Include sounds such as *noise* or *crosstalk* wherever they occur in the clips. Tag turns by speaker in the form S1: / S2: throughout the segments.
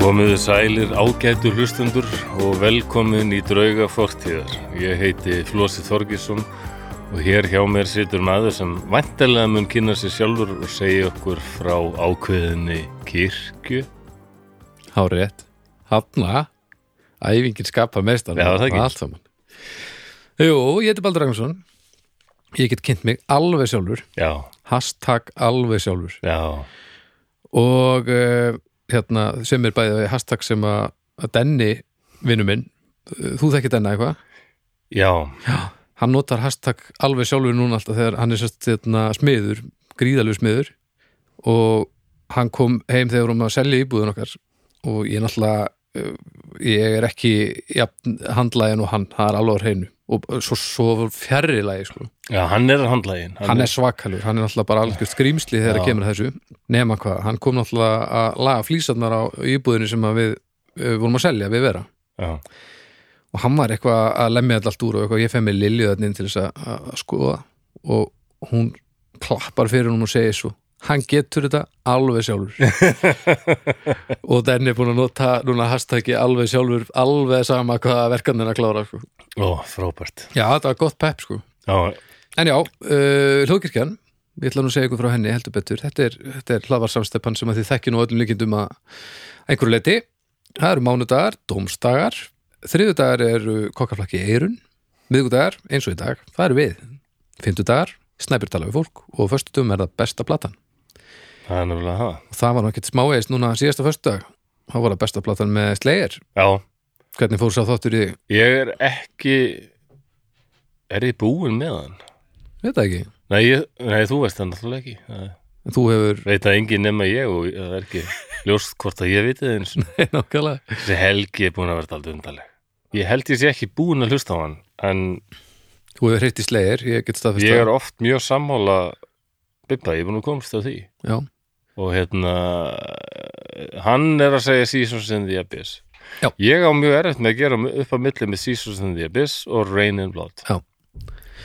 S1: Komiðu sælir ágætu hlustundur og velkomin í drauga fortíðar. Ég heiti Flósi Þorgisson og hér hjá mér situr maður sem vantarlega mun kynna sér sjálfur og segja okkur frá ákveðinni kirkju.
S2: Hárétt, hafna, æfingin skapa mestan
S1: Já, það ekki.
S2: allt saman. Jú, ég heiti Baldur Ragnarsson, ég get kynnt mig alveg sjálfur,
S1: Já,
S2: hashtag alveg sjálfur
S1: já,
S2: og uh, hérna, sem er bæðið hashtag sem að að Denni, vinnu minn, uh, þú þekkir Denna eitthvað,
S1: já,
S2: hann notar hashtag alveg sjálfur núna alltaf þegar hann er sérst hérna, smiður, gríðalegu smiður og hann kom heim þegar um að selja íbúðun okkar og ég náttúrulega uh, ég er ekki jafn, handlægin og hann, það er alveg á hreinu og uh, svo, svo fjarrilagi sko.
S1: já, hann er handlægin.
S2: hann er svakalur, hann er náttúrulega bara algjörð skrýmsli þegar
S1: Já.
S2: það kemur að þessu nema hvað, hann kom náttúrulega að laga flýsarnar á íbúðinu sem að við uh, vorum að selja, við vera
S1: Já,
S2: og hann var eitthvað að lemja þetta allt úr og eitthvað, ég fæ mig Lilju þarna inn til þess að, að að skoða og hún klappar fyrir hún og segir svo hann getur þetta alveg sjálfur *laughs* og Denni er búin að nota núna hashtaggi alveg sjálfur alveg sama hvað verkan er að klára sko.
S1: ó, frábært.
S2: já, þetta var gott pepp sko
S1: Já,
S2: en já, uh, hljóðkirkjan ég ætla nú að segja ykkur frá henni heldur betur þetta er, þetta er hlaðvarsamstepan sem að þið þekki nú öllum líkindum að einhverju leiti það eru mánudagar, dómstagar þriðudagar eru kokkaflakki í eirun miðgudagar, eins og í dag, það eru við fymtudagar, snæpir tala við fólk og föstudum er það besta platan
S1: það er nefnilega það.
S2: og það var nú ekkert smáeist núna síðasta föstudag þá var það besta platan með Slayer
S1: Já,
S2: hvernig fór sá þáttur í,
S1: ég er ekki, er ég búin með hann?
S2: veit það ekki
S1: Nei, ég, nei þú veist það náttúrulega ekki. Það
S2: en þú hefur,
S1: veit að enginn nema ég og það er ekki ljóst hvort að ég viti það eins.
S2: nákvæmlega
S1: Þessi helgi er búin að verða aldrei undarleg. Ég held ég sé ekki búin að hlusta á hann, en
S2: þú hefur hreitt í Slayer, ég get staðfest
S1: ég
S2: það.
S1: er oft mjög sammála Bibba, ég er búin að komast á því.
S2: já,
S1: Og hérna, hann er að segja Seasons in the Abyss.
S2: Já.
S1: Ég á mjög erfitt með að gera upp á milli með Seasons in the Abyss og Rain in Blood.
S2: Já.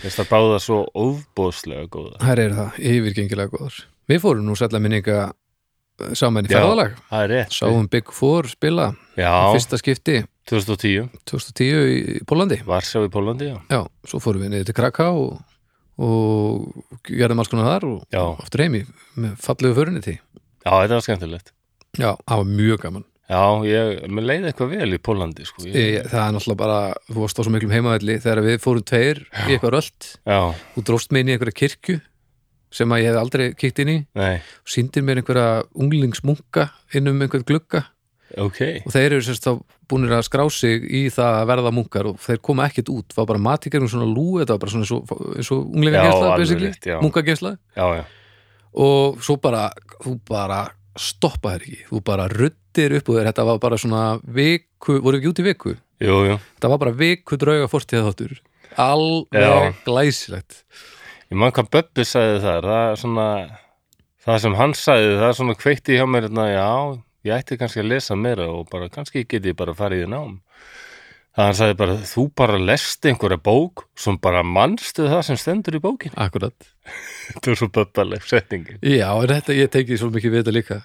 S1: Þess að báða svo óbóðslega góða.
S2: Þær eru það, yfirgengilega góðar. Við fórum nú sætla minninga eh, saman í
S1: Já.
S2: ferðalag.
S1: Það er rétt.
S2: Sáum Big Four spila
S1: Já,
S2: fyrsta skipti
S1: 2010,
S2: 2010 í í Pólandi.
S1: Varsjá í Pólandi, já.
S2: Já, svo fórum við niður til Kraká og, og gerðum alls konar þar og
S1: Já.
S2: aftur heimi með fallegu förunniti.
S1: Já, þetta var skemmtilegt.
S2: Já, það var mjög gaman.
S1: Já, ég, mér leiði eitthvað vel í Pólandi, sko. Ég,
S2: Ég, það er náttúrulega bara, þú varst á svo miklum heimavelli þegar við fórum tveir í eitthvað rölt.
S1: Já,
S2: Þú dróst mig inn í einhverja kirkju sem að ég hef aldrei kikt inn í.
S1: nei,
S2: Sýndir mér einhverja unglingsmunka inn um einhvern glugga.
S1: ok.
S2: og þeir eru sérst þá búinir að skrá sig í það að verða munkar og þeir koma ekkert út, var bara matikar um svona lú þetta var bara svona eins og, eins og unglega
S1: Já,
S2: gensla
S1: alveg
S2: basically,
S1: rétt, já.
S2: munkagensla
S1: Já, já,
S2: og svo bara, þú bara stoppa þér ekki, þú bara ruddir upp og þér, þetta var bara svona viku, voru ekki út í viku,
S1: jú, jú.
S2: þetta var bara viku drauga fortíða þáttur, alveg
S1: Já.
S2: glæsilegt,
S1: Ég man hvað Böbbi sagði þar, það er svona, það sem hann sagði, það er svona kveikti hjá mér, na, já, ég ætti kannski að lesa meira og bara, kannski geti ég bara farið í nám. Það hann sagði bara, þú bara lest einhverja bók sem bara manstu það sem stendur í bókin.
S2: akkurat
S1: Þetta er svo Böbbaleg setningi.
S2: já, en þetta, ég tekið svo mikið við þetta líka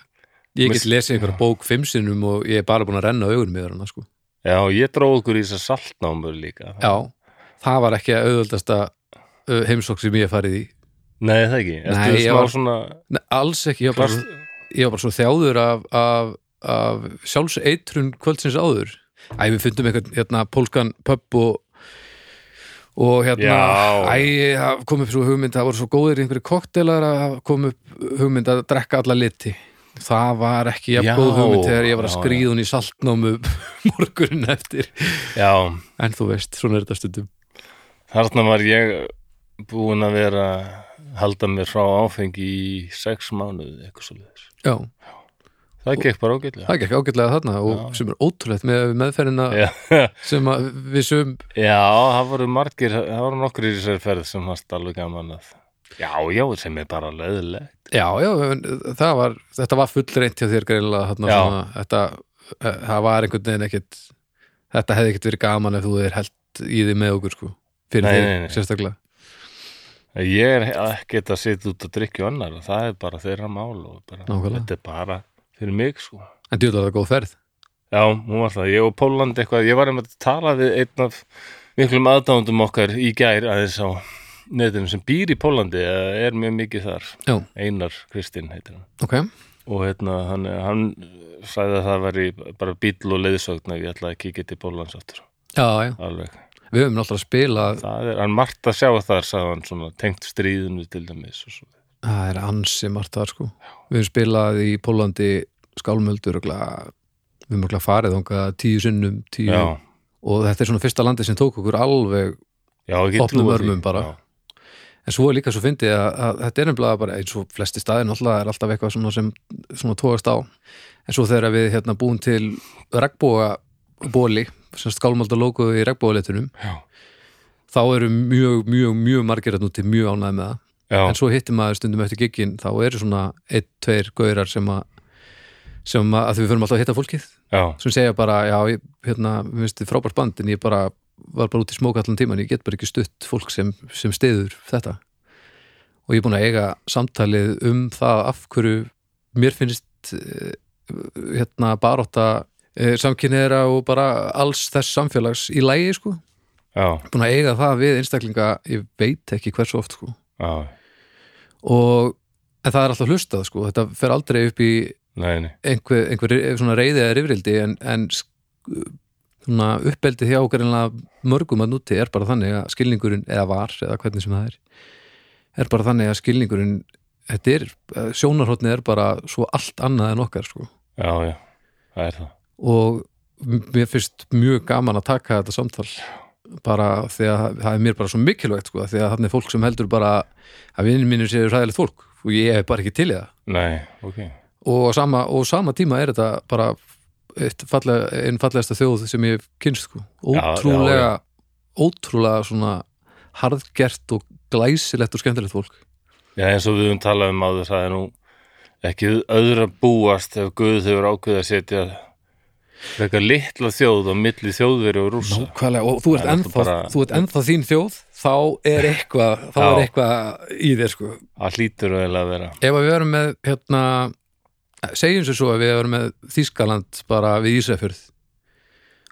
S2: ég
S1: Mér-
S2: get lesið einhverja bók fimm sinnum og ég er bara búin að renna augunum yfir hana, sko
S1: Já, ég dróð okkur í þess að saltnámur líka.
S2: Já, það var ekki að auðvöldasta uh, heimsók sem ég hef farið í
S1: Nei, það ekki.
S2: Nei,
S1: Ertu
S2: ég
S1: smá
S2: var-
S1: svona,
S2: Nei, alls ekki, ég var bara,
S1: plast...
S2: ég var bara svo þjáður af, af, af sjálfseitrun kvöldsins áður Æ, við fundum eitthvað, hérna, pólskan pöpp og og hérna,
S1: Já.
S2: æ, það kom upp svo hugmynd það voru svo góðir í einhverju koktelar að það kom upp hugmynd að drekka alla liti það var ekki jafn
S1: Já,
S2: góð hugmynd þegar ég var að
S1: já, já.
S2: skrýðun í saltnámu *laughs* morgunin eftir
S1: já,
S2: en þú veist, svona er þetta stundum
S1: Þarna var ég búin að vera halda mér frá áfengi í sex mánuði eitthvað svo leiðis.
S2: Já,
S1: Það gekk bara ágætlega.
S2: það gekk ágætlega þarna og
S1: Já.
S2: sem er ótrúlegt með meðferðina
S1: Já, *laughs*
S2: sem að við sum
S1: já, það voru margir, það voru nokkur í þessari ferð sem varst alveg gaman að. Já, já, sem er bara leiðilegt.
S2: já, já, en það var þetta var fullreint hjá þér greinlega þarna,
S1: Já.
S2: svona, þetta, eh, það var einhvern veginn ekkit þetta hefði ekkit verið gaman ef þú er held í því með okkur sko, fyrir
S1: Nei,
S2: þig
S1: nei, nei.
S2: sérstaklega
S1: Ég er ekkert að setja út að drikja annar og það er bara þeirra mál og bara,
S2: Nákvæmlega.
S1: þetta er bara fyrir mig, sko.
S2: en djúlega það góð ferð
S1: Já, hún var það, ég og Póland eitthvað, ég var einmitt að tala við einn af miklum aðdándum okkar í gær aðeins á netinu sem býr í Pólandi, eða er mjög mikið þar,
S2: Já,
S1: Einar Kristinn heitir hann
S2: ok,
S1: og hérna, hann, hann sagði að það væri bara bíl og leiðsögn ef ég ætla að kíkja til Pólans áttur,
S2: já, já
S1: alveg.
S2: Við höfum náttúrulega að spila
S1: Það er, hann margt að sjá þar, sagði hann svona, tengt stríðinu til dæmis og svo.
S2: Það er ansi margt þar sko Við höfum spilað í Pólandi skálmöldur og við höfum örugglega farið þangað tíu sinnum tíu.
S1: Já,
S2: og þetta er svona fyrsta landi sem tók okkur alveg
S1: já, ekki
S2: Opnum örmum bara. en svo er líka svo fyndið að, að þetta er nefnilega bara eins og flesti staðin alltaf er alltaf eitthvað svona sem svona tókast á en svo þegar við hérna búum til regnbóa bóli sem skálmölda lókuðu í regnbóðaleitunum
S1: Já,
S2: þá eru mjög, mjög, mjög margir að núti mjög ánægð með það
S1: já,
S2: en svo hittir maður stundum eftir giggin þá eru svona einn, tveir gaurar sem að sem að, að því við förum alltaf að hitta fólkið
S1: já,
S2: sem segja bara, já, ég, hérna, mér finnst þið frábært band en ég bara var bara út í smók allan tíman ég get bara ekki stutt fólk sem, sem stiður þetta og ég er búin að eiga samtalið um það af hverju mér finnst eh, hérna baróta samkynniðra og bara alls þess samfélags í lægi sko,
S1: já,
S2: búin að eiga það við einstaklinga, ég veit ekki hversu oft sko
S1: já,
S2: og en það er alltaf hlustað sko, þetta fer aldrei upp í
S1: nei, nei,
S2: einhver, einhver svona reyði eða rifrildi en, en sk- svona uppeldi hjá greinlega mörgum að núti er bara þannig að skilningurinn eða var, eða hvernig sem það er er bara þannig að skilningurinn þetta er, sjónarhóttni er bara svo allt annað en okkar sko
S1: já, já, það er það.
S2: og m- mér finnst mjög gaman að taka þetta samtal bara því að það er mér bara svo mikilvægt sko, því að þannig er fólk sem heldur bara að vinnir mínir séu ræðilegt fólk og ég er bara ekki til í það
S1: Nei, ok,
S2: og á sama, og á sama tíma er þetta bara eitt fallega, einn fallegasta þjóð sem ég hef kynst sko.
S1: já,
S2: ótrúlega ótrúlega svona harðgert og glæsilegt og skemmtilegt fólk
S1: já eins og við höfum talað um áður það er nú ekki öðra búast ef Guð hefur ákveðið að setja frekar litla þjóð á milli þjóðveri og rúsa
S2: Nákvæmlega, og þú
S1: Það
S2: ert,
S1: er
S2: ennþá,
S1: bara-
S2: þú ert ennþá þín þjóð þá er eitthvað, þá
S1: Já.
S2: er eitthvað í þér sko.
S1: að hlýtur eiginlega að vera
S2: ef að við erum með hérna, segjum sér svo að við erum með Þískaland bara við Ísafjörð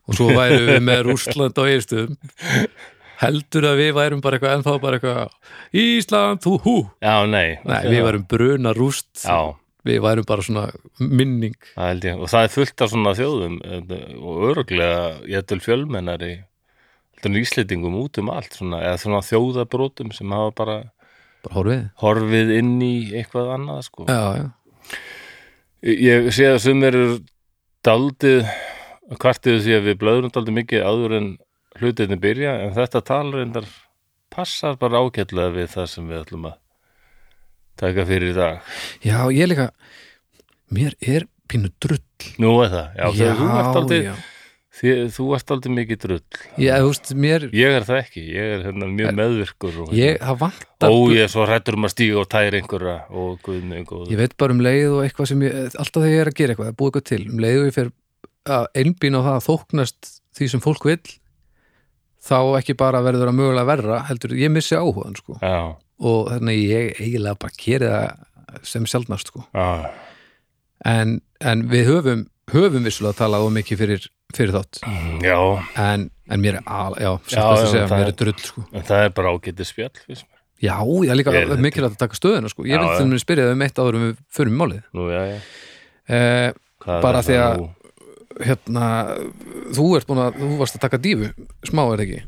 S2: og svo værum við
S1: *laughs*
S2: með Rússland á Eirstöðum heldur að við værum bara eitthvað ennþá bara eitthvað Ísland, hú hú
S1: Já, nei,
S2: Nei,
S1: það-
S2: við værum bruna rúst
S1: Já,
S2: við værum bara svona minning
S1: það held ég og það er fullt af svona þjóðum eh, og öruglega ég til fjölmennari heldur en íslendingum út um allt svona, eða svona þjóðabrótum sem hafa bara
S2: bara horfið
S1: horfið inn í eitthvað annað sko
S2: já, já.
S1: Ég sé að sumir eru daldið kvartið því að við blöðurum daldið mikið áður en hlutinni byrja en þetta talreindar passar bara ágætlega við það sem við ætlum að taka fyrir í dag.
S2: já, ég líka mér er pínu drull
S1: Nú er það, já,
S2: já,
S1: þegar þú ert aldrei,
S2: já.
S1: því, þú ert aldrei mikið drull.
S2: Ég, þú veist, mér,
S1: Ég er það ekki, ég er hérna mjög meðvirkur og hérna,
S2: ég, það
S1: ó,
S2: vantar
S1: ég er svo hrættur um að stíga og tæra einhverja og guðni einhverja.
S2: ég veit bara um leið og eitthvað sem ég alltaf þegar ég er að gera eitthvað, að búa eitthvað til um leið og ég fer að einbýna á það að þóknast því sem fólk vill þá ekki bara verður að mögulega verra heldur, ég missi áhugan sko
S1: Já,
S2: og þannig að ég eiginlega bara geri það sem sjaldnast sko
S1: já,
S2: en, en við höfum höfum vissulega talað of mikið fyrir, fyrir þátt
S1: já,
S2: en, en mér er al, já,
S1: Já,
S2: já, já,
S1: já,
S2: segja,
S1: það
S2: mér
S1: er-
S2: er drull sko
S1: en það er bara ágætið spjall, fyrst mér.
S2: já, já, líka
S1: Ég er þetta.
S2: mikilvægt að taka stöðuna sko ég
S1: Já,
S2: vil
S1: já.
S2: þannig að spyrja þau um eitt áður um við förum í málið
S1: Nú, já, já.
S2: eh,
S1: Hvað er
S2: Bara
S1: það
S2: því að-
S1: nú?
S2: hérna, þú ert búin að þú varst að taka dífu, smá er það ekki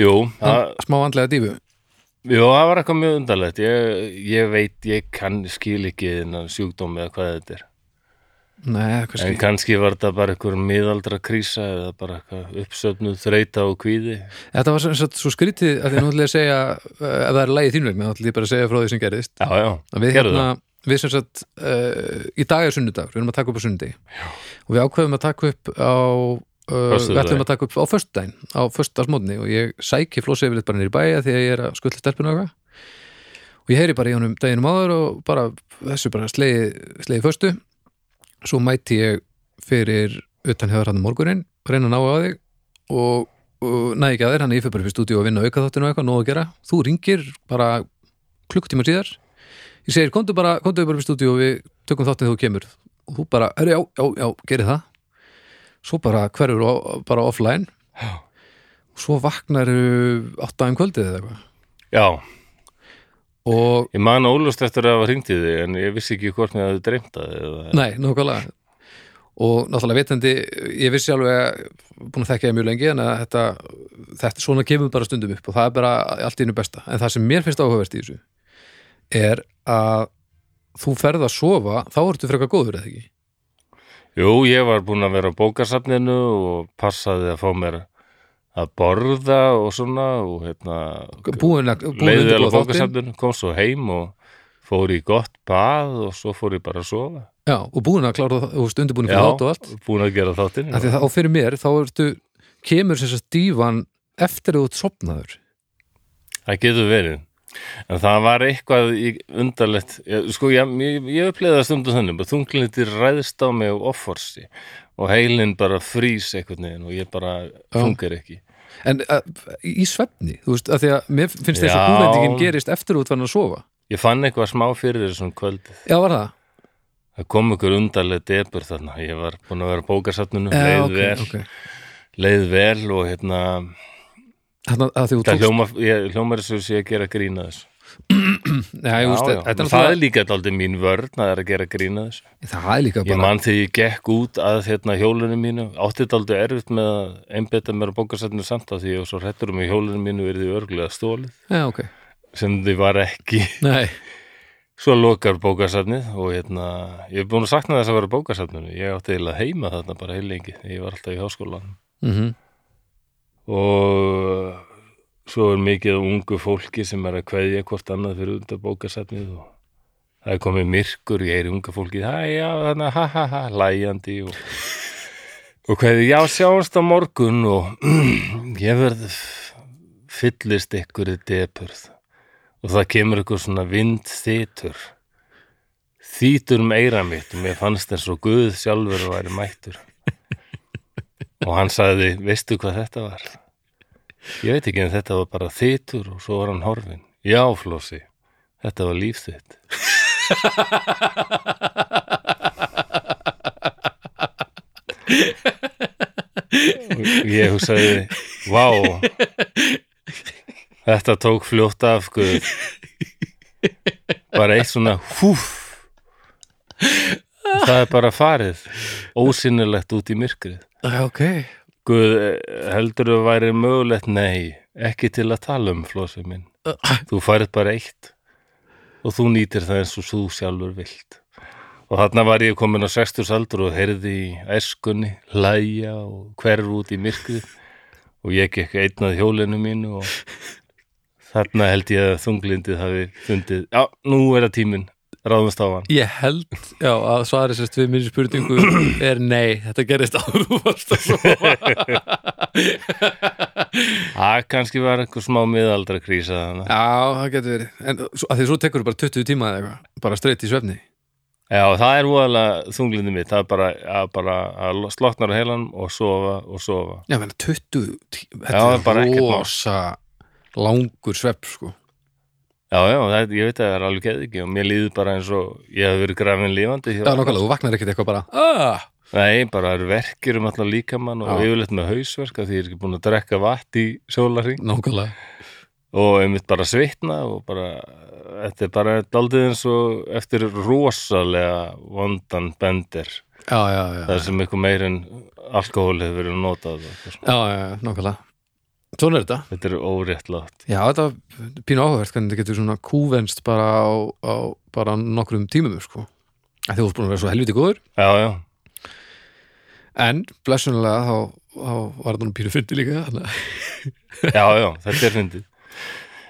S1: Jú, það,
S2: smá andlega dífu,
S1: Jú, það var eitthvað mjög undarlegt. Ég, ég veit, ég kann skil ekki þennan sjúkdómi eða hvað þetta er.
S2: neða,
S1: En
S2: kannski
S1: kannski var þetta bara einhver miðaldra krísa eða bara eitthvað uppsöfnuð þreita og kvíði.
S2: þetta var sem sagt svo skrítið að því nú ætla ég að segja, eh, ef það er lægið þín vegna, þá ætla ég bara að segja frá því sem gerðist
S1: Já, já,
S2: Að við,
S1: gerðu
S2: hérna, við sem sagt uh, í dag er sunnudagur, við erum að taka upp á sunnudegi Já. og við ákveðum að taka upp á uh, við
S1: Föstudaginn.
S2: ætlum að taka upp á föstudaginn á föstudagsmótni og ég sæki flósið yfirleitt bara nýr í bæja því að ég er að skuttla stelpun og eitthvað og ég heyri bara í honum deginum áður og bara þessu bara slegið slegið föstu svo mæti ég fyrir utan hefur hann morgunin, reyna að ná á þig og, og næ ekki að þér, hann er ég fyrir bara fyrir stúdíu að vinna auka þáttinu og eitthvað, nóg að gera þú ringir bara klukktíma síðar ég segir, komdu bara, komdu bara fyrir stúdíu og við tökum þáttin þegar þú kemur og þú bara, herri, já, já, já, geri það svo bara hverfur o- bara offline
S1: Já.
S2: og svo vaknar átta um kvöldið eða eitthvað
S1: Já,
S2: og
S1: ég man ólust eftir að hafa hringt í þig en ég vissi ekki hvort mér hafði dreymt það eða...
S2: nei, nákvæmlega og náttúrulega vitandi, ég vissi alveg að- búin að þekka ég mjög lengi en að þetta, þetta svona kemur bara stundum upp og það er bara allt í einu besta en það sem mér finnst áhugavert í þessu er að þú ferð að sofa, þá ertu frekar góður eða ekki
S1: Jú, ég var búin að vera á bókasafninu og passaði að fá mér að borða og svona og hérna
S2: búin að búin að
S1: leiði vel á
S2: undirbúa þáttinn.
S1: bókasafninu, kom svo heim og fór í gott bað og svo fór ég bara að sofa
S2: Já, og búin að klára það, undirbúin fyrir
S1: Já.
S2: þátt og allt
S1: búin að gera þáttinn
S2: Af því
S1: já.
S2: að það, og fyrir mér þá ertu, kemur þess að dífan eftir að þú ert sopnaður
S1: það getur verið en það var eitthvað í- undarlegt ég, sko ég, ég, ég uppleiði það stundum þannig bara þunglindi ræðist á mig og offorsi og heilin bara frýs einhvern veginn og ég bara
S2: Já.
S1: fungar ekki
S2: en að, í svefni, þú veist, af því að mér finnst þess að
S1: Já.
S2: húvendingin gerist eftir að þú ert fann að sofa
S1: ég fann eitthvað smá fyrir þessum kvöld
S2: Já, var það?
S1: það kom ykkur undarlegt debur þarna ég var búin að vera á bókasafninu leið, vel,
S2: ok
S1: leið vel og hérna
S2: Þannig að því þú
S1: það
S2: tókst
S1: hljóma, ég, hljómar þessu sé að gera grína þessu
S2: Nei, þú veist,
S1: já, já.
S2: þetta er
S1: það er
S2: náttúrulega
S1: líka daldið mín vörn að það er að gera grína þessu
S2: Það er líka
S1: Ég
S2: bara
S1: man þegar ég gekk út að hérna, hjólunum mínu, átti þetta aldrei erfitt með að einbetta mér á bókasætninu samt að því ég var svo hrettur um að hjólunum mínu verði örglega stólið
S2: Já, ok
S1: sem þið var ekki. *laughs*
S2: Nei,
S1: Svo lokar bókasætnið og hérna, ég er búin að sakna þess að vera bókasætninu. Ég átti eiginlega heima þarna bara heilengi, ég var alltaf í háskólanum.
S2: mhm
S1: Og svo er mikið af ungu fólki sem er að kveðja hvort annað fyrir undan bókasætnið og það er komið myrkur, ég er unga fólkið, hæ, já, þannig, ha, ha, ha, lægjandi og, og hverði, já, sjáumst á morgun og *clears throat* ég verð fyllist ykkur í depurð og það kemur ykkur svona vind þýtur þýtur um eira mitt og mér fannst þess og Guð sjálfur væri mættur og hann sagði, veistu hvað þetta var? Ég veit ekki en þetta var bara þýtur og svo var hann horfin. Já, Flósi, þetta var líf þitt. Og ég hugsaði vá þetta tók fljótt af guð bara eitt svona húf Og það er bara farið ósynilegt út í myrkrið
S2: Já, ok
S1: guð heldur að væri mögulegt nei, ekki til að tala um flósi minn, þú færið bara eitt og þú nýtir það eins og þú sjálfur vilt og þarna var ég komin á 60 aldur og heyrði í æskunni, hlæja og hverf út í myrkrið og ég gekk einnað hjólinu mínu og þarna held ég að þunglindið hafi fundið, já, nú er það tíminn ráðumst á hann.
S2: Ég held, já, að svarið sérst við minni spurningu er nei, þetta gerist áður þú varst að sofa
S1: Það kannski var einhver smá miðaldra krísa þannig.
S2: *laughs* Já, það getur verið En svo- af því svo tekur þú bara 20 tíma eða eitthvað Bara straight í svefni
S1: Já, það er voðalega þunglindið mitt, það er bara að, bara að slotnar á heilanum og sofa og sofa.
S2: Já, menn 20 tíma
S1: Já,
S2: Þetta
S1: bara
S2: er
S1: ekkert mál.
S2: rosa langur svepp sko
S1: Já, já, það, ég veit að það er alveg geð ekki og mér líður bara eins og ég hef verið grafin lífandi. hjá-
S2: Já, nákvæmlega, þú vaknar ekkert eitthvað bara ah!
S1: Nei, bara það eru verkir um allan líkamann og
S2: Já.
S1: yfirleitt með hausverk að því ég er ekki búin að drekka vatn í sólarring
S2: Nákvæmlega
S1: og einmitt bara svitna og bara, þetta er bara daldið eins og eftir rosalega vondan bender
S2: Já, já, já,
S1: það sem eitthvað meir en alkohól hefur verið notað og eitthvað svona.
S2: já, já, já nákvæmlega Svona er þetta
S1: þetta er óréttlátt
S2: Já, þetta er pínu áhugavert hvernig þetta getur svona kúvenst bara á, á bara nokkrum tímum sko Af Því þú ert búin að vera svo helviti góður
S1: já, já,
S2: En blessunlega þá, þá var þetta nú pínu fyndi líka þannig að-
S1: já, já, þetta er fyndið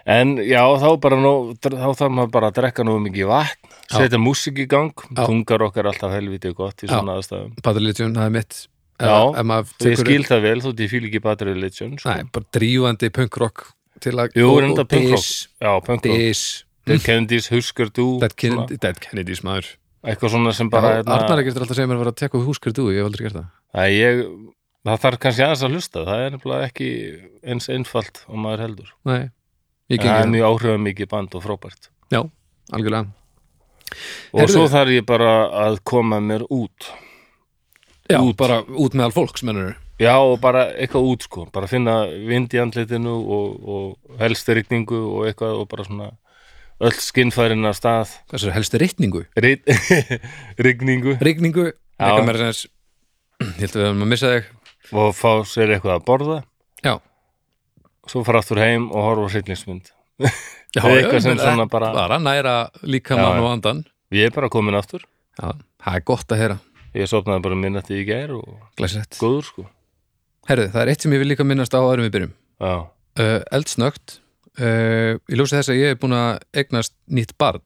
S1: en já, þá bara nóg, þá þarf maður bara að drekka nógu mikið vatn
S2: Já.
S1: setja músík í gang,
S2: Já.
S1: tungar okkar alltaf helviti gott í
S2: Já.
S1: svona aðstæðum
S2: Patriligion, það er mitt Ef-
S1: Já,
S2: ef maður
S1: Svo ég
S2: tekur-
S1: skil það vel, þótt ég fíl ekki Bad Religion sko.
S2: Nei, bara drífandi punkrock til að
S1: Jú,
S2: og-
S1: reynda
S2: og
S1: punkrock.
S2: diss,
S1: Já, punk rock
S2: Diss
S1: Dead Kennedys, Husker Du
S2: Dead
S1: svona,
S2: Kennedy- Dead Kennedys maður
S1: Eitthvað svona sem bara
S2: Já,
S1: hérna-
S2: Arnar ekkert er alltaf að segja mér að vera að tekka húskar þú, ég hef aldrei gert það
S1: Það, ég, það þarf kannski aðeins að hlusta, það er nefnilega ekki eins einfalt og maður heldur.
S2: Nei,
S1: En
S2: ég
S1: Það er
S2: gengi það,
S1: mjög áhrifamikið band og frábært.
S2: algjörlega
S1: Og
S2: Heyrðu.
S1: svo þarf ég bara að koma mér út.
S2: Já,
S1: Út.
S2: bara út meðal fólks, mennur
S1: Já, og bara eitthvað út sko, bara finna vind í andlitinu og, og helst rigningu og eitthvað og bara svona öll skinnfærin af stað
S2: Hvað sér, helstu ritningu?
S1: Rit, *laughs* rigningu
S2: Rigningu,
S1: Já.
S2: eitthvað meira sem *clears throat* Ég held að við erum að missa þig
S1: og fá sér eitthvað að borða
S2: Já,
S1: svo fara aftur heim og horfa sýtlingsmynd
S2: já,
S1: Eða eitthvað
S2: ég
S1: sem
S2: meina,
S1: svona
S2: þetta
S1: bara-
S2: Bara næra líka
S1: Já,
S2: mann
S1: já.
S2: og andan
S1: Ég er bara komin aftur
S2: Já, það er gott að heyra
S1: Ég sopnaði bara minnati í gær og
S2: Glæsilegt
S1: góður sko
S2: Herðu, það er eitt sem ég vil líka minnast á áðurum við byrjum
S1: Já,
S2: uh, Eldsnögt uh, Ég ljósi þess að ég er búin að egnast nýtt barn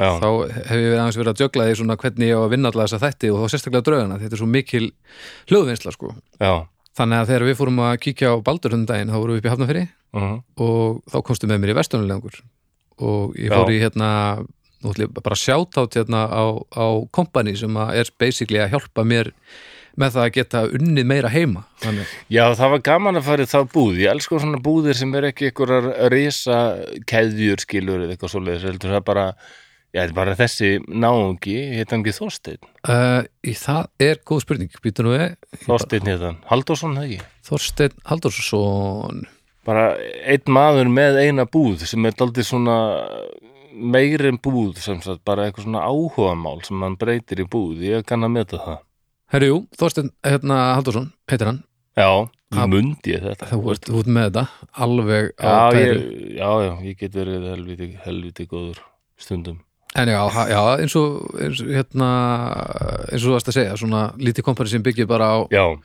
S1: já,
S2: þá hef ég verið aðeins verið að jögla því svona hvernig ég á að vinna alla þessa þætti og þá sérstaklega draugana, þetta er svo mikil hljóðvinnsla sko.
S1: já
S2: Þannig að þegar við fórum að kíkja á Baldur hundaginn þá vorum við upp í Hafnafyrri
S1: uh
S2: og þá komstu með mér í vestunulegangur og ég fór
S1: Já.
S2: í hérna nú ætlum ég bara sjátt átt hérna á, á kompani sem að er basically að hjálpa mér með það að geta unnið meira heima Þannig,
S1: Já, það var gaman að fara í þá búð. Ég elska svona búðir sem er ekki einhverjar risa keðjur skilur eða eitthvað svoleiðis. Heldur það bara, já, þetta er bara þessi náungi, hétt hann ekki Þorsteinn.
S2: uh, í það er góð spurning býtum við,
S1: Þorsteinn hétt hann. Halldórsson það ekki.
S2: Þorsteinn Halldórsson
S1: Bara einn maður með eina búð sem er daldið svona meiri en búð sem sagt, bara eitthvað svona áhugamál sem hann breytir í búð. Ég kann að meta það.
S2: Herri, jú, Þorsteinn hérna, Halldórsson, heitir hann
S1: Já,
S2: Ha-
S1: ég mundi ég þetta.
S2: þú ert út með þetta alveg á
S1: Já,
S2: tæru
S1: ég, já, já, ég get verið helviti, helviti góður stundum.
S2: en já, ha- já eins, og, eins, og, hérna, eins og þú varst að segja svona lítið kompani sem byggir bara á
S1: Já,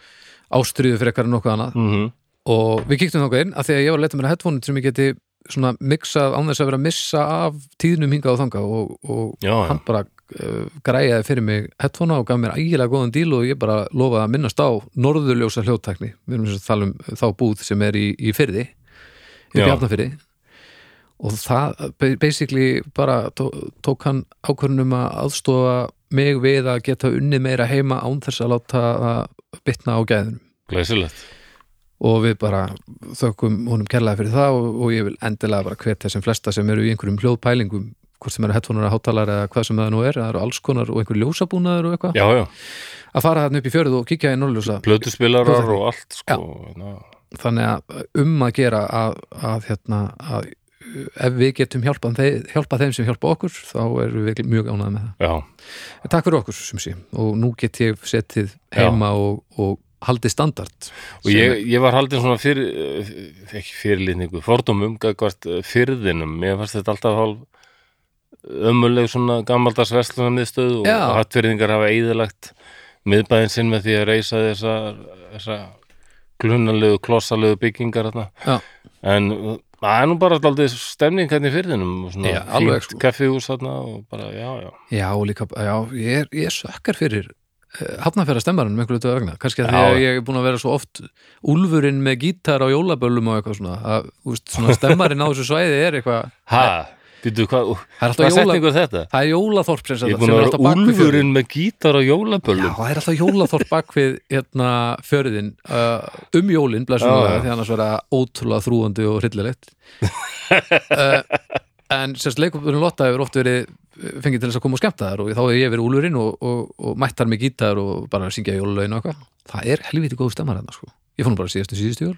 S2: ástriðu fyrir eitthvað en nokkuð annað
S1: mhm.
S2: og við kíktum þangað inn af því að ég var að leta mér að headphone sem ég geti svona miksað án þess að vera að missa af tíðnum hingað og þangað og, og
S1: Já, já.
S2: hann bara uh, græjaði fyrir mig headphone og gaf mér ægilega góðan díl og ég bara lofaði að minnast á norðurljósa hljóttakni við erum þess að tala um þá búð sem er í, í fyrði í
S1: Já.
S2: bjarnafyrði og það ba- basically bara tó, tók hann ákvörunum að aðstofa mig við að geta unnið meira heima án þess að láta það bitna á gæðunum
S1: Glæsilegt.
S2: og við bara þökkum honum kærlega fyrir það og, og ég vil endilega bara hvetja sem flesta sem eru í einhverjum hljóðpælingum hvort sem eru hettvonar að hátalara eða hvað sem það nú er það eru alls konar og einhver ljósabúnaður og eitthvað
S1: Já, já.
S2: að fara þarna upp í fjörðu og kíkja í norðljósa
S1: plötuspilarar
S2: Plötuspilarar.
S1: og allt sko, hérna.
S2: þannig að um að gera að, að hérna að ef við getum hjálpað þeim, hjálpað þeim sem hjálpa okkur þá erum við mjög ánægð með það
S1: já,
S2: En Takk fyrir okkur sem sé og nú get ég setið heima og, og haldið standart
S1: og ég, ég var haldin svona fyrir, eh, ekki fyrirlitningu fordómum, gækvart fyrðinum mér fannst þetta alltaf hálf ömuleg svona gammaldags verslunarmiðstöð og
S2: Já.
S1: hattfyrðingar hafa eðilagt miðbæðin sinn með því að reysa þessar þessa glunalegu, klossalegu byggingar þarna.
S2: Já.
S1: en eh, það er nú bara alltaf stemning hérna í fyrðinum og svona
S2: Já, alveg,
S1: fínt
S2: sko.
S1: kaffihús þarna og bara, já, já
S2: Já, og líka, já, ég er, ég er sökkar fyrir hafnafæra stemmarinn með einhverju vegna kannski að því
S1: Já.
S2: að ég er búin að vera svo oft úlfurinn með gítar á jólaböllum og eitthvað svona, að, úst, svona stemmarinn á þessu svæði er eitthvað,
S1: ha, býtu hvað,
S2: það er alltaf
S1: hvað
S2: jóla
S1: setningur er þetta?
S2: það er jólaþorp sem sagt,
S1: Ég er
S2: sem
S1: búin að
S2: alltaf
S1: vera
S2: bak við fjörðinn.
S1: úlfurinn með gítar á
S2: Já,
S1: jólaböllum
S2: það er alltaf jólaþorp bak við hérna fjörðin uh, um jólin,
S1: Já,
S2: blessum
S1: já.
S2: því annars vera ótrúlega þrúandi og hryllilegt uh, en sérst leikupurinn Lotta hefur oft verið uh, fengið til þess að koma og skemmta þar og þá hefur ég verið úlurinn og, og, og mættar með gítar og bara syngja jólulegin og eitthvað það er helviti góð stemmar hérna sko ég fór nú bara síðastu síðustu jól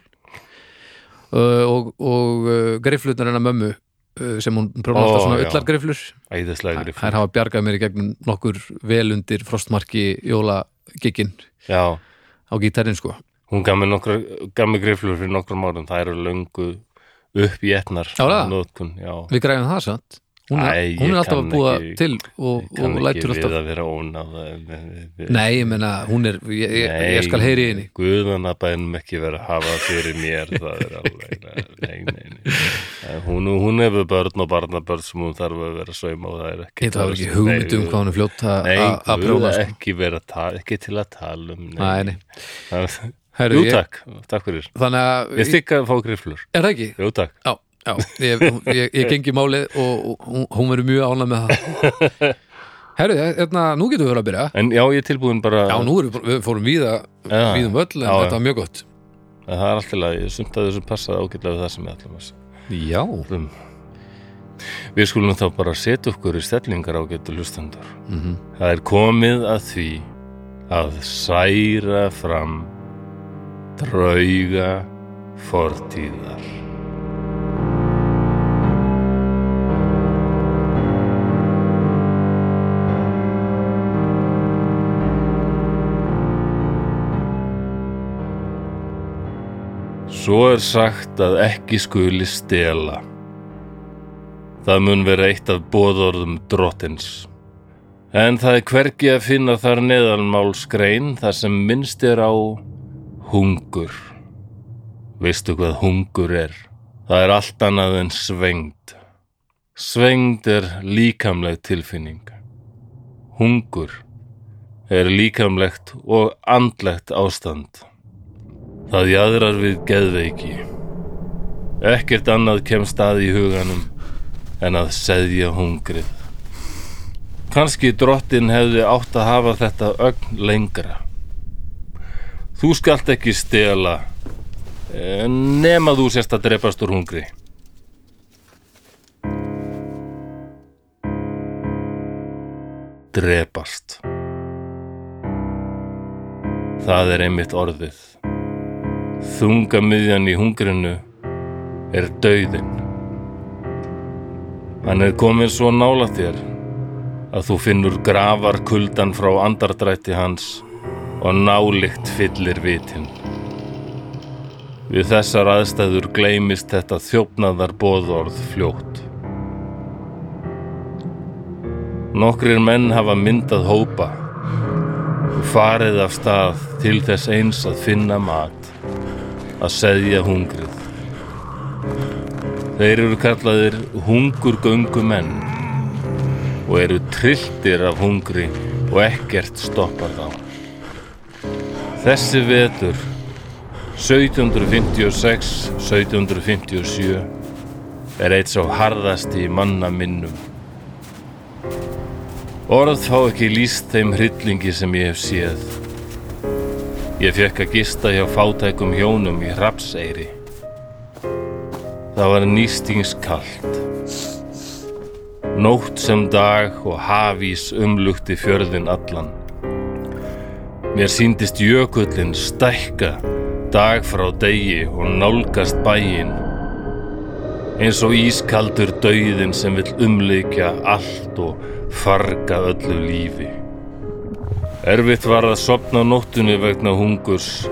S2: uh, og, og uh, greiflutnar hennar mömmu uh, sem hún prófa
S1: Ó,
S2: alltaf svona
S1: já.
S2: ullargreiflur
S1: Æðislega grif
S2: þær hafa bjargað mér í gegnum nokkur vel undir frostmarki jólagikkin
S1: Já,
S2: á gítarinn sko
S1: hún gaf mér nokkra gaf mér griflur fyrir nokkrum árum það eru löngu upp í etnar
S2: Já, það?
S1: notkun, já
S2: við græðum það samt hún er,
S1: Æ, ég
S2: hún er alltaf
S1: kann
S2: að búa
S1: ekki-
S2: til og,
S1: Ég
S2: og
S1: kann ekki
S2: lætur
S1: við
S2: alltaf
S1: að vera ónáð eh,
S2: Nei, ég menna, hún er, ég, ég, ég skal heyri í henni
S1: Guðana bænum ekki vera að hafa fyrir mér það er alveg nei, nei, nei. Eh, Hún, hún hefur börn og barnabörn sem hún þarf að vera að sauma og það er ekki
S2: Ég það var ekki hugmynd um hvað hún er fljótt að-
S1: Nei,
S2: að að
S1: Guð,
S2: prjóna sko.
S1: ekki vera að tala, ekki til að tala um
S2: Nei, nei.
S1: Það-
S2: Herru,
S1: Jú
S2: ég-
S1: takk, takk fyrir
S2: Þannig að,
S1: Ég stikka að fá griflur,
S2: er það ekki?
S1: jú takk
S2: Já, já, ég, ég, ég gengi málið og, og hún- hún verður mjög ánægð með
S1: *laughs*
S2: það Herru, hérna, nú getum við verið að byrja
S1: En já, ég er tilbúin bara
S2: Já, nú erum við, við fórum víða,
S1: Já.
S2: víðum öll en
S1: Já, já.
S2: þetta var mjög gott
S1: En Það er allt til að sumt að þessu passaði ágætlega við það sem við ætlum að
S2: Já,
S1: um. Við skulum þá bara setja okkur í stellingar ágættu lustendur
S2: mhm,
S1: Það er komið að því að særa fram drauga fortíðar. Svo er sagt að ekki skuli stela. Það mun vera eitt af bóðorðum drottins. En það er hvergi að finna þar neðalmálsgrein þar sem minnst er á hungur. Veistu hvað hungur er? Það er allt annað en svengd. Svengd er líkamleg tilfinning. Hungur er líkamlegt og andlegt ástand. Það jaðrar við geðveiki. Ekkert annað kemst að í huganum en að seðja hungrið. Kanski drottin hefði átt að hafa þetta ögn lengra. Þú skalt ekki stela eh, nema þú sérst að drepast úr hungri. Drepast. Það er einmitt orðið. Þungamiðjan í hungrinu er dauðinn. Hann er komin svo nála þér að þú finnur grafar kuldan frá andardrætti hans og nálikt fyllir vitin. Við þessar aðstæður gleymist þetta þjófnaðar bóðorð fljótt. Nokkrir menn hafa myndað hópa og farið af stað til þess eins að finna mat, að seðja hungrið. Þeir eru kallaðir hungurgöngumenn og eru trilltir af hungri og ekkert stoppar þá. Þessi vetur 1756-1757 er eitt svo harðasti í manna minnum. Orð fá ekki líst þeim hryllingi sem ég hef séð. Ég fekk að gista hjá fátækum hjónum í Hrapseyri. Það var nýstingskallt. Nótt sem dag og hafís umlukti fjörðin allan. Mér síndist jökullin stækka dag frá degi og nálgast bæin. Eins og ískaldur dauðin sem vill umleikja allt og farga öllu lífi. Erfitt var að sopna á nóttunni vegna hungurs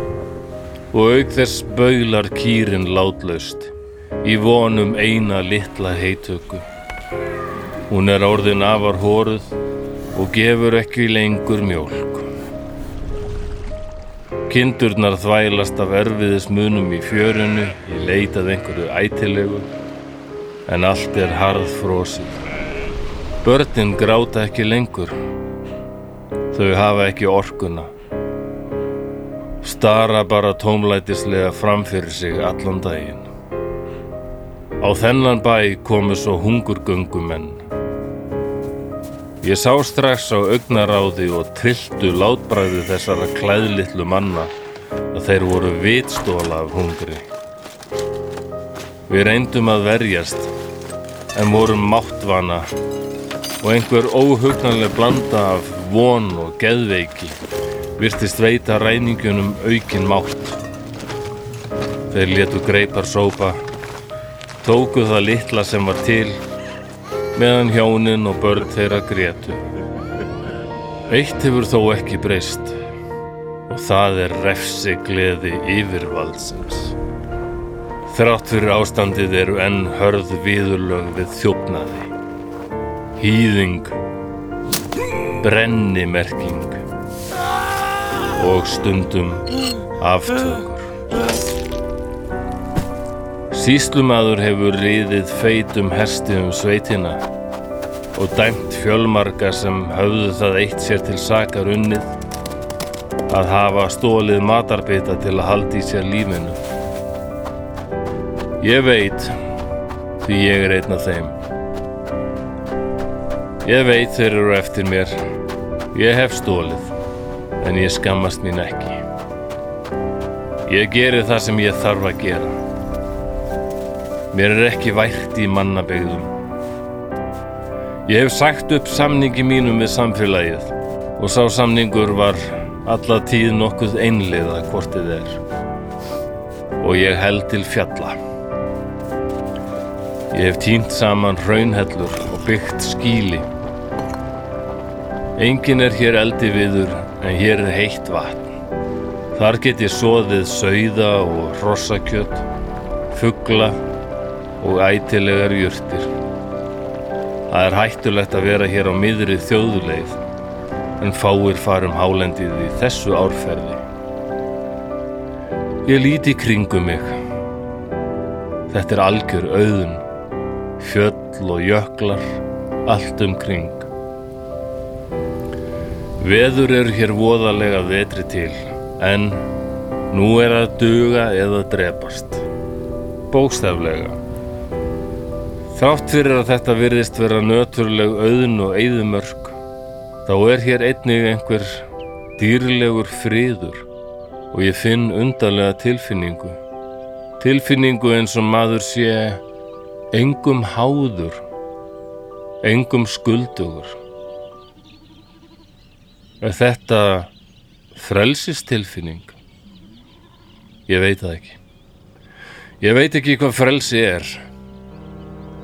S1: og auk þess baular kýrin látlaust í vonum eina litla heitöku. Hún er orðin afar hóruð og gefur ekki lengur mjólk. Kindurnar þvælast af erfiðismunum í fjörinu í leitað einhverju ætilegu en allt er harð frosið. Börnin gráta ekki lengur. Þau hafa ekki orkuna. Stara bara tómlætislega framfyrir sig allan daginn. Á þennan bæ komu svo hungurgöngumenn. Ég sá strax á augnaráði og trilltu látbræðu þessara klæðlitlu manna að þeir voru vitstóla af hungri. Við reyndum að verjast en vorum máttvana og einhver óhugnanleg blanda af von og geðveiki virtist veita ræningunum aukin mátt. Þeir letu greipar sópa tóku það litla sem var til meðan hjónin og börn þeirra grétu. Eitt hefur þó ekki breyst og það er refsi gleði yfirvaldsins. Þrátt fyrir ástandið eru enn hörð viðurlög við þjófnaði. Hýðing, brennimerking og stundum aftökur. Sýslumadur hefur riðið feitum hesti um sveitina og dæmt fjölmarga sem höfðu það eitt sér til sakar unnið að hafa stólið matarbita til að halda í sér lífinu. Ég veit því ég er einn af þeim. Ég veit þeir eru eftir mér. Ég hef stólið en ég skammast mín ekki. Ég geri það sem ég þarf að gera. Mér er ekki vært í mannabyggðum. Ég hef sagt upp samningi mínum við samfélagið og sá samningur var alla tíð nokkuð einliða hvort þið er og ég held til fjalla Ég hef tínt saman raunhellur og byggt skýli Engin er hér eldi viður en hér er heitt vatn Þar get ég soðið sauða og hrossakjöt fugla og ætilegar jurtir Það er hættulegt að vera hér á miðri þjóðuleið en fáir farum hálendið í þessu árferði. Ég líti kringum mig. Þetta er algjör auðun, fjöll og jöklar, allt um kring. Veður eru hér voðalega vetri til, en nú er að duga eða drepast. Bókstaflega. Þrátt fyrir að þetta virðist vera nöturleg auðun og eyðumörk, Þá er hér einnig einhver dýrlegur friður og ég finn undarlega tilfinningu. Tilfinningu eins og maður sé engum háður, engum skuldugur. Er þetta frelsistilfinning? Ég veit það ekki. Ég veit ekki hvað frelsi er,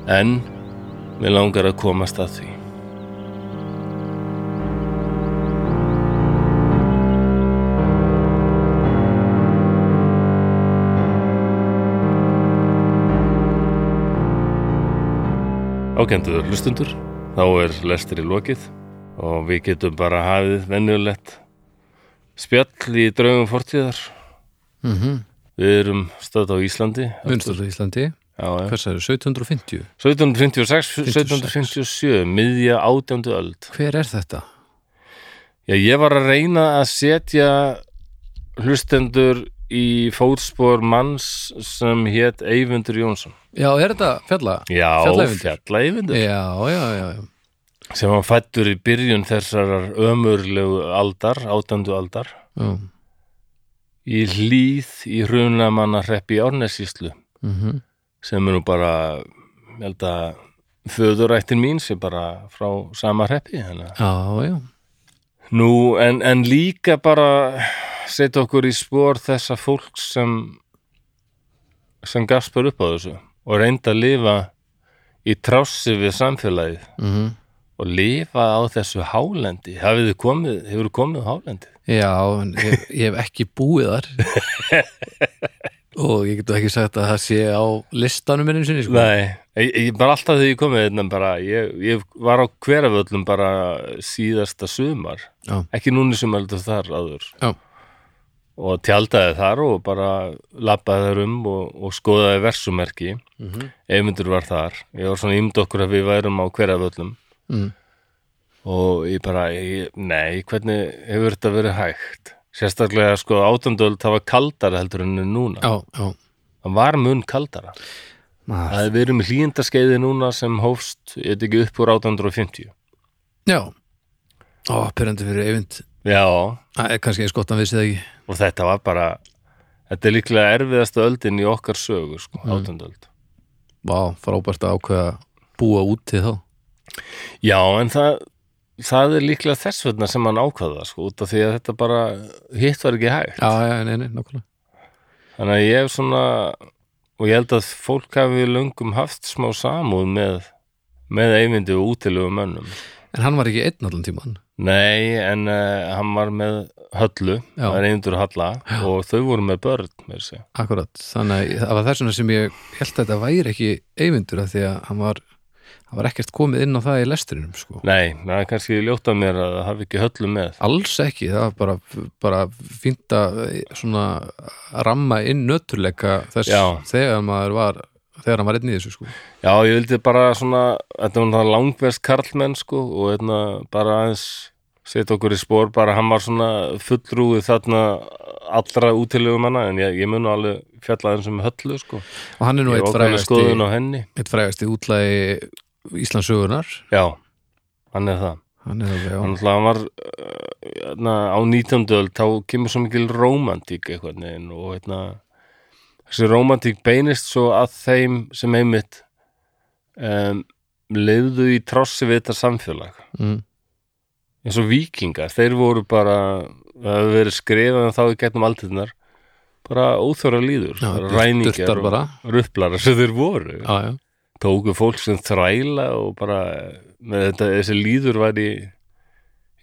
S1: en mér langar að komast að því. Ákenduðu hlustundur, þá er lestir í lokið og við getum bara hafið venjulegt spjall í draugum fortíðar.
S2: mm -hmm.
S1: Mhm. Við erum stöðt á Íslandi.
S2: Munstöðu Íslandi,
S1: Já, já.
S2: hvers er 1750
S1: 1756, 1757, miðja átjöndu öld.
S2: hver er þetta?
S1: Já, ég var að reyna að setja hlustendur í fótspor manns sem hétt Eyvindur Jónsson.
S2: Já, er þetta fjalla?
S1: Já,
S2: Fjalla-Eyvindur.
S1: Fjalla-Eyvindur.
S2: Já, já, já, já.
S1: Sem hann fættur í byrjun þessarar ömurlegu aldar, átjöndu aldar.
S2: já.
S1: í hlýð í hrunamanna hreppi árnesíslu
S2: Mm
S1: sem er nú bara ég held að föðurættin mín sem bara frá sama hreppi hana.
S2: já, já,
S1: nú en, en líka bara setja okkur í spór þessa fólk sem sem gaspar upp á þessu og reynda að lifa í trássi við samfélagið
S2: mm
S1: og lifa á þessu hálendi hefur þið komið, hefur komið á hálendi
S2: já en ég, ég hef ekki búið *laughs* þar og ég getur ekki sagt að það sé á listanum minnum sinni sko.
S1: Nei, ég, ég bara alltaf þegar ég komið hérna bara, ég, ég var á hveraföllum bara síðasta sumar
S2: Já.
S1: ekki núna sem heldur þar aður
S2: Já.
S1: og tjaldaði þar og bara labbaði þar um og, og skoðaði versumerki mm
S2: Mhm.
S1: var þar, ég var svona ímd okkur að við værum á hveraföllum
S2: Mm.
S1: og ég bara, ég, nei, hvernig hefur þetta verið hægt sérstaklega sko átandöld það var kaldara heldur en er núna
S2: Já, já
S1: það var mun kaldara
S2: Maður.
S1: Það er verið með hlýjendaskeiði núna sem hófst, ég veit ekki upp úr 850.
S2: Já Ó, pyrrandi fyrir eyvind
S1: Já,
S2: Það er kannski eins gott að hann vissi það ekki
S1: og þetta var bara, þetta er líklega erfiðasta öldin í okkar sögu, sko, mm. öld.
S2: Vá, frábært að ákveða að búa út til þá
S1: Já, en það, það er líklega þess vegna sem hann ákvaða, sko, út af því að þetta bara, hitt var ekki hægt.
S2: Já, já, nei, nei, nákvæmlega
S1: Þannig að ég hef svona, og ég held að fólk hafi löngum haft smá samúð með, með eyvindi og útilegu mönnum.
S2: En hann var ekki einn allan tíman
S1: Nei, en uh, hann var með höllu,
S2: Já.
S1: það er einundur halla og þau voru með börn, með þessi.
S2: Akkurat, þannig að það var þess vegna sem ég held að þetta væri ekki eyvindur af því að hann var, hann var ekkert komið inn á það í lestrinum sko.
S1: Nei, það er kannski ljótt af mér að það hafi ekki höllu með.
S2: Alls ekki, það var bara, bara fínt að svona ramma inn nöturleika þess
S1: Já.
S2: þegar maður var þegar hann var einn í þessu sko.
S1: Já, ég vildi bara svona, þetta var náttúrulega langverst karlmenn, sko, og hérna bara aðeins setja okkur í spór, bara hann var svona fullrúið þarna allra útilegum hana, en ég, ég mun nú alveg fjalla aðeins um höllu, sko.
S2: og hann er nú
S1: Ég
S2: eitt
S1: var okkur
S2: frægasti,
S1: skoðun á henni.
S2: eitt frægasti útlægi Íslandsögunar
S1: Já, hann er það.
S2: hann er alveg, já,
S1: Þannig að hann var uh, hérna, á 19. öld þá kemur svo mikil rómantík eitthvað neginn og hérna, þessi rómantík beinist svo að þeim sem einmitt um, leiðu í trossi við þetta samfélag
S2: mm,
S1: eins og vikingar, þeir voru bara það hefur verið skrifað um þá í getnum aldirnar bara óþjóra líður
S2: Já,
S1: bara
S2: dur- durtar
S1: ræningjar og
S2: bara.
S1: ruplar sem þeir voru
S2: Já, já.
S1: tóku fólk sem þræla og bara með þetta, þessi líður var í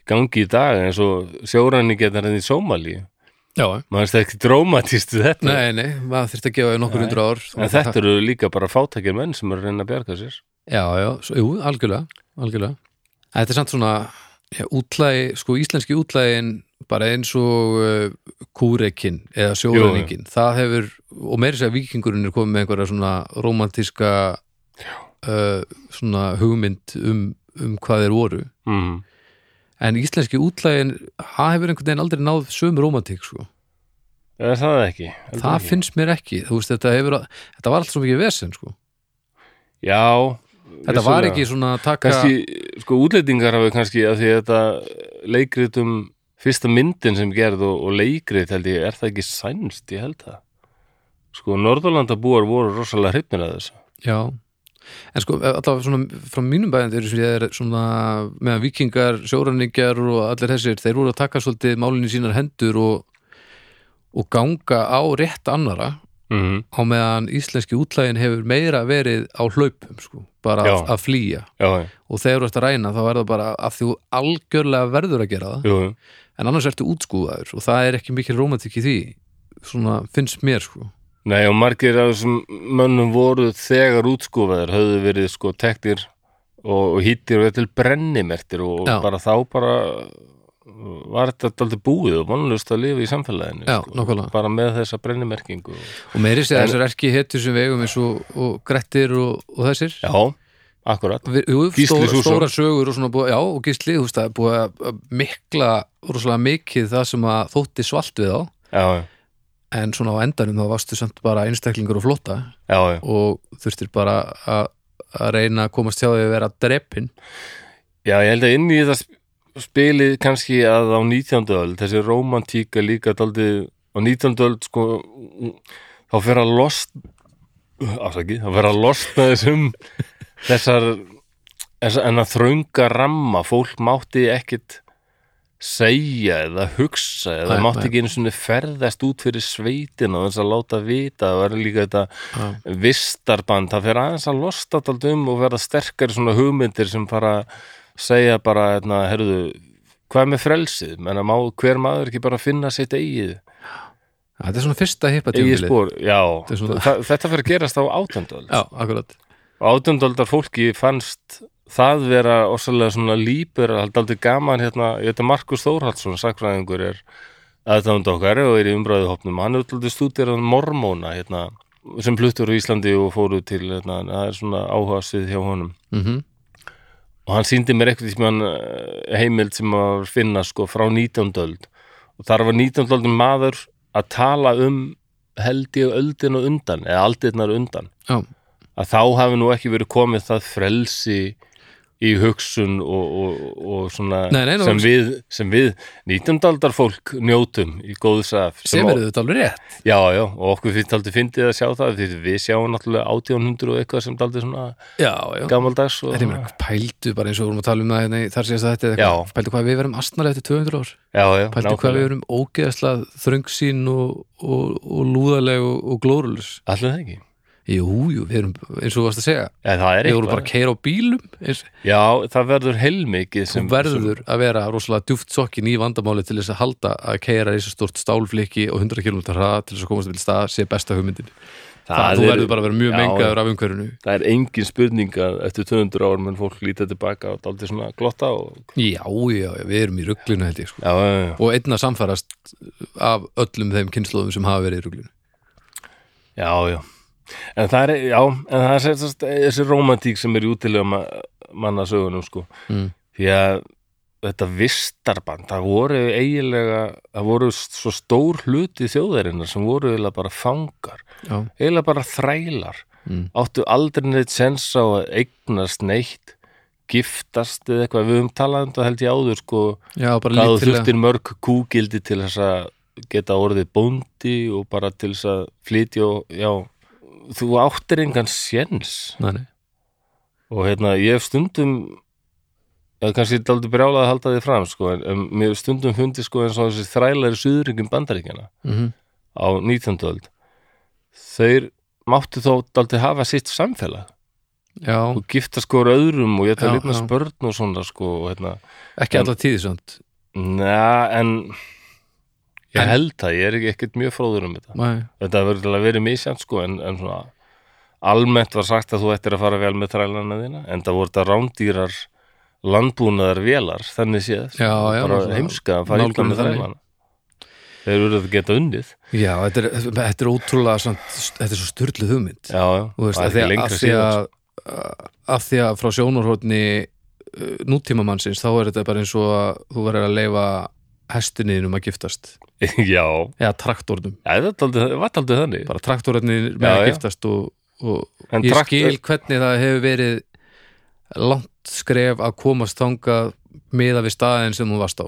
S1: gangi í dag eins og sjóræningjarnar enn í Sómali
S2: já, já.
S1: maður finnst ekki drómatist við þetta
S2: Nei, sko, nei, maður þurfti að gefa þér nokkur
S1: Nei.
S2: hundra ár
S1: en þetta eru líka bara fátækja menn sem eru að reyna að bjarga sér
S2: Já, já, svo, jú, algjörlega, algjörlega Þetta er samt svona já, útlægi, sko íslenski útlægin bara eins og uh, kúrekin eða sjóræningin, það hefur og meiri segja vikingurinn er komið með einhverja svona romantíska uh, svona hugmynd um, um hvað þeir voru
S1: mm.
S2: Mhm. en íslenski útlægin, það hefur einhvern veginn aldrei náð sömu romantík, sko
S1: er það ekki? Heldur
S2: það
S1: ekki.
S2: finnst mér ekki, þú veist, þetta hefur þetta var alltaf svo mikið vesen, sko
S1: Já,
S2: þetta var ekki svona að taka
S1: kannski, sko útlendingar hafi kannski að því að þetta leikrit um fyrsta myndin sem gerð og, og leikrit held ég, er það ekki sænst ég held það sko, Norðurlandabúar voru rosalega hrypnir að þessu
S2: Já, en sko allavega svona frá mínum bæðandi eru sem ég er svona meðan vikingar, sjóræningjar og allir þessir, þeir voru að taka svolítið málinu sínar hendur og, og ganga á rétt annara
S1: mm -hmm.
S2: á meðan íslenski útlægin hefur meira verið á hlaupum sko, bara
S1: Já.
S2: að, að flýja
S1: Já, já,
S2: og þegar þú ert að ræna þá er það bara að þú algjörlega verður að gera það
S1: jú, jú.
S2: en annars ertu útskúðaður og það er ekki mikil romantik í því svona finnst mér sko
S1: Nei, og margir af þessum mönnum voru þegar útskúfaðir höfðu verið sko tektir og, og hýttir og til brennimertir og
S2: Já.
S1: bara þá bara var þetta aldrei búið og vonlust að lifa í samfélaginu
S2: Já,
S1: sko,
S2: nákvæmlega.
S1: bara með þessa brennimerkingu og
S2: og meiri segja
S1: En-
S2: þessar erki hettur sem vegum eins og, og grettir og, og þessir
S1: Já, akkurat
S2: Vi- Jú,
S1: Gísli
S2: stóra,
S1: Súrsson.
S2: stóra sögur og svona búið, já, og gísli, þú veist, það er búið að að mikla rosalega mikið það sem að þótti svalt við á,
S1: Já,
S2: en svona á endanum þá varstu samt bara einstaklingur og flotta
S1: já, já,
S2: og þurftir bara að að reyna að komast hjá því að vera drepin
S1: já ég held að inn í þetta sp- spilið kannski að á 19. öld þessi romantíka líka daldið á 19. öld sko þá fer að lost afsaki, þá fer að losna þessum þessar þessa- en að þrönga ramma fólk mátti ekkit segja eða hugsa eða
S2: Nei,
S1: mátti
S2: nei.
S1: ekki einu svona ferðast út fyrir sveitina og þess að láta vita það var líka þetta vistarband, það fyrir aðeins að losta allt um og verða sterkari svona hugmyndir sem fara að segja bara hérna, herðu, hvað með frelsið menna má hver maður ekki bara finna sitt eigið,
S2: Þetta er svona fyrsta hippa
S1: eigið
S2: tímbilið
S1: spór já,
S2: er svona-
S1: þa- þetta fyrir að gerast á átjöndöld
S2: Já, akkurat
S1: átjöndöldar fólki fannst það vera orsalega svona lípur það er aldrei gaman hérna, ég veit að Markus Þórhaldsson sakfræðingur er aðdánd okkar og er í umræðuhopnum hann er alltaf stúdíran mormóna hérna, sem pluttur úr Íslandi og fóru til hérna, það er svona áhugasvið hjá honum
S2: mm
S1: og hann síndi mér eitthvað sem heimild sem að var að finna sko frá 19. öld og þar var 19. öldin maður að tala um held ég öldin og undan eða aldirnar á undan
S2: Já,
S1: að þá hafi nú ekki verið komið það frelsi í hugsun og, og, og svona
S2: Nei, nei, nú-
S1: sem, við, sem við 19. aldar fólk njótum í góðs af
S2: sem eru þetta alveg rétt
S1: Já, já, og okkur fyrir aldrei fyndið að sjá það því við sjáum náttúrulega 1800 og eitthvað sem aldrei svona
S2: Já, já
S1: gamaldags og,
S2: Þetta er mér pældu bara eins og við vorum að tala um það hérna í- þar séðast að þetta
S1: Já.
S2: eitthvað, pældu hvað við verum astnalega eftir 200 ár
S1: Já, já,
S2: Pæltu hvað við
S1: nákvæmlega.
S2: erum ógeðslega þröngsýn og, og, og lúðaleg og, og glórulus
S1: Ætli það ekki
S2: Jú, jú, við erum, eins og þú varst að segja
S1: Já, það er
S2: Við vorum bara
S1: eitthvað
S2: að keira á bílum eins,
S1: Já, það verður heilmikið
S2: sem
S1: sem,
S2: verður að vera rosalega djúft sokkin í vandamáli til þess að halda að keira þessu stort stálfliki og 100 km hraða til þess að komast til stað sé besta hugmyndin
S1: sem,
S2: Það, þú verður bara að vera mjög
S1: Já,
S2: mengaður af umhverfinu
S1: Það er engin spurning að eftir 200 ár menn fólk líta tilbaka og daldið svona glotta og
S2: Já, já, já, við erum í ruglinu held ég sko.
S1: Já, já, já
S2: og einna samfærast af öllum þeim kynnslóðum sem hafa verið í ruglinu
S1: Já, já. En það er, já, en það er sérst, þessi romantík sem er í útilega ma mannasögunum, sko.
S2: Mm.
S1: Því að þetta vistarband, það voru eiginlega, það voru svo stór hluti þjóðarinnar sem voru eiginlega bara fangar,
S2: Já,
S1: eiginlega bara þrælar.
S2: Mm.
S1: Áttu aldrei neitt sens á að eignast neitt, giftast eða eitthvað, við höfum talað um það held ég áður, sko,
S2: já bara
S1: hvað þú
S2: lítilega
S1: þurftir mörg kúgildi til þess að geta orðið bóndi og bara til þess að flytja og já, þú áttir engan séns
S2: Nei, nei.
S1: og hérna, ég hef stundum Já, kannski er daldi brjálað að halda því fram sko, en um, mér hefur stundum fundi sko eins og þessi þrælæri suðringum bandaríkjana
S2: mm -hmm.
S1: á 19. öld þeir máttu þó daldi hafa sitt samfélag
S2: Já,
S1: og gifta sko öðrum og ég ætla
S2: Já,
S1: lítna
S2: já.
S1: spörn og svona sko og hérna,
S2: ekki
S1: En-
S2: alla tíði samt
S1: neða en ég
S2: En-
S1: held að ég er ekki ekkert mjög fróður um þetta
S2: Nei.
S1: þetta verður til að vera misjant sko en, en svona almennt var sagt að þú ættir að fara vel með þrælana þína en það voru þetta rándýrar landbúnaðar vélar þannig séð
S2: Já, já,
S1: bara
S2: svona
S1: heimska að fara illa
S2: nálgunin
S1: með
S2: þannig.
S1: þrælana þeir eru að geta undið
S2: Já, þetta er, þetta er ótrúlega samt, þetta er svo styrlu hugmynd
S1: já, já,
S2: Þú veist,
S1: það
S2: að því
S1: er ekki
S2: að,
S1: lengra
S2: að, því
S1: síðan
S2: að, að því að frá sjónarhóttni nútíma mannsins þá er þetta bara eins og að þú verður að leifa hestinniðin um að giftast
S1: sko. *laughs* já,
S2: eða traktornum,
S1: já, það var dálítið- var aldrei þannig
S2: bara traktornir með
S1: Já,
S2: að
S1: já.
S2: giftast og, og
S1: En
S2: ég
S1: traktor-
S2: skil hvernig það hefur verið langt skref að komast þangað meða við staðin sem hún varst á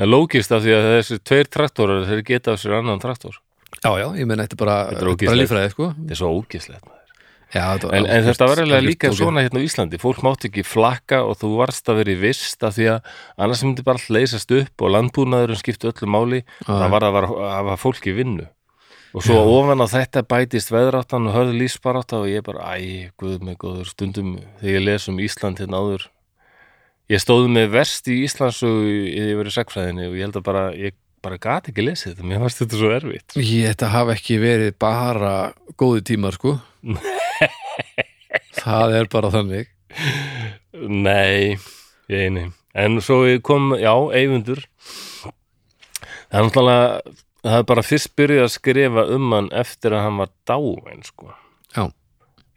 S1: En lókist af því að þessir tveir traktorar þeir geta af sér annan traktor
S2: Já, já, ég menn, þetta er bara,
S1: Þetta er
S2: þetta er bara
S1: ógeðslegt.
S2: lífræði, sko
S1: Þetta er svo ógislegt maður.
S2: já, þetta
S1: En, en
S2: algjört-
S1: þetta var eiginlega
S2: algjört
S1: líka
S2: ógeð.
S1: svona hérna á Íslandi Fólk mátti ekki flakka og þú varst að vera í vist af því að annars myndi bara allt leysast upp og landbúnaðurinn skipti öllu máli það var að var- að hafa fólk í vinnu og svo ofan á þetta bætist veðráttan og hörðu lífsbarátta og ég bara æ, guð mig góður, stundum þegar ég les um Ísland hérna áður ég stóð með verst í Íslands og ég verið sagfræðinni og ég held að bara ég bara gat ekki lesið þetta, mér varst þetta svo erfitt
S2: Ég, þetta hafa ekki verið bara góði tímar, sko
S1: *laughs*
S2: Það er bara þannig
S1: Nei, ég eini En svo ég kom, já, Eyvindur Það er náttúrulega það er bara fyrst byrjuð að skrifa um hann eftir að hann var dáin sko.
S2: Já.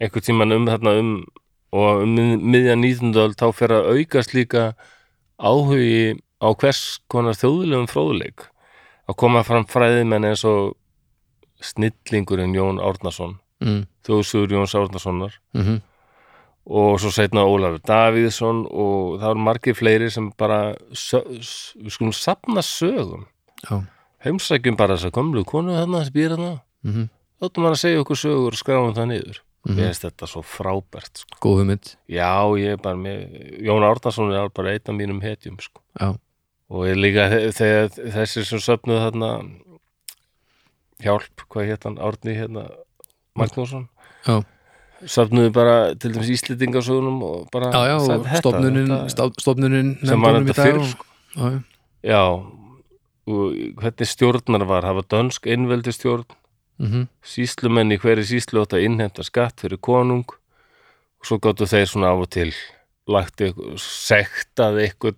S1: Einhvern tímann um þarna um og um mið- miðja 19. öld þá fer að aukast líka áhugi á hvers konar þjóðlegum fróðleik að koma fram fræðimenn eins og snillingurinn Jón Árnason
S2: mm.
S1: þjóðsugur Jóns Árnasonar
S2: Mm
S1: og svo setna Ólafur Davíðsson og það eru margir fleiri sem bara sö- s- við skulum sapna sögum
S2: Já
S1: heimsækjum bara þess að komlu konu þarna sem býr þarna,
S2: mm -hmm.
S1: þáttum hann að segja okkur sögur og skráum það niður ég veist þetta svo frábært sko.
S2: Góðu mynd
S1: já, ég er bara með Jón Árnason er bara einn af mínum hetjum sko.
S2: Já.
S1: og ég líka þe- þegar þessir sem söpnuð þarna hjálp, hvað hétt hann, Árni hérna, Magnússon
S2: Já.
S1: söfnuðu bara til dæmis Íslendingasögunum og bara
S2: Já, já,
S1: sagði,
S2: og
S1: "Þetta-
S2: stofnunin,
S1: þetta-
S2: stá- stofnunin
S1: sem var þetta fyrir
S2: og,
S1: sko.
S2: já, já.
S1: já, og hvernig stjórnar var hafa dönsk innveldistjórn
S2: Mhm.
S1: síslumenn í hverju síslu átt að innheimta skatt fyrir konung og svo gáttu þeir svona af og til lagt eitthvað, sektað eitthvað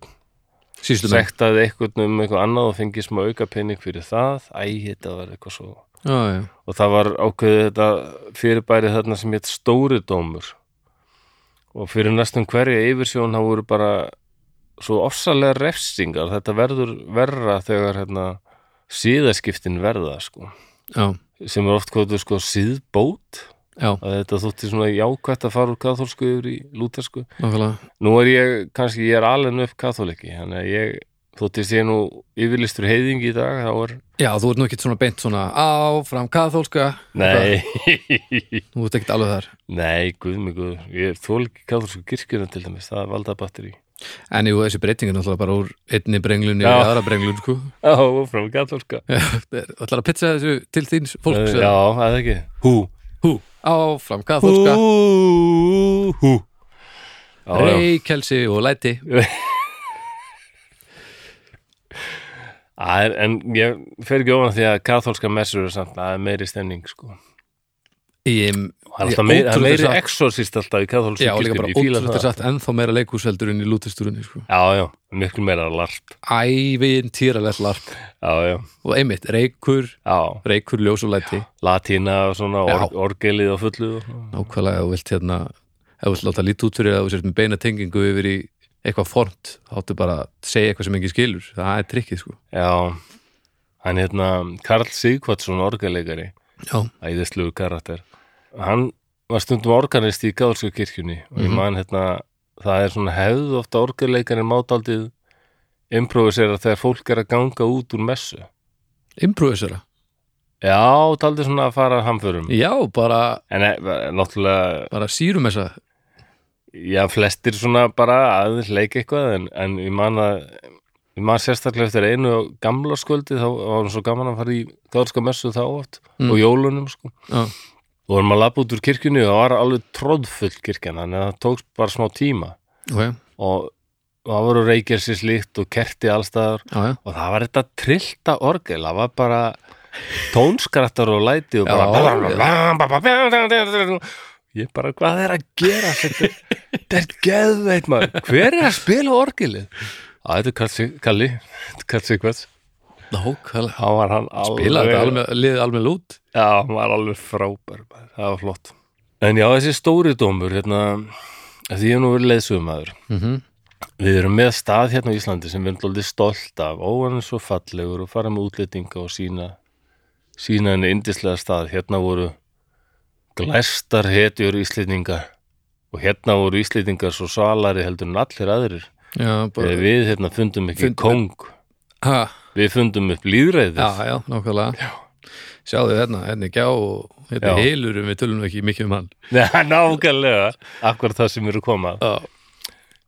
S2: Sýslumenn
S1: sektað eitthvað um eitthvað annað og fengið smá auka pening fyrir það æ, þetta var eitthvað svo
S2: Já, já,
S1: og það var ákveðið þetta fyrirbæri þarna sem hétt stóri dómur og fyrir næstum hverja yfirsjón þá voru bara svo ofsalega refsingar þetta verður verra þegar hérna, síðaskiptin verða sko.
S2: já,
S1: sem er oft kvotu sko, síðbót
S2: já,
S1: að þetta þótti svona jákvætt að fara úr katholsku yfir í lútersku
S2: nákvæmlega
S1: nú er ég, kannski ég er alveg upp katholiki, þannig að ég þóttist ég nú yfirlistur heiðing í dag þá er,
S2: Já, þú ert nú ekkert svona beint svona áfram kathólska
S1: nei
S2: Þú ert ekkert alveg þar
S1: Nei, guð mig guð, ég þól ekki katholsku kirkjuna til dæmis, það er valda batteri.
S2: En jú, þessi breyting er náttúrulega bara úr einni brenglun í
S1: Já.
S2: aðra brenglun, sko
S1: Já, frá katholska.
S2: Það er að pizza þessu til þín
S1: Eh, Já,
S2: fólks eða?
S1: það er ekki. Hú.
S2: Hú, áfram kathólska
S1: Hú, hú. Já, já.
S2: Reykelsi og læti
S1: Það er, en ég fer ekki ofan því að katholska messur er samt, það er meiri stemning, sko.
S2: Ég,
S1: Það er
S2: Ég-
S1: alltaf meiri, það er
S2: ótrúlega
S1: meiri
S2: satt.
S1: exorcist alltaf í katholsku
S2: já, líka
S1: kirkjuna,
S2: bara
S1: ég fíla
S2: ótrúlega
S1: það.
S2: satt ennþá meira leikhúseldur en í lútesturunni sko.
S1: Já, já, miklu meira larp.
S2: Ævinn týralegt larp
S1: Já, já,
S2: sko. og einmitt, reykur,
S1: já.
S2: reykur ljós og læti
S1: Latína og svona, or,
S2: Já.
S1: orgelið og fulluð og svona.
S2: nákvæmlega ef þú vilt hérna ef þú vilt láta lítið út fyrir að þú sért með beina tengingu yfir í eitthvað formt, þá áttu bara að segja eitthvað sem enginn skilur, það er trikkið sko.
S1: Já, hann hérna Karl Sigvatsson orgaleikari
S2: Já,
S1: æðislugur karakter hann var stundum organist í Gáðsku kirkjunni og ég
S2: Mhm.
S1: man hérna það er svona hefð ofta orgaleikari mátaldið improvisera þegar fólk er að ganga út úr messu
S2: improvisera
S1: Já, taldið Mm. svona að fara hamförum
S2: Já, bara,
S1: en e, náttúrulega
S2: bara sírum þessa
S1: já, flestir svona bara aðeins leik eitthvað en, en ég man að ég man sérstaklega eftir einu á gamla skvöldi þá var hann svo gaman að fara í gáðska messu þá oft
S2: Mm.
S1: og jólunum sko
S2: Já.
S1: og varum að labba út úr kirkjunni og það var alveg tróðfull kirkjan þannig að það tókst bara smá tíma
S2: ok,
S1: og og það voru reykjur sér slíkt og kerti allstaðar
S2: já, já
S1: og það var þetta trillta orgel það var bara tónskrattar og læti og bara ég bara hvað er að gera þetta þetta er geðveit maður hver er að spila orgelið að þetta er Kalli, Kalli, Kalli Kvats
S2: Nákvæmlega
S1: hann var hann alveg
S2: Pila þetta alveg, liðið alveg lút
S1: já, hann var alveg frábær maður. það var flott en já, þessi stóri dómur hérna, af því ég hef nú verið leiðsögumæður
S2: mm -hmm.
S1: Við erum með stað hérna á Íslandi sem við erum alltaf stolt af, óan svo fallegur og fara með útlýtinga og sína sína henni indislega stað hérna voru glæstar hetjur Íslendinga og hérna voru Íslendingar svo salari heldur en allir aðrir
S2: Já,
S1: Þegar
S2: bara
S1: við hérna fundum ekki
S2: Fundum-
S1: kong
S2: ha,
S1: við fundum upp líðræðið
S2: Já, já, nákvæmlega já. Sjáðu hérna, hérna er gjá og hérna
S1: Já.
S2: er heilur en við tölum ekki mikið um hann
S1: Nei, nákvæmlega, akkur það sem eru koma
S2: Já,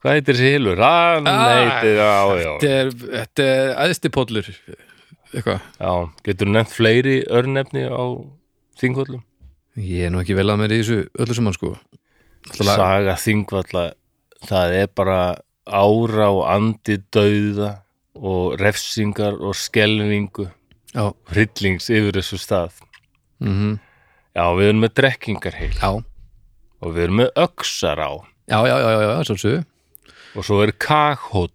S1: Hvað heitir þessi hilur? Hann
S2: Ah,
S1: heitir, já, já,
S2: þetta er, þetta er æðsti pollur Eitthvað
S1: já Getur nefnt fleiri örnefni á þingvöldum?
S2: Ég er nú ekki vel að mér í þessu öllu sem hann sko Náttúrulega-
S1: saga þingvalla það er bara ára og andi dauða og refsingar og skelvingu
S2: Já,
S1: hryllings yfir þessu stað
S2: mm
S1: já, við erum með drekkingarheil
S2: já,
S1: og við erum með öxar á
S2: já, já, já, já, já, svolsögu
S1: og svo er kaghóll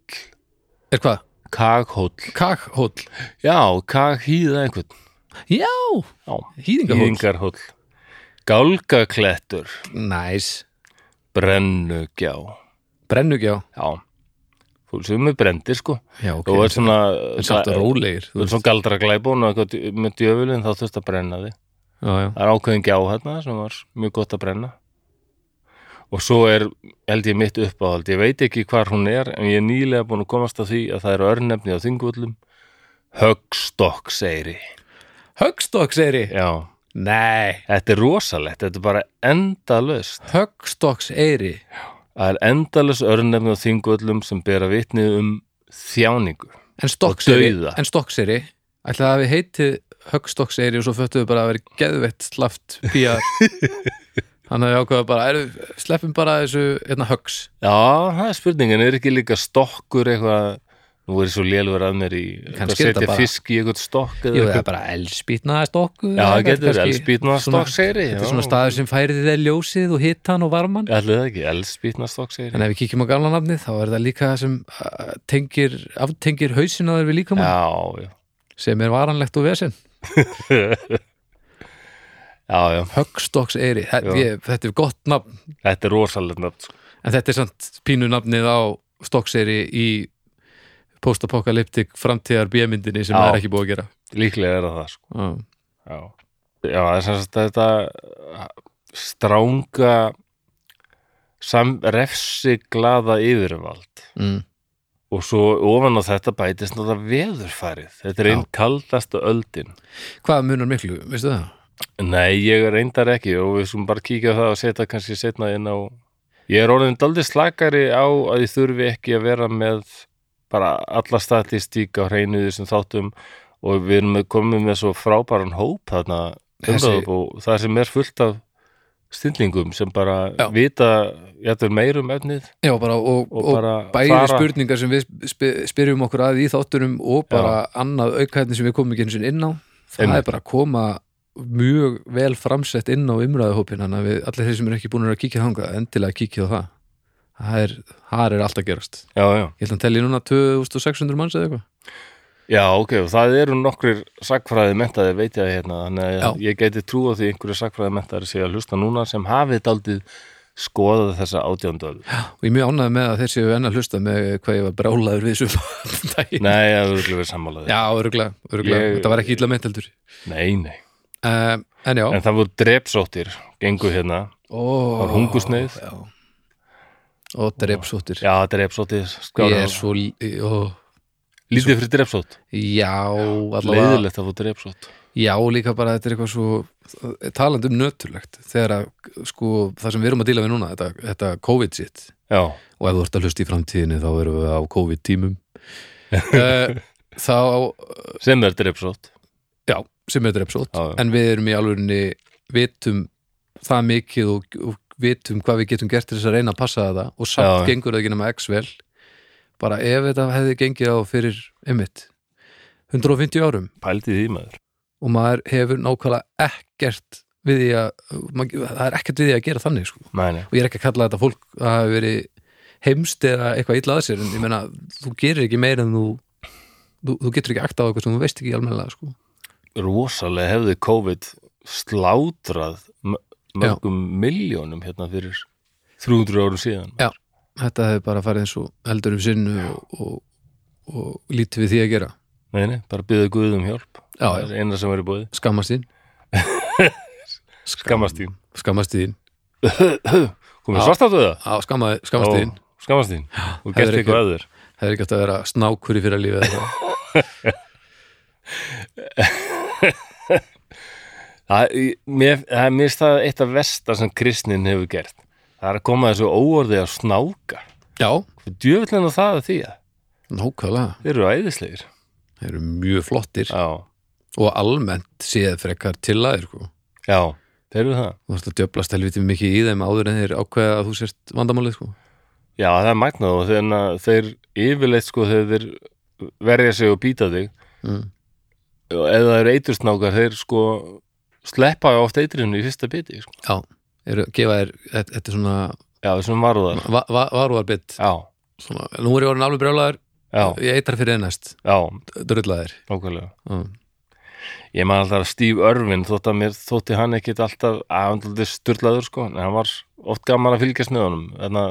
S2: Er hvað?
S1: kaghóll,
S2: Kakhóll
S1: já, kaghýða einhvern
S2: Já,
S1: já,
S2: hýðingahóll
S1: hýðingarhóll gálgaklettur
S2: Næs,
S1: brennugjá
S2: brennugjá
S1: já, þú séum með brendir sko
S2: Já, ok,
S1: og er svona
S2: en samt rólegir þú
S1: Þú ert
S2: veist.
S1: svo galdra glæbón og eitthvað djö- með djöfulinn þá þurft að brenna þig.
S2: Já, já,
S1: Það er ákveðin gjá hérna sem var mjög gott að brenna. Og svo er, held ég mitt uppáhald, ég veit ekki hvar hún er en ég er nýlega búin að komast að því að það eru örnefni á þingvöllum. Högstokk, segir ég.
S2: höggstokk segir ég
S1: Já,
S2: Nei,
S1: þetta er rosalegt, þetta er bara endalaust.
S2: höggstokks eiri
S1: Það er endalaust örnefni á þingvöllum sem bera vitni um þjáningu.
S2: En stokkseri,
S1: dauða.
S2: en stokkseri Ætli það hafi heitið höggstokkseri og svo föttuðu bara að vera geðveitt slaft *laughs* pía Hann hefði ákveða bara, er, sleppum bara þessu hérna höggs
S1: Já, það er spurningin, er ekki líka stokkur eitthvað, nú er ég svo lélfur að mér í að
S2: Kannski er þetta
S1: setja
S2: bara-
S1: fisk í eitthvað stokk eða
S2: Jú, það er
S1: eitthvað.
S2: bara elspýtnaða stokku
S1: Já, það getur elspýtna
S2: svona-
S1: stokk segri
S2: Þetta er svona staður sem færið þér ljósið og hitan og varman
S1: Ætli það ekki, elspýtna stokk segri
S2: En ef við kíkjum á gamla nafnið, þá er það líka það sem uh, tengir, aftengir hausina þar við líkamann,
S1: Já, já,
S2: sem er varanlegt og vesinn.
S1: já, já,
S2: Höggstokks eiri,
S1: Já.
S2: þetta er gott nafn,
S1: þetta er rosalega nöfn sko.
S2: en þetta er samt pínu nafnið á stokks eiri í postapokalyptik framtíðar bjömyndinni sem
S1: Já.
S2: það er ekki búið að gera.
S1: Líklega er það það sko.
S2: Já,
S1: Já, já það er sem sagt þetta uh, stranga sam, refsiglaða yfirvald
S2: mm.
S1: og svo ofan á þetta bætist náttúrulega veðurfarið þetta er
S2: Já.
S1: einn kaldasta öldin
S2: Hvað munar miklu, veistu það?
S1: Nei, ég reyndar ekki og við skulum bara kíkja á það og setja kannski setna inn á Ég er orðin daldið slakari á að ég þurfi ekki að vera með bara alla statistík á hreinu í þessum þáttum og við erum með- komið með svo frábæran hóp þarna
S2: Þessi-
S1: umræðum og það sem er fullt af stillingum sem bara
S2: Já.
S1: vita jættur meirum efnið
S2: Já, bara og,
S1: og,
S2: og,
S1: bara
S2: bæði
S1: fara
S2: spurningar sem við sp- spyrjum okkur að í þáttunum og bara annað aukaðni sem við komum ekki eins og inn á það
S1: Einmitt.
S2: er bara að koma mjög vel framsett inn á umræðahópin þannig að við allir þeir sem eru ekki búin að kíkja þangað endilega kíkja á það það er, það er allt að gerast
S1: Já, já
S2: ég held að hann telli núna 2600 manns eða eitthvað
S1: Já, ok, og það eru nokkrir sagfræði mentaði, veit ég að hérna þannig að
S2: Já.
S1: ég geti trú á því einhverju sagfræði mentaði sé að hlusta núna sem hafið daldið skoðað þessa átjóndöld
S2: og ég er mjög ánægði með að þeir séu enn að hlusta með hvað ég var brálaður við þessu *laughs* daginn
S1: Nei, það eru við sammálaði
S2: já, öruglega, öruglega.
S1: Ég-
S2: þetta var ekki illa meint heldur
S1: Nei, nei,
S2: uh, en já,
S1: en það voru drepsóttir gengu hérna,
S2: Ó,
S1: var hungursneyð.
S2: já. og drepsóttir
S1: já, drepsóttir
S2: ég
S1: skára,
S2: er svo l- ó,
S1: lítið fyrir drepsótt
S2: já, allavega
S1: leiðilegt að fór drepsótt
S2: já, líka bara þetta er eitthvað svo talandi um nöturlegt þegar að sko það sem við erum að díla við núna þetta, þetta COVID sitt
S1: já,
S2: og ef þú ert að hlusta í framtíðinni þá erum við á COVID
S1: *laughs*
S2: tímum uh, þá
S1: sem er dripsótt
S2: já, sem þetta er episode
S1: Já, já.
S2: en við erum í alvegurinni vitum það mikið og, og vitum hvað við getum gert til þess að reyna að passa þetta og samt
S1: Já, já.
S2: gengur það ekki nema X vel bara ef þetta hefði gengið á fyrir einmitt 150 árum
S1: pældi því maður
S2: og maður hefur nákvæmlega ekkert við því að maður, það er ekkert við því að gera þannig sko.
S1: Mæni.
S2: og ég er ekki að kalla þetta fólk að það hafi verið heimst eða eitthvað illa að sér en ég meina, þú gerir ekki meira en þú þú, þú getur ekki akta á eitthvað sem þú veist ekki almennilega sko.
S1: rosalega hefði COVID slátrað m- mörgum miljónum hérna fyrir 300 árum síðan
S2: Já. þetta hefur bara farið eins og heldur um sinnu og, og, og lítið við því að gera
S1: Nei, nei, bara byggðu Guð um hjálp
S2: Já,
S1: Það er eina sem er í bóði
S2: skammast þín
S1: Skammast þín
S2: skammast þín
S1: Komið
S2: Já.
S1: svart áttu það?
S2: á, skamma, skammast þín,
S1: Skammast þín Og
S2: Það
S1: gert
S2: er ekki-
S1: eitthvað að þér
S2: það er ekki átt að vera snákur í fyrir að lífi
S1: Það ég- mér- það er mér stað eitt af versta sem kristnin hefur gert Það er að koma þessu óorði að snáka
S2: já,
S1: Djöfullin á það að því að
S2: nákvæmlega,
S1: Þeir eru æðislegir
S2: það eru mjög flottir
S1: Já,
S2: og almennt séð frekar til að sko.
S1: já, þeir eru það
S2: þú ert að djöblast helviti mikið í þeim áður en þeir ákveða að þú sért vandamálið sko.
S1: Já, það er magnað og þeirna, þeir yfirleitt sko þegar þeir verja sig og býta þig
S2: mm.
S1: og ef það eru eitursnákar þeir sko sleppa oft eitrinu í fyrsta biti sko.
S2: já, eru, gefa þér e, þetta þetta er svona
S1: Já, þessum varúðar
S2: va va varúarbytt
S1: Já,
S2: svona, nú er ég orðin alveg brjálaður,
S1: já,
S2: ég eitrar fyrir ennast
S1: já,
S2: drullaður
S1: nákvæmlega
S2: mm.
S1: Ég man alltaf að Steve Irvin þótt að mér þótti hann ekkit alltaf aðandaldi sturlaður sko en hann var oft gaman að fylgjast með honum Þarna,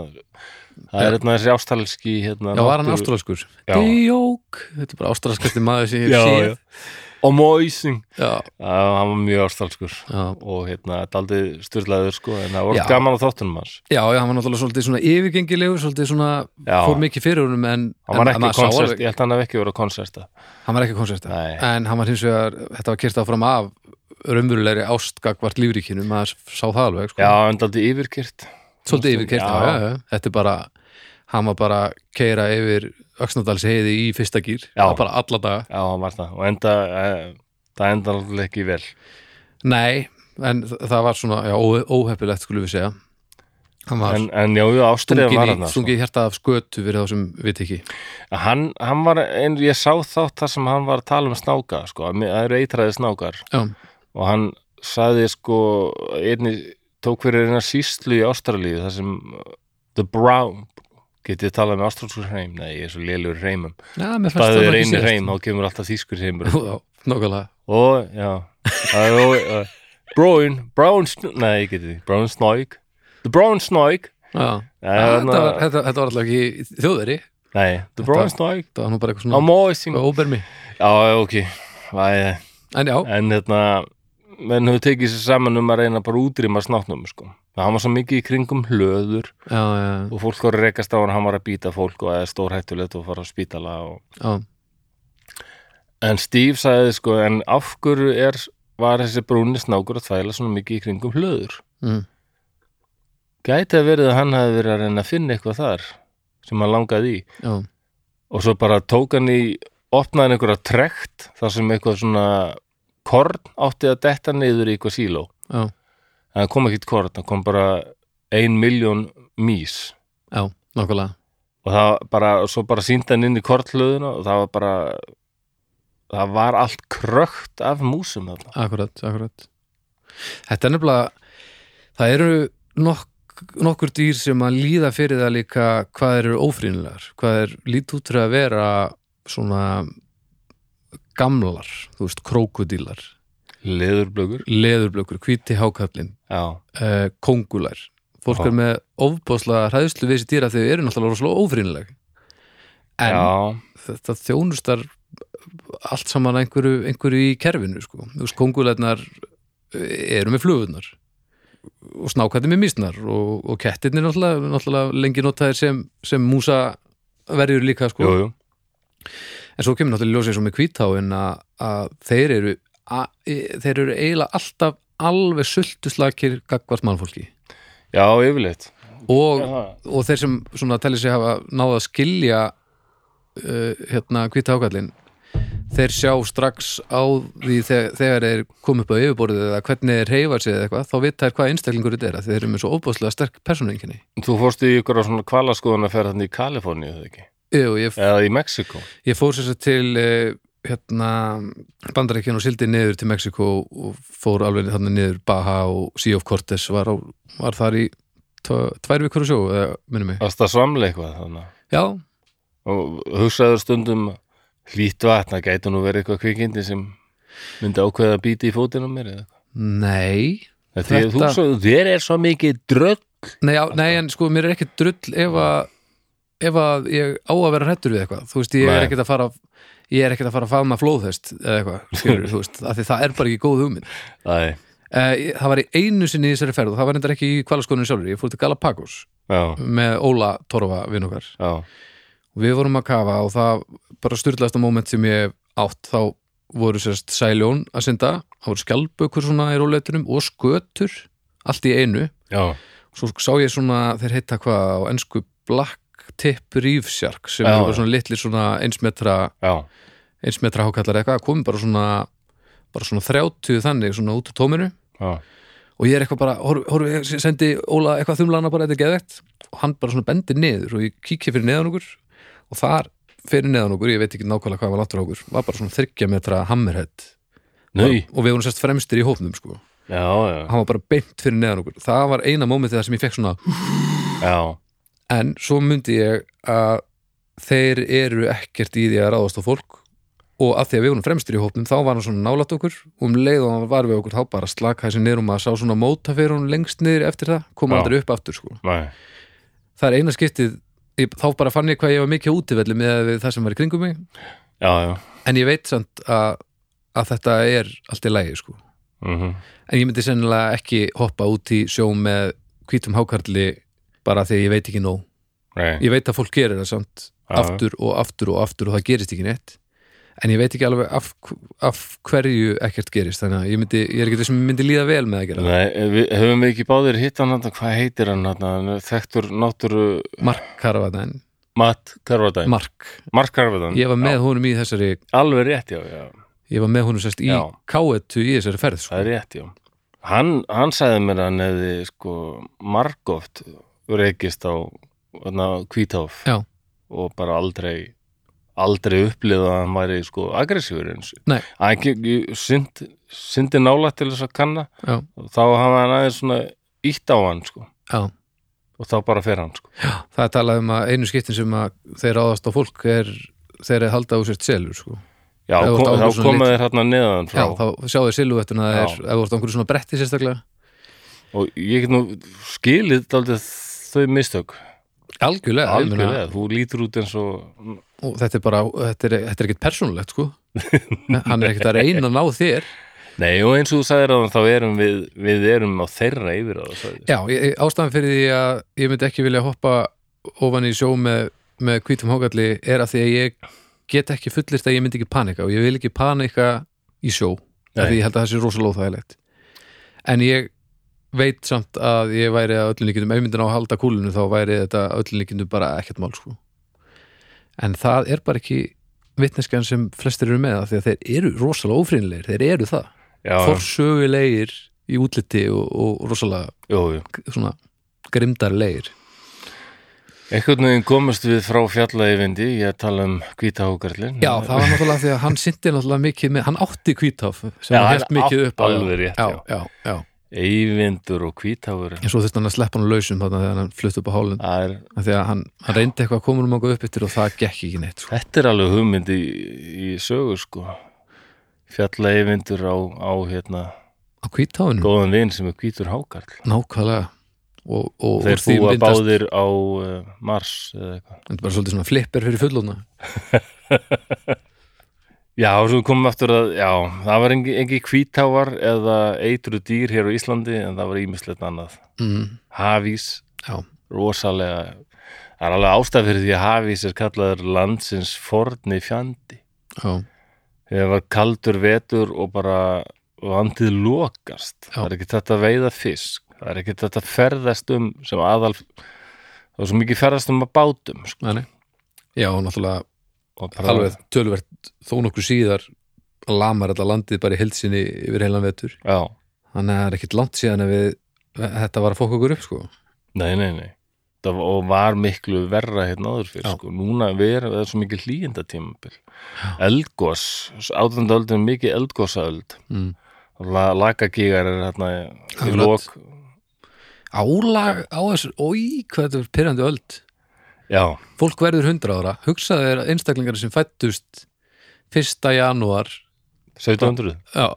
S1: það er hérna þessi ástralski hérna,
S2: já, var hann
S1: náttúru-
S2: ástralaskur
S1: Já.
S2: Díók, þetta er bara ástralaskasti maður sem ég hef
S1: Já,
S2: séð
S1: já, amazing
S2: já,
S1: Já, hann var mjög ástralskur
S2: já,
S1: og hérna, þetta er aldrei styrlaður sko, en það voru
S2: Já.
S1: gaman á þáttunum hans
S2: já, já, hann var náttúrulega svolítið svona yfirgengilegur svolítið svona,
S1: Já,
S2: fór mikið fyrir honum en,
S1: hann var
S2: en, en
S1: ekki
S2: maður sá
S1: konsert,
S2: alveg-
S1: ég held að hann hef ekki verið á konserta
S2: hann var ekki konserta
S1: Nei.
S2: en hann var hins vegar, þetta var kyrta áfram af raunverulegri ástgagvart lífríkinu maður sá það alveg sko.
S1: Já, en aldrei yfirkyrt
S2: svolítið yfir kyrta,
S1: Já.
S2: já. Já, já, þetta er bara hann var bara að keira yfir Öxnadals heiði í fyrsta gýr
S1: Já.
S2: bara alla daga,
S1: Já, hann var það, og enda eh, það enda aldrei ekki vel
S2: nei en þ- það var svona, já, ó- óheppilegt skulum við segja hann var
S1: En, en já, já, ástriðan var sko.
S2: stungin
S1: hann
S2: í, stungin í hjarta af skötu fyrir þá sem við ekki
S1: hann, hann var, en ég sá þátt þar sem hann var að tala um snáka sko, að mér- það eru eitræði snákar
S2: já,
S1: og hann sagði sko einni, tók fyrir eina síslu í Ástralíu þar sem uh, The Brown getið talað með ástralskur hreim nei, ég er svo lélur hreimum
S2: já, mér fannst
S1: staðið
S2: það
S1: er
S2: ekki
S1: einu
S2: síðast.
S1: hreim, þá kemur alltaf þýskur hreimur
S2: *laughs* já, nákvæmlega,
S1: og, já það er og, uh, Brown, Brown Sn- nei, ég getið því, Brown Snoik The Brown Snoik
S2: já
S1: nei,
S2: Ah, þetta
S1: þarna-
S2: var, þetta, þetta var alltaf ekki þjóðveri
S1: nei, The Brown Snoik
S2: þetta var Mm. Oh. nú bara eitthvað svona
S1: Amazing
S2: óbermi
S1: já, ok, væði
S2: en já,
S1: en hérna menn hefur tekið sér saman um að reyna bara að útrýma snáttnum sko. það hann var svo mikið í kringum hlöður
S2: já, já,
S1: og fólk voru að rekast á hann, hann var að býta fólk og það er stórhættulegt og fara á spítala og...
S2: já,
S1: en Steve sagði sko en af hverju er, var þessi brúni snákur að þvæla svona mikið í kringum hlöður
S2: mm,
S1: gæti að verið að hann hafi verið að reyna að finna eitthvað þar sem hann langaði í
S2: já,
S1: og svo bara tók hann í opnaði hann einhverja trekt þar sem eitthvað svona korn átti að detta niður í eitthvað síló
S2: já,
S1: það kom ekkit kort, það kom bara ein miljón mís
S2: já, nákvæmlega
S1: og það var bara, svo bara síndi hann inn í kortlöðuna og það var bara það var allt krökt af músum þarna
S2: akkurat, akkurat þetta er nefnilega það eru nokk, nokkur dýr sem að líða fyrir það líka hvað þeir eru ófrýnilegar hvað þeir lít út fyrir að vera svona gamlar, þú veist, krókudílar
S1: leðurblökur,
S2: leðurblökur, hvíti hákallin
S1: já,
S2: uh, kóngulær fólk
S1: Já.
S2: er með ofbásla hræðslu við þessi dýra þegar þau eru náttúrulega rosalega ófrýnileg en
S1: já
S2: þetta þjónustar allt saman einhverju, einhverju í kerfinu sko. þú veist, kongulegnar eru með flugurnar og snákætti með mísnar og, og kettirnir náttúrulega, náttúrulega lengi notaðir sem, sem músa verður líka sko.
S1: jú, jú,
S2: en svo kemur náttúrulega ljósið svo með kvítáin að, að þeir eru a, e, þeir eru eiginlega alltaf alveg sultuslakir gagvart mannfólki
S1: já, yfirleitt
S2: og,
S1: Jaha.
S2: og þeir sem svona telja sig hafa náða að skilja uh, hérna hvita ákallin þeir sjá strax á því þegar, þegar þeir kom upp á yfirborðið eða hvernig þeir reyfa sig eða eitthvað þá vita þeir hvað einstaklingur þetta er af því þeir eru með svo óbáslega sterk persónuenginni
S1: Þú fórst í ykkur á svona kvalaskoðun að ferða þannig í Kaliforníu, eða ekki?
S2: Jú, ég,
S1: Eða í Mexiko?
S2: Ég fór sér til eh, hérna, bandarækjan og sildi niður til Mexiko og fór alveg þannig niður Baja og Sea of Cortez var, á, var þar í tva- tvær vikur og sjó, eða, minnum mig.
S1: Varst að svamla eitthvað þannig?
S2: Já,
S1: Og hugsaður stundum hlýtt vatn að gæti nú verið eitthvað kvikindi sem myndi ákveða að býti í fótinn á mér eða eitthvað?
S2: nei
S1: Þetta... Því, að þú,
S2: Þetta-
S1: svo, þér er svo mikið drögg
S2: Nei, já, nei en sko, mér er ekkert drull ef að, ef að ég á að vera hrættur við eitthvað, þú veist, ég er
S1: Nei.
S2: ekkert að fara ég er ekkert að fara að faðma flóðhest eða eitthvað, skilur, þú veist, af því það er bara ekki góð hugmynd
S1: Æ,
S2: uh, það var í einu sinni í þessari ferð og það var reyndar ekki í kvalaskoðunum sjálfur, ég fór til Galapagos
S1: já,
S2: með Óla Torfa vinn okkar
S1: já
S2: og við vorum að kafa og það bara styrlaðasta moment sem ég hef átt þá voru sérst sæljón að synda það voru skjálpökur svona í róleitunum og skötur, allt í einu
S1: Já,
S2: svo sá ég svona, þeir heita hvað á ensku black tip reef shark sem
S1: Já,
S2: eru bara
S1: já.
S2: svona litli svona einsmetra
S1: já,
S2: einsmetra hákallar eitthvað, komi bara svona bara svona 30 þannig svona út úr tóminu
S1: já
S2: og ég er eitthvað bara, horf, horf, ég sendi Óla eitthvað þumlana bara, þetta er geðvegt og hann bara svona bendir niður og ég kíkja fyrir neðan okkur og þar fyrir neðan okkur ég veit ekki nákvæmlega hvað var langt frá okkur var bara svona þryggja metra hammerhead
S1: Nei,
S2: og við vorum sérst fremstir í hófnum sko
S1: já, já,
S2: hann var bara beint fyrir neðan okkur það var eina mómentið þar sem ég fekk svona
S1: já
S2: en svo myndi ég að þeir eru ekkert í því að ráðast á fólk og að því að við vorum fremstir í hópnum þá var hann svona nálat okkur og um leið og hann var við okkur þá bara slaka þessi niður og maður sá svona móta fyrir hún lengst niður eftir það kom
S1: Já.
S2: aldrei upp aftur sko
S1: Nei,
S2: það er eina skiptið, ég, þá bara fann ég hvað ég var mikið á útivelli með við það sem var í kringum mig
S1: já, já
S2: en ég veit samt að, að þetta er allt í lægi sko
S1: mm
S2: en ég myndi sennilega ekki hoppa út í sjó með hvítum hákarli bara því að ég veit ekki nóg
S1: Nei,
S2: ég veit að fólk gerir það samt
S1: Já, já.
S2: aftur og aftur og aftur og það gerist ekki neitt en ég veit ekki alveg af, af hverju ekkert gerist þannig að ég, myndi, ég er ekki þessum myndi líða vel með að gera það
S1: Nei, við, höfum við ekki báðir hitt hann hann, hvað heitir hann hann, hann er þekktur náttúru
S2: Mark Karvadæn,
S1: Matt Karvadæn,
S2: Mark
S1: Mark Karvadæn
S2: ég var með honum í þessari
S1: alveg rétt, já, já,
S2: ég var með honum sérst í
S1: Já.
S2: káetu í þessari ferð sko.
S1: það er rétt, já hann, hann sagði mér að hann hefði sko margóft reykist á hana, hvítáf
S2: Já.
S1: og bara aldrei aldrei upplifað að hann væri sko aggressífur eins
S2: Nei.
S1: hann gekk- synd, syndi nála til þess að kanna
S2: Já.
S1: og þá hafa hann aðeins svona ítt á hann sko
S2: Já.
S1: og þá bara fer hann sko
S2: það er talað um að einu skiptin sem að þeir ráðast á fólk er þeir er halda úr sérst selur sko.
S1: Já,
S2: Ef þú
S1: kom,
S2: ert á einhverju
S1: þá
S2: svona
S1: koma þeir hérna neðan frá
S2: já, þá sjáðu siluvettuna
S1: Já.
S2: ef þú ert á einhverju svona bretti sérstaklega
S1: og ég get nú skilið daldið þau mistök
S2: algjörlega, ég meina-
S1: algjörlega, þú lítur út eins og
S2: og þetta er bara, þetta er, þetta er ekkert persónulegt sko *laughs* hann er ekkert að reyna að ná þér
S1: Nei, og eins og þú sagðir að þá erum við, við erum á þeirra yfir á það
S2: já, ég, ástæðan fyrir því að ég myndi ekki vilja hoppa ofan í sjó með, með hvítum hákalli er að því að ég get ekki fullist að ég myndi ekki panika og ég vil ekki panika í sjó af
S1: Nei.
S2: því ég held að það sé rosalega óþægilegt en ég veit samt að ég væri að öllum líkindum, ef ég myndi ná að halda kúlinu þá væri þetta að öllum líkindum bara ekkert mál sko en það er bara ekki vitneskjan sem flestir eru með af því að þeir eru rosalega ófrýnilegir þeir eru það,
S1: Já,
S2: forsögulegir í útliti og, og rosalega
S1: jú, jú.
S2: g- svona grimdarlegir
S1: Einhvern veginn komast við frá fjallægivindi, ég tala um hvítahókarlinn.
S2: já, það var náttúrulega af því að hann sinti náttúrulega mikið með, hann átti kvítaf sem
S1: Já,
S2: hann
S1: hann
S2: held mikið
S1: átti
S2: upp á
S1: alveg rétt,
S2: já,
S1: já.
S2: já, já,
S1: Eyvindur og hvítahókur,
S2: en svo þurfti hann að sleppa hann lausum þarna þegar hann flutt upp á hálun
S1: það er,
S2: af því að hann, hann reyndi eitthvað að koma um okkur upp yttir og það gekk ekki neitt sko.
S1: þetta er alveg hugmynd í, í sögu, sko. Fjallægivindur á, á hérna,
S2: á kvítáinu,
S1: góðan vin sem er hvítur hákarl.
S2: nákvæmlega og, og, og
S1: Þeir
S2: því
S1: búa
S2: myndast-
S1: báðir á uh, Mars eða eitthvað.
S2: þetta er bara svolítið svona flipper fyrir fullona
S1: Já, og svo komum við aftur að, já, það var engi, engi hvítávar eða eitru dýr hér á Íslandi en það var ímislegt annað.
S2: mm,
S1: Hafís
S2: já,
S1: rosalega það er alveg ástæð fyrir því að hafís er kallaður landsins forni fjandi
S2: já,
S1: þegar var kaldur vetur og bara landið lokast
S2: Já.
S1: það er ekki þetta að veiða fisk það er ekki þetta að ferðast um sem aðal það er svo mikið ferðast um að bátum sko.
S2: Nei, nei. Já, og náttúrulega
S1: og bara-
S2: alveg tölvert þó nokkuð síðar lamar alla landið bara í heilsinni yfir heilan vetur
S1: já,
S2: þannig að það er ekkit langt síðan að við þetta var að fóka okkur upp sko
S1: nei, nei, nei það, var- og var miklu verra hérna áður fyrir
S2: Já.
S1: sko. núna við erum, það er svo mikið hlýjenda tímabil eldgós, átöndaöldin er mikið eldgósaöld
S2: mm.
S1: La, lakagígar er hérna í
S2: Akkurat.
S1: lók
S2: Álag á þessu, oi, hvað þetta er pyrrandi öld
S1: já,
S2: Fólk verður hundra ára, hugsaðu þér að einstaklingar sem fættust 1. janúar
S1: 1700
S2: Já,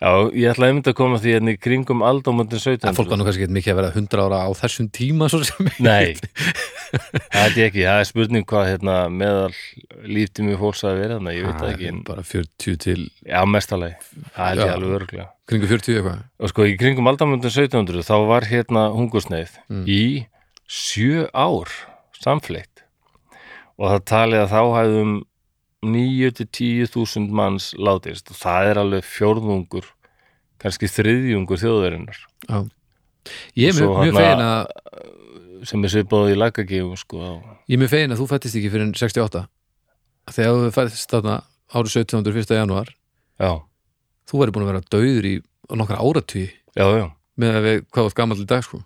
S1: já, ég ætla einmitt að koma að því hérna í kringum aldamöndin
S2: en
S1: 1700
S2: fólk var nú kannski ekki mikið að vera hundra ára á þessum tíma svo sem *laughs*
S1: Nei, það held ég ekki, það er spurning hvað hérna, meðal líftími fólks að vera þannig, ég veit það ekki, en
S2: Bara 40 til,
S1: já, mestalegi, það held
S2: Já.
S1: ég alveg örglega.
S2: kringu 40 eitthvað
S1: Og sko, í kringum aldamöndin 1700 þá var hérna hungursneið í sjö ár samfleitt og það talið að þá um hefðum 9-10.000 manns látist og það er alveg fjórðungur, kannski þriðjungur þjóðverinnar
S2: Já Ég er
S1: Svo
S2: mjög, mjög
S1: þarna-
S2: fegin að
S1: sem er svipaðu í lagagífum sko. á-
S2: Ég er mjög fegin að þú fættist ekki fyrir 68 Þegar þú fættist þarna árið 17. 1. janúar
S1: Já,
S2: Þú væri búin að vera dauður í nokkra áratví
S1: já, já.
S2: með að við hvað þú ert gamall í dag sko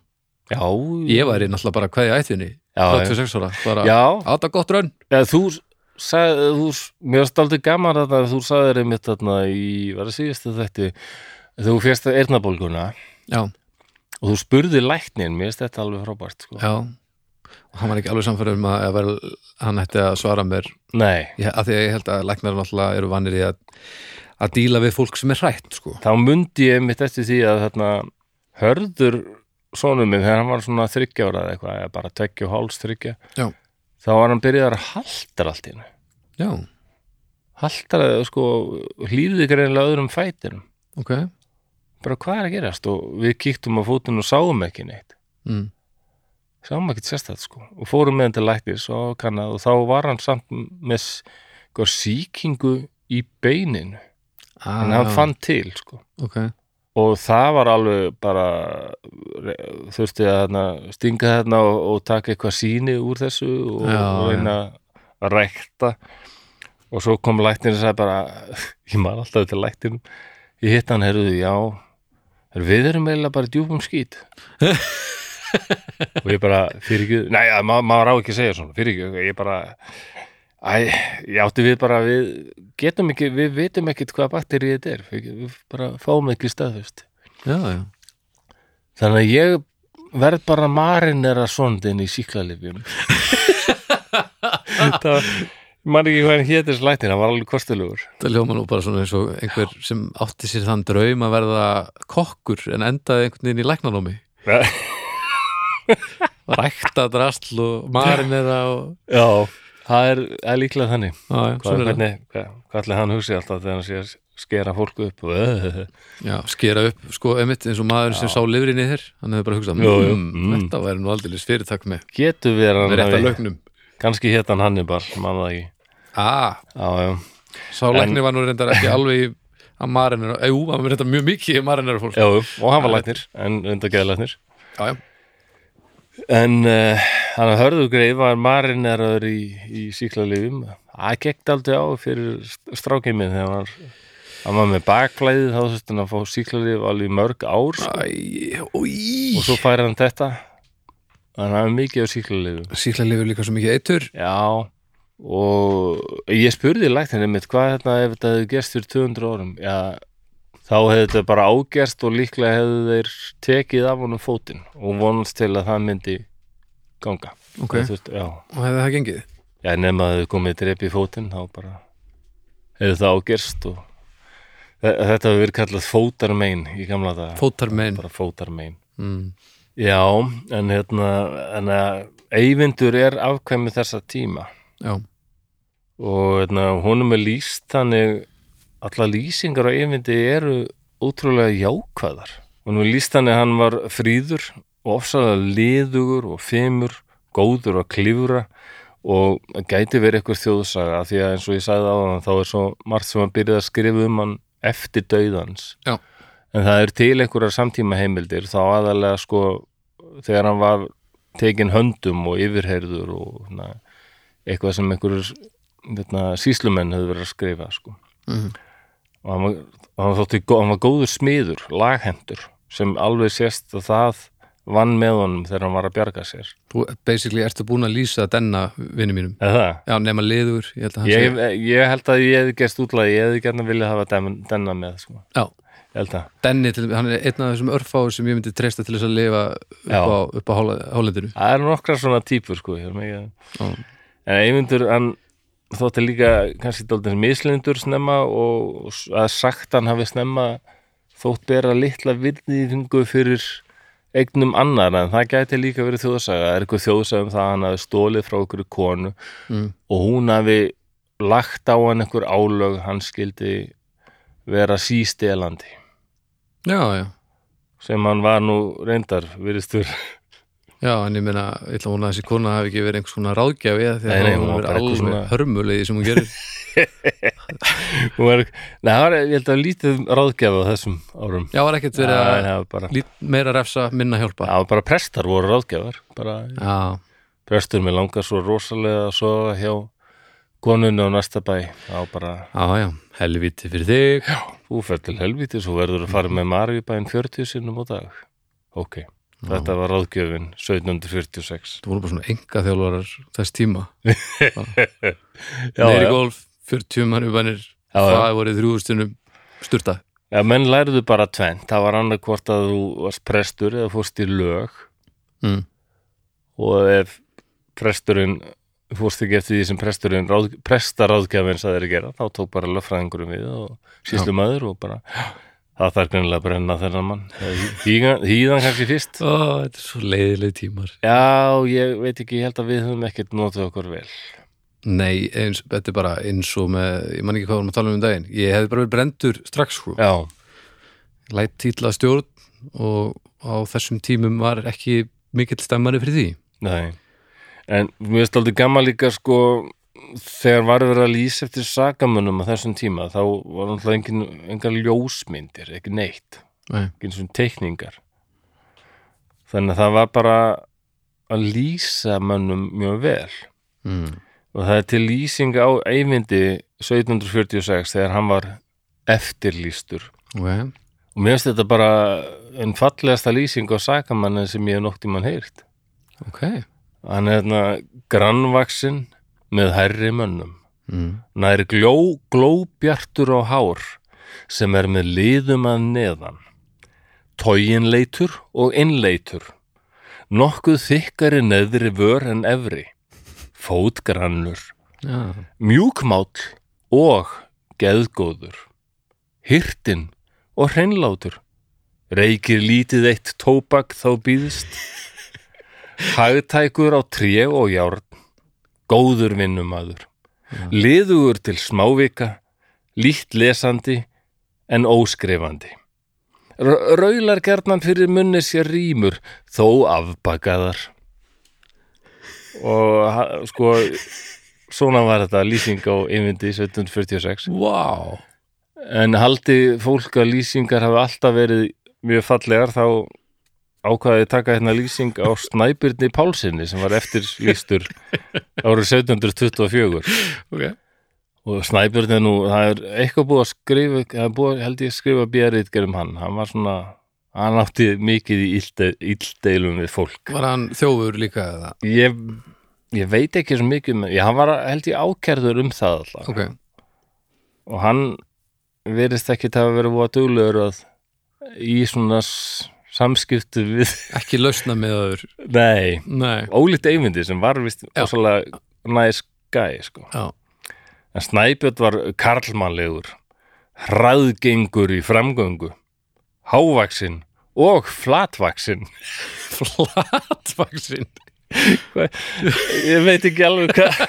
S1: Já,
S2: Ég um væri náttúrulega bara hvað ég ættinni
S1: já, já.
S2: 36 ára, bara
S1: já,
S2: átta gott raun
S1: Já, þú sagði, þú, mér varst aldrei gaman að það, þú sagðir einmitt þarna í, var það síðast að þetta, þú férst að eyrnabólguna
S2: Já,
S1: og þú spurði læknin, mér finnst þetta alveg frábært, sko.
S2: já og hann var ekki alveg samfæður um að, að vera, hann ætti að svara mér
S1: Nei,
S2: ég, að því að ég held að læknar náttúrulega eru vanir í að, að díla við fólk sem er hrætt sko
S1: þá mundi ég einmitt eftir því að þarna hörður sonum minn, þegar hann var svona þryggja ára eða eitthvað, eða bara tveggja og háls þryggja,
S2: Já.
S1: þá var hann byrjaðar að haldra allt í hennu.
S2: Já,
S1: Haldraði, sko, hlýði greinilega öðrum fætinum.
S2: ok
S1: Bara hvað er að gerast? Og við kíktum á fótinn og sáum ekki neitt.
S2: mm.
S1: sjáum ekkert sérstætt sko og fórum með hann til læknis og kannað og þá var hann samt með s- eitthvað sýkingu í beininu
S2: ah,
S1: en hann fann til sko
S2: Ok,
S1: og það var alveg bara re- þurfti að hana, stinga þarna og, og taka eitthvað síni úr þessu og,
S2: Já,
S1: og reyna að rækta og svo kom læknir og sagði bara *laughs* ég man alltaf til læknir ég hitt hann, herruðu, já herru, við erum eiginlega bara í djúpum skít og ég bara fyrir ekki, næja, ma maður á ekki að segja svona fyrir ekki, ég bara Æ, ég átti við bara, við getum ekki, við vitum ekkit hvað bakterið þetta er, við, við bara fáum ekki staðfust.
S2: já, já
S1: Þannig að ég verð bara marinera sondin í *laughs* síklarlifjum. það var, ég man ekki hvað hann hétir slættin, hann var alveg *laughs* kostulegur.
S2: Það ljóma nú bara svona eins og einhver sem átti sér þann draum að verða kokkur en endaði einhvern veginn í læknanómi
S1: Já,
S2: rækta drastl og marinera og
S1: það er, það er líklega þannig.
S2: á, já,
S1: Hvað,
S2: svona er það.
S1: hvernig, hvað, hvað ætli hann hugsi alltaf þegar hann sé að skera fólku upp *laughs* og öðuðu.
S2: já, skera upp, sko, emitt eins og maður sem sá lifrinni þér, hann hefur bara hugsað
S1: Jú, jú,
S2: "Mm,
S1: mm."
S2: þetta væri nú aldrei fyrirtak með
S1: Getur verið að
S2: með
S1: hann
S2: rétt að
S1: hafi,
S2: lögnum
S1: kannski hétt hann Hannibal, mann það ekki.
S2: ah,
S1: Já, já.
S2: sá lækni var nú reyndar ekki alveg í- að marinera, eða jú, hann var reyndar mjög mikið í marinera fólk
S1: Já, jú, og hann var læknir, en undan geðlæknir.
S2: já, já,
S1: En uh, hann hörðu greið var marineraður í, í síklarlifum. Það gekkt aldrei á fyrir strákið minn þegar hann var, hann var með bakflæðið þá þurfti hann að fá síklarlif alveg í mörg ár sko.
S2: æ,
S1: og svo
S2: ói
S1: færi hann þetta. Þannig að hann er mikið á síklarlifum.
S2: síkla lifur líka svo mikið eitur
S1: Já, og ég spurði læknir einmitt hvað þetta ef þetta hefði gerst fyrir 200 árum. Já, þá hefði þetta bara ágerst og líklega hefðu þeir tekið af honum fótinn og vonast til að það myndi ganga.
S2: ok,
S1: Það þurfti, já.
S2: og hefði það gengið
S1: Já, nema að þau komið dreip í fótinn þá bara hefur það ágerst og Þe- þetta hefur verið kallað fótarmein í gamla daga,
S2: fótarmein
S1: bara fótarmein
S2: mm.
S1: Já, en hérna en að Eyvindur er afkvæmi þessa tíma
S2: já,
S1: og hérna, honum er lýst þannig allar lýsingar á Eyvindi eru ótrúlega jákvæðar honum er lýst þannig að hann var fríður og ofsalega liðugur og femur góður að klifra og það gæti verið eitthvað þjóðsaga af því að eins og ég sagði á hann þá er svo margt sem að byrja að skrifa um hann eftir dauðans
S2: Já.
S1: en það er til einhverjar samtíma heimildir þá aðalega sko þegar hann var tekin höndum og yfirheyrður og na, eitthvað sem einhverjur þetta, síslumenn höfðu verið að skrifa sko.
S2: Mhm.
S1: og hann var, hann, þótti, gó- hann var góður smiður laghendur sem alveg sést að það vann með honum þegar hann var að bjarga sér
S2: Þú basically ertu búin að lýsa denna vinnu mínum
S1: eða það?
S2: Já, nema liður, ég held að hann
S1: Ég, ég held að ég hefði gerst útlaði, ég hefði gerna viljað hafa dem- denna með, sko.
S2: Já,
S1: Ég held að,
S2: Denni, til, hann er einn af þessum örfáður sem ég myndi treysta til þess að lifa upp
S1: Já.
S2: á, upp á Hóla- hálendinu
S1: það eru nokkrar svona típur, sko. Ég er mikið-
S2: Já.
S1: en Eyvindur, hann þótti líka kannski dálítið mislindur snemma og að sagt hann hafi snemma þótt bera litla virðingu fyrir eignum annar, en það gæti líka verið þjóðsaga. Það er eitthvað þjóðsaga um það að hann hafi stólið frá okkur konu
S2: Mm.
S1: og hún hafi lagt á hann einhver álög, hann skildi vera sístelandi.
S2: Já, já,
S1: sem hann var nú reyndar viðristur,
S2: já, en ég meina ég ætla að vona að þessi kona hafi ekki verið einhvers konar ráðgjafi eða því
S1: Nei,
S2: að
S1: nei,
S2: hún
S1: hún var
S2: hafi verið
S1: bara
S2: alveg
S1: eitthvað svona-
S2: svona... hörmulegi sem hún *laughs* gerir
S1: *laughs* hún var, nei, það var, ég held að lítið ráðgjafa á þessum árum
S2: Já, var ekkert verið
S1: það
S2: að
S1: var bara,
S2: lít, meira refsa, minna hjálpa Já,
S1: það var bara prestar voru ráðgjafar bara, prestur mér langar svo rosalega að sofa hjá konunni á næsta bæ þá bara,
S2: já, já, helviti fyrir þig
S1: þú fer til helvíti svo verður að fara með Maríubæn 40 sinnum á dag ok, þetta var ráðgjöfin 1746
S2: Þú voru bara svona enga þjálfarar þess *laughs* tíma
S1: Já,
S2: Neiri
S1: já.
S2: golf, 40 mann ubanir
S1: Já, já.
S2: Það voru þrjúðustunum styrta
S1: Já, menn lærðu bara tvennt, það var annarkvort að þú varst prestur eða fórst í lög
S2: mm.
S1: og ef presturinn fórst ekki eftir því sem presturinn ráð, prestaráðgjafinn saði að gera þá tók bara löffræðingurum við og síslum aður og bara það þarf greinilega að brenna þennan mann hýðan, hýðan kannski fyrst
S2: Ó, þetta er svo leiðileg tímar
S1: Já, ég veit ekki, ég held að við höfum ekkert notað okkur vel
S2: Nei, eins, þetta er bara eins og með Ég man ekki hvað við varum að tala um um daginn Ég hefði bara verið brendur strax sko
S1: Já,
S2: Lætt títla stjórn og á þessum tímum var ekki mikill stemmari fyrir því
S1: nei En mér finnst aldrei gaman líka sko þegar var verið að lýsa eftir sakamönnum á þessum tíma þá var náttúrulega engin, engar ljósmyndir, ekki neitt
S2: Nei.
S1: ekki eins og teikningar þannig að það var bara að lýsa mönnum mjög vel
S2: Mm.
S1: og það er til lýsing á Eyvindi 1746 þegar hann var eftirlýstur
S2: Okay.
S1: og mér finnst þetta bara en fallegasta lýsing á sakamanni sem ég hef nokt í mann heyrt
S2: ok
S1: hann er þarna grannvaxin með herri mönnum
S2: mm.
S1: nær gló, glóbjartur á hár sem er með liðum að neðan tóginleitur og innleitur nokkuð þykkari neðri vör en efri fótgrannur
S2: Já,
S1: mjúkmáll og geðgóður hirtin og hreinlátur reykir lítið eitt tóbak þá býðist hagtækur á tré og járn góður vinnumadur liðugur til smávika lítt lesandi en óskrifandi R raular gerðnan fyrir munni sér rýmur þó afbakaðar og ha- sko svona var þetta lýsing á einvindi 1746
S2: wow
S1: en haldi fólk að lýsingar hafa alltaf verið mjög fallegar þá ákvaðið taka hérna lýsing á Snæbyrni Pálsini sem var eftir lýstur árið 1724
S2: okay.
S1: og Snæbjörn er nú, það er eitthvað búið að skrifa, það er búið, held ég að skrifa björðið um hann, hann var svona hann átti mikið í illde, illdeilum við fólk.
S2: Var hann þjófur líka eða?
S1: Ég, ég veit ekki svo mikið, með, ég, hann var held ég ákerður um það alltaf
S2: Ok,
S1: og hann verist ekki að hafa verið búið að duglegur að í svona s- samskiptu við, *laughs*
S2: ekki lausna með öður
S1: nei,
S2: Nei,
S1: ólíkt eyvindi sem var vist
S2: Já.
S1: ósvalega næs gæ, sko.
S2: já, *laughs*
S1: En Snæbjörn var karlmannlegur, hraðgengur í framgöngu, hávaxinn og flatvaxinn. *laughs*
S2: flatvaksinn
S1: Ég veit ekki alveg hvað,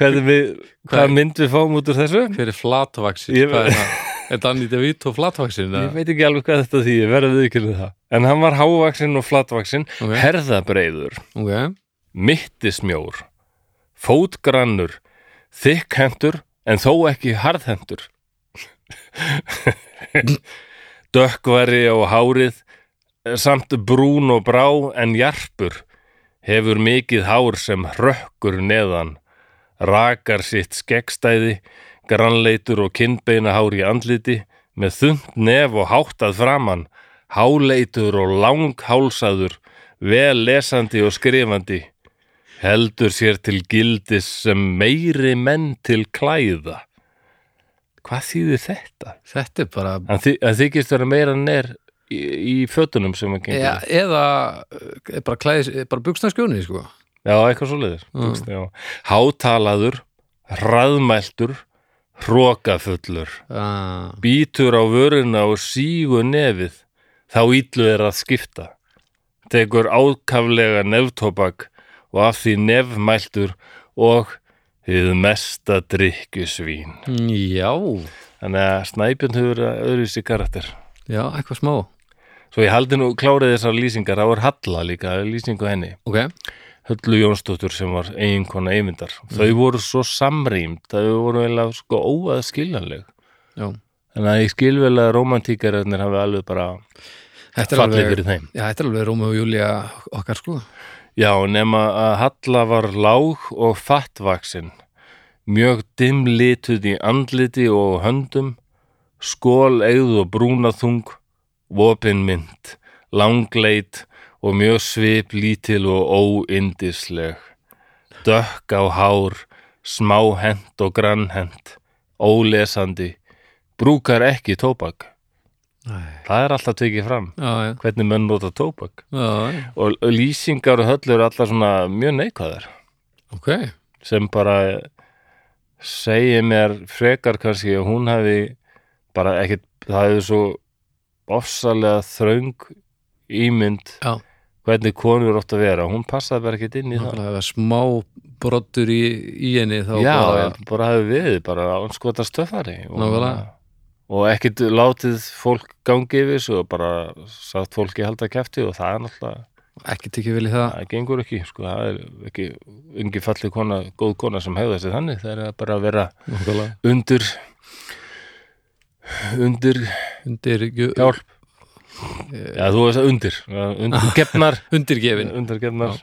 S1: hvað, við, hvað mynd við fáum út úr þessu.
S2: Hver er flatvaksinn?
S1: Ég-
S2: Hvað er það? Er Danny DeVito flatvaksinn?
S1: Ég veit ekki alveg hvað þetta því, ég verðið ekki um það. En hann var hávaxinn og flatvaxinn,
S2: Ok.
S1: herðabreiður,
S2: Ok,
S1: mittismjór, fótgrannur, þykkhentur en þó ekki harðhentur, *laughs* Dökkvari og hárið, samt brún og brá en jarpur, hefur mikið hár sem hrökkur neðan, rakar sitt skeggstæði, grannleitur og kinnbeina hár í andliti, með þund nef og háttað framann, háleitur og langhálsaður, vel lesandi og skrifandi, heldur sér til gildis sem meiri menn til klæða. Hvað þýðir þetta?
S2: Þetta er bara
S1: Hann, þy hann þykist vera meira en er í, í fötunum sem hann gengur.
S2: ja,
S1: í.
S2: eða eh, bara, klæðis, eh, bara buksnaskjóni sko.
S1: Já, eitthvað svo leiðir. Mm. Hátalaður, hraðmæltur, hrókafullur,
S2: ah,
S1: bítur á vöruna og sígur nefið, þá íllu er að skipta. Tekur ákaflega neftóbak og af því nefmæltur og hið mesta drikkjusvín.
S2: Já,
S1: Þannig að snæpjum hefur öðruvísi karakter.
S2: já, eitthvað smá
S1: Svo ég haldi nú klárið þessar lýsingar, þá er Halla líka, lýsingu henni.
S2: Ok,
S1: Höllu Jónsdóttur sem var eiginkona eigmyndar.
S2: Mm.
S1: Þau voru svo samrýmd, þau voru eiginlega sko óaðskiljanleg.
S2: já
S1: Þannig að ég skil vel að romantíkararnir hafi alveg bara
S2: Þetta er
S1: fallið
S2: alveg,
S1: fyrir þeim.
S2: já, þetta er alveg Rómi og Júlía okkar sko
S1: Já, nema að Halla var lág og fattvaksin, mjög dimmlituð í andliti og höndum, skól eigð og brúnaþung, vopinmynd, langleit og mjög svip lítil og óindisleg. Dökk á hár, smáhent og grannhent, ólesandi, brúkar ekki tóbak.
S2: Æ,
S1: Það er alltaf tekið fram,
S2: Já, já,
S1: hvernig menn nota tóbak
S2: já, já,
S1: og lýsingar og höll eru allar svona mjög neikvæðar
S2: ok
S1: sem bara segi mér frekar kannski að hún hefði bara ekkit, það hefði svo ofsalega þröng ímynd
S2: Já.
S1: hvernig konur ótt að vera, hún passaði bara ekkit inn í það
S2: Náttúrulega ef það er smá brottur í, í henni þá
S1: Já,
S2: bara,
S1: bara, bara hefði verið bara anskota stöfari og,
S2: Nákvæmlega.
S1: og ekkit látið fólk gangi yfir svo bara satt fólki halda kæfti og það er náttúrulega
S2: ekki tekið vel í það
S1: það gengur ekki, sko, það er ekki ungi fallið kona, góð kona sem hefða sig þannig, það er bara að vera
S2: Nákvæmlega.
S1: undir undir
S2: Undir,
S1: hjálp Já, þú veist að undir, ja, undir gefnar
S2: undirgefin
S1: undir gefnar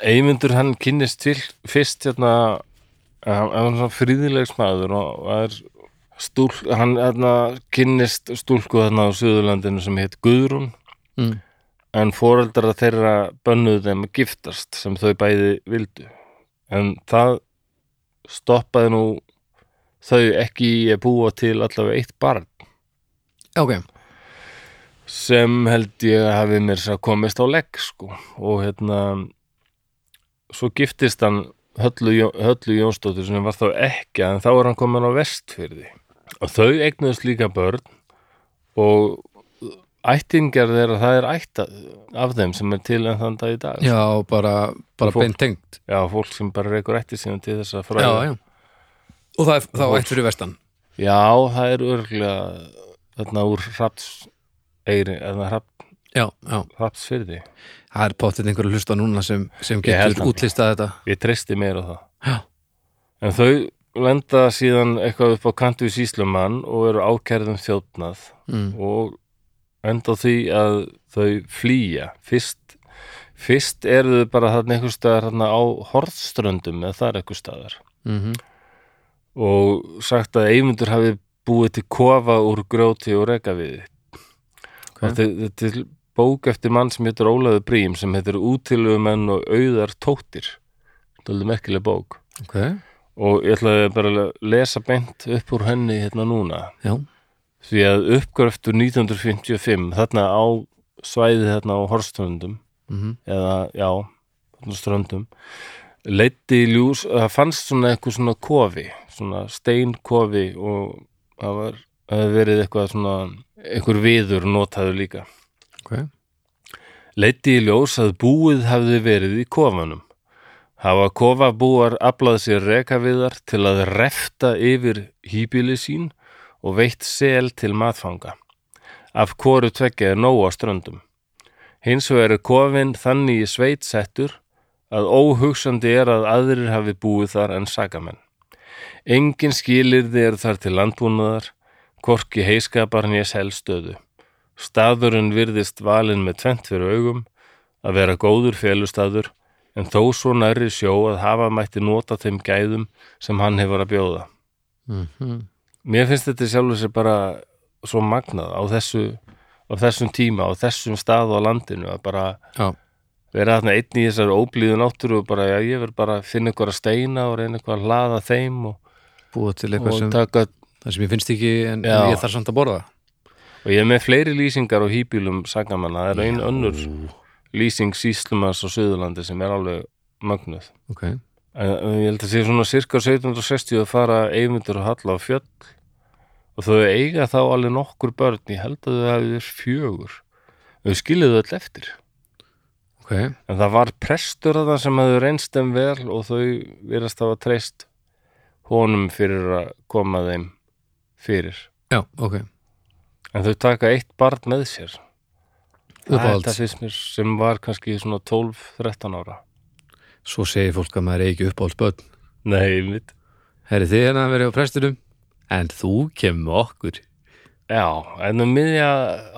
S1: Eymundur hann kynnist til fyrst hérna hann hann er svona fríðilegsmaður og það er stúl, hann hérna, kynnist stúlku þarna á Suðurlandinu sem heit Guðrún
S2: mm.
S1: en foreldrar þeirra bönnuðu þeim að giftast sem þau bæði vildu en það stoppaði nú þau ekki í að búa til allavega eitt barn
S2: Ok,
S1: sem held ég að hafi mér sér komist á legg sko og hérna svo giftist hann Höllu, Jó- Höllu Jónsdóttur sem var þá ekki en þá er hann komin á vestfyrði og þau eignuðust líka börn og ættingjar þeirra það er ætt af þeim sem er til en þann dag sko. í dag
S2: já, bara, bara
S1: Fólk.
S2: beint tengt
S1: Já, fólk sem bara reykur ætti síðan til þess að fræða.
S2: Já, já Og það er þá ætt fyrir vestan
S1: Já, það er örgulega þarna úr hraps eiri, eða hraps,
S2: Já, já,
S1: hrapsfyrði.
S2: það er pottet einhverju hlusta núna sem, sem
S1: held
S2: getur
S1: það.
S2: útlistað þetta
S1: Ég treysti meira á það.
S2: Já,
S1: En þau lenda síðan eitthvað upp á kantu í síslumann og eru ákærðum þjófnað
S2: mm.
S1: og enda á því að þau flýja. Fyrst, fyrst eru þau bara þarna einhver staðar þarna á hortströndum eða það er einhver staðar.
S2: Mm
S1: og sagt að Eymundur hafi búið til kofa úr grjóti og rekaviði
S2: Ok.
S1: okay. þetta er bók eftir mann sem heitir Ólaður Brím sem heitir Útilugumenn og auðar tóttir þetta er alveg merkileg bók
S2: ok
S1: og ég ætlaði bara að lesa beint upp úr henni hérna núna
S2: Já,
S1: því að uppgröftur 1955 þarna á svæði þarna á Horstöndum
S2: mm
S1: eða já, þarna ströndum leiti í ljús það fannst svona eitthvað svona kofi svona steinkofi og það var, það hefði verið eitthvað svona einhver viður notaðu líka
S2: ok
S1: leiti í ljós að búið hafði verið í kofanum hafa kofabúar aflað sér rekaviðar til að refta yfir hýbili sín og veitt sel til matfanga af hvoru tveggja er nóg á ströndum hins vegar er kofin þannig í sveit settur að óhugsandi er að aðrir hafi búið þar en sagamenn engin skilirði er þar til landbúnaðar Korki heiskapar nýja selstöðu. Staðurinn virðist valinn með tvent fyrir augum að vera góður félustadur en þó svo nærri sjó að hafa mætti nota þeim gæðum sem hann hefur að bjóða.
S2: Mhm.
S1: Mér finnst þetta sjálfur sér bara svo magnað á, þessu, á þessum tíma, á þessum stað á landinu að bara
S2: Já.
S1: vera þarna einn í þessar óblíðu náttúru og bara, já, ég verð bara að finna ykkur að steina og reyna ykkur að hlaða þeim og,
S2: Búið til eitthvað
S1: og
S2: sem,
S1: taka
S2: það sem ég finnst ekki en,
S1: Já.
S2: en ég þarf samt að borða
S1: og ég er með fleiri lýsingar á hýbílum sagamanna, það er einu önnur lýsing síslumans á Suðurlandi sem er alveg mögnuð
S2: Ok,
S1: en, en ég held að sé svona cirka 1760 að fara Eyvindur og Halla á fjöll og þau eiga þá alveg nokkur börn ég held að þau hafi fjögur þau skiljuðu öll eftir
S2: ok,
S1: En það var prestur að það sem hefðu reynst þeim vel og þau virðast hafa treyst honum fyrir að koma þeim fyrir.
S2: já, ok
S1: En þau taka eitt barn með sér. Þetta
S2: Uppáhalds,
S1: finnst mér sem var kannski svona 12-13 ára.
S2: svo segir fólk að maður er ekki uppáhalds börn
S1: Nei, mitt.
S2: Herri þið hérna að vera á prestinum En þú kemur með okkur
S1: Já, en um miðja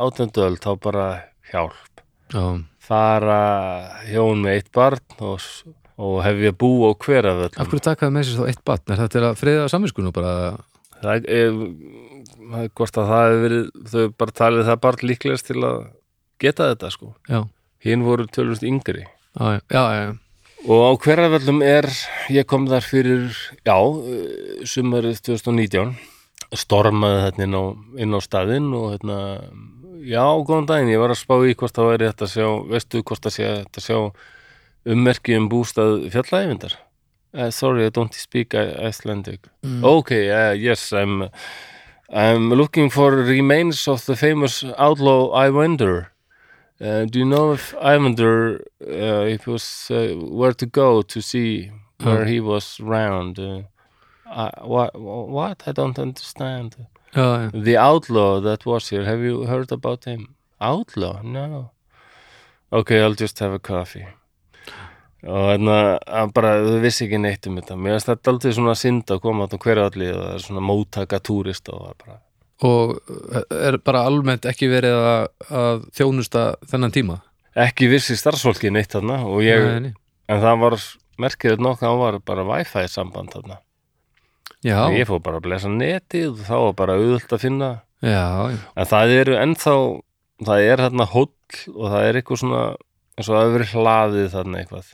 S1: átönduöld þá bara hjálp.
S2: Já,
S1: Fara hjón með eitt barn og, og hefja bú á hver af
S2: af
S1: öllum.
S2: hverju takaðu með sér þá eitt barn? Er það til að friða saminskunu bara?
S1: Það er, eh, það er hvort að það hefur verið, þau bara talið það barn líklegast til að geta þetta sko.
S2: Já,
S1: Hinn voru tölvist yngri.
S2: já, já, já, já.
S1: Og á hverjaföllum er, ég kom þar fyrir, já, eh, sumarið 2019, stormaði þetta inn á, inn á staðinn og hérna, já, góðan daginn, ég var að spá í hvort það væri þetta að sjá, veistu hvort það sé þetta að sjá ummerki um bústað fjallæfindar? Uh, sorry, I don't speak I- Icelandic. Okay, uh, yes, I'm, I'm looking for remains of the famous outlaw Ivander. Uh, do you know if Ivander, uh, if was uh, where to go to see where he was round? Uh, I, what? What? I don't understand.
S2: já, já.
S1: The outlaw that was here. Have you heard about him? Outlaw? No. Okay, I'll just have a coffee. Og hérna, hann bara, þau vissi ekki neitt um þetta. Mér finnst þetta aldrei svona synd að koma á hverjalli og það er svona móttaka túrist og það er bara,
S2: og eh, er bara almennt ekki verið að, að þjónusta þennan tíma
S1: ekki vissi starfsfólki neitt þarna og ég,
S2: Nei, nei.
S1: en það var merkilegt nokk, það var bara Wi-Fi samband þarna.
S2: já,
S1: Ég fór bara að blesa netið og þá var bara auðvöld að finna.
S2: já, já,
S1: En það eru ennþá, það er þarna hóll og það er eitthvað svona, eins og það hefur verið hlaðið þarna eitthvað.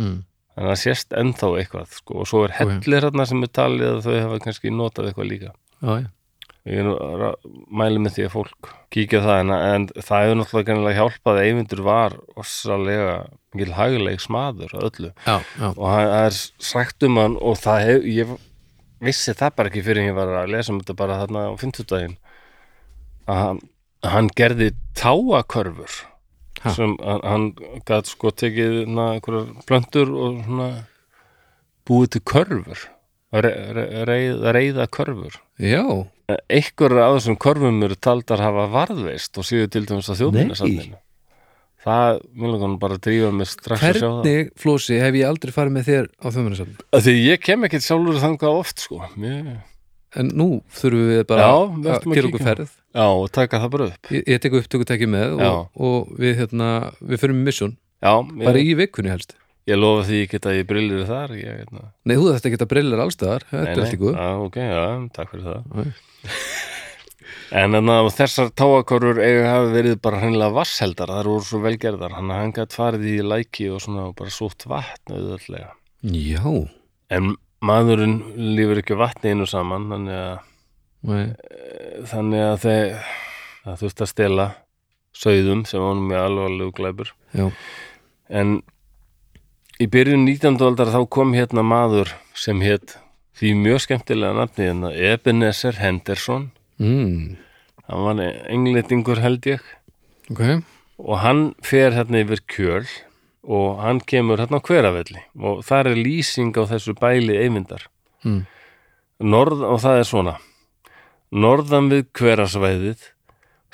S2: mm.
S1: En það sést ennþá eitthvað, sko, og svo er hellir þarna sem er talið að þau hafa kannski notað eitthvað líka.
S2: já, já.
S1: Ég er nú að ra- mæli með því að fólk kíkja á það, en, en það hefur náttúrulega kannilega hjálpað að Eyvindur var ossalega mikil haguleg smaður og öllu
S2: já, já.
S1: og hann- það er sagt um hann og það hef, ég vissi það bara ekki fyrir en ég var að lesa um þetta bara þarna á 50 daginn að hann, hann gerði táakörfur
S2: Ha.
S1: sem hann, hann gætt sko tekið na, einhverjar plöntur og svona búið til körfur re, re, reið, reyða körfur
S2: já.
S1: einhverjar af þessum körfum eru taldar hafa varðveist og síðu til dæmis að þjóðbina það, mér langar hann bara að drífa mig strax að sjá það
S2: hvernig flósi hef ég aldrei farið með þér á þjóðmennasafn
S1: Af Því ég kem ekkert sjálfur þangað oft sko Mér...
S2: en nú þurfum við bara
S1: Já,
S2: að
S1: við ættum að
S2: gera
S1: kíkja.
S2: okkur ferð
S1: Já, og taka það bara upp
S2: ég, ég tek upptökutæki með
S1: Já.
S2: og, og við, hérna, við fyrir með missun
S1: Já,
S2: bara
S1: ég,
S2: í vikunni helst
S1: ég lofa því ekki að ég brillir þar ég, hérna.
S2: nei, þú þetta geta brillar allstaðar þetta er allt í góð
S1: Já, ok, já, takk fyrir það
S2: Nei.
S1: *laughs* En en að þessar táakorur eiga hafa verið bara hreinlega vassheldar þar voru svo velgerðar, hann hann gætt farið í læki og svona og bara sótt vatn auðvöldlega.
S2: já,
S1: En maðurinn lífur ekki á vatni einu saman þannig að,
S2: nei,
S1: þannig að þeir það þurfti að stela sauðum sem honum mjög alvarlegu glæpur
S2: já,
S1: en í byrjun 19. aldar þá kom hérna maður sem hétt því mjög skemmtilega nafni hérna Ebenezer Henderson
S2: mm.
S1: hann var englendingur held ég
S2: ok
S1: og hann fer hérna yfir kjöl og hann kemur hérna á hverafelli og þar er lýsing á þessu bæli eyvindar
S2: mm.
S1: Norð, og það er svona Norðan við hverasvæðið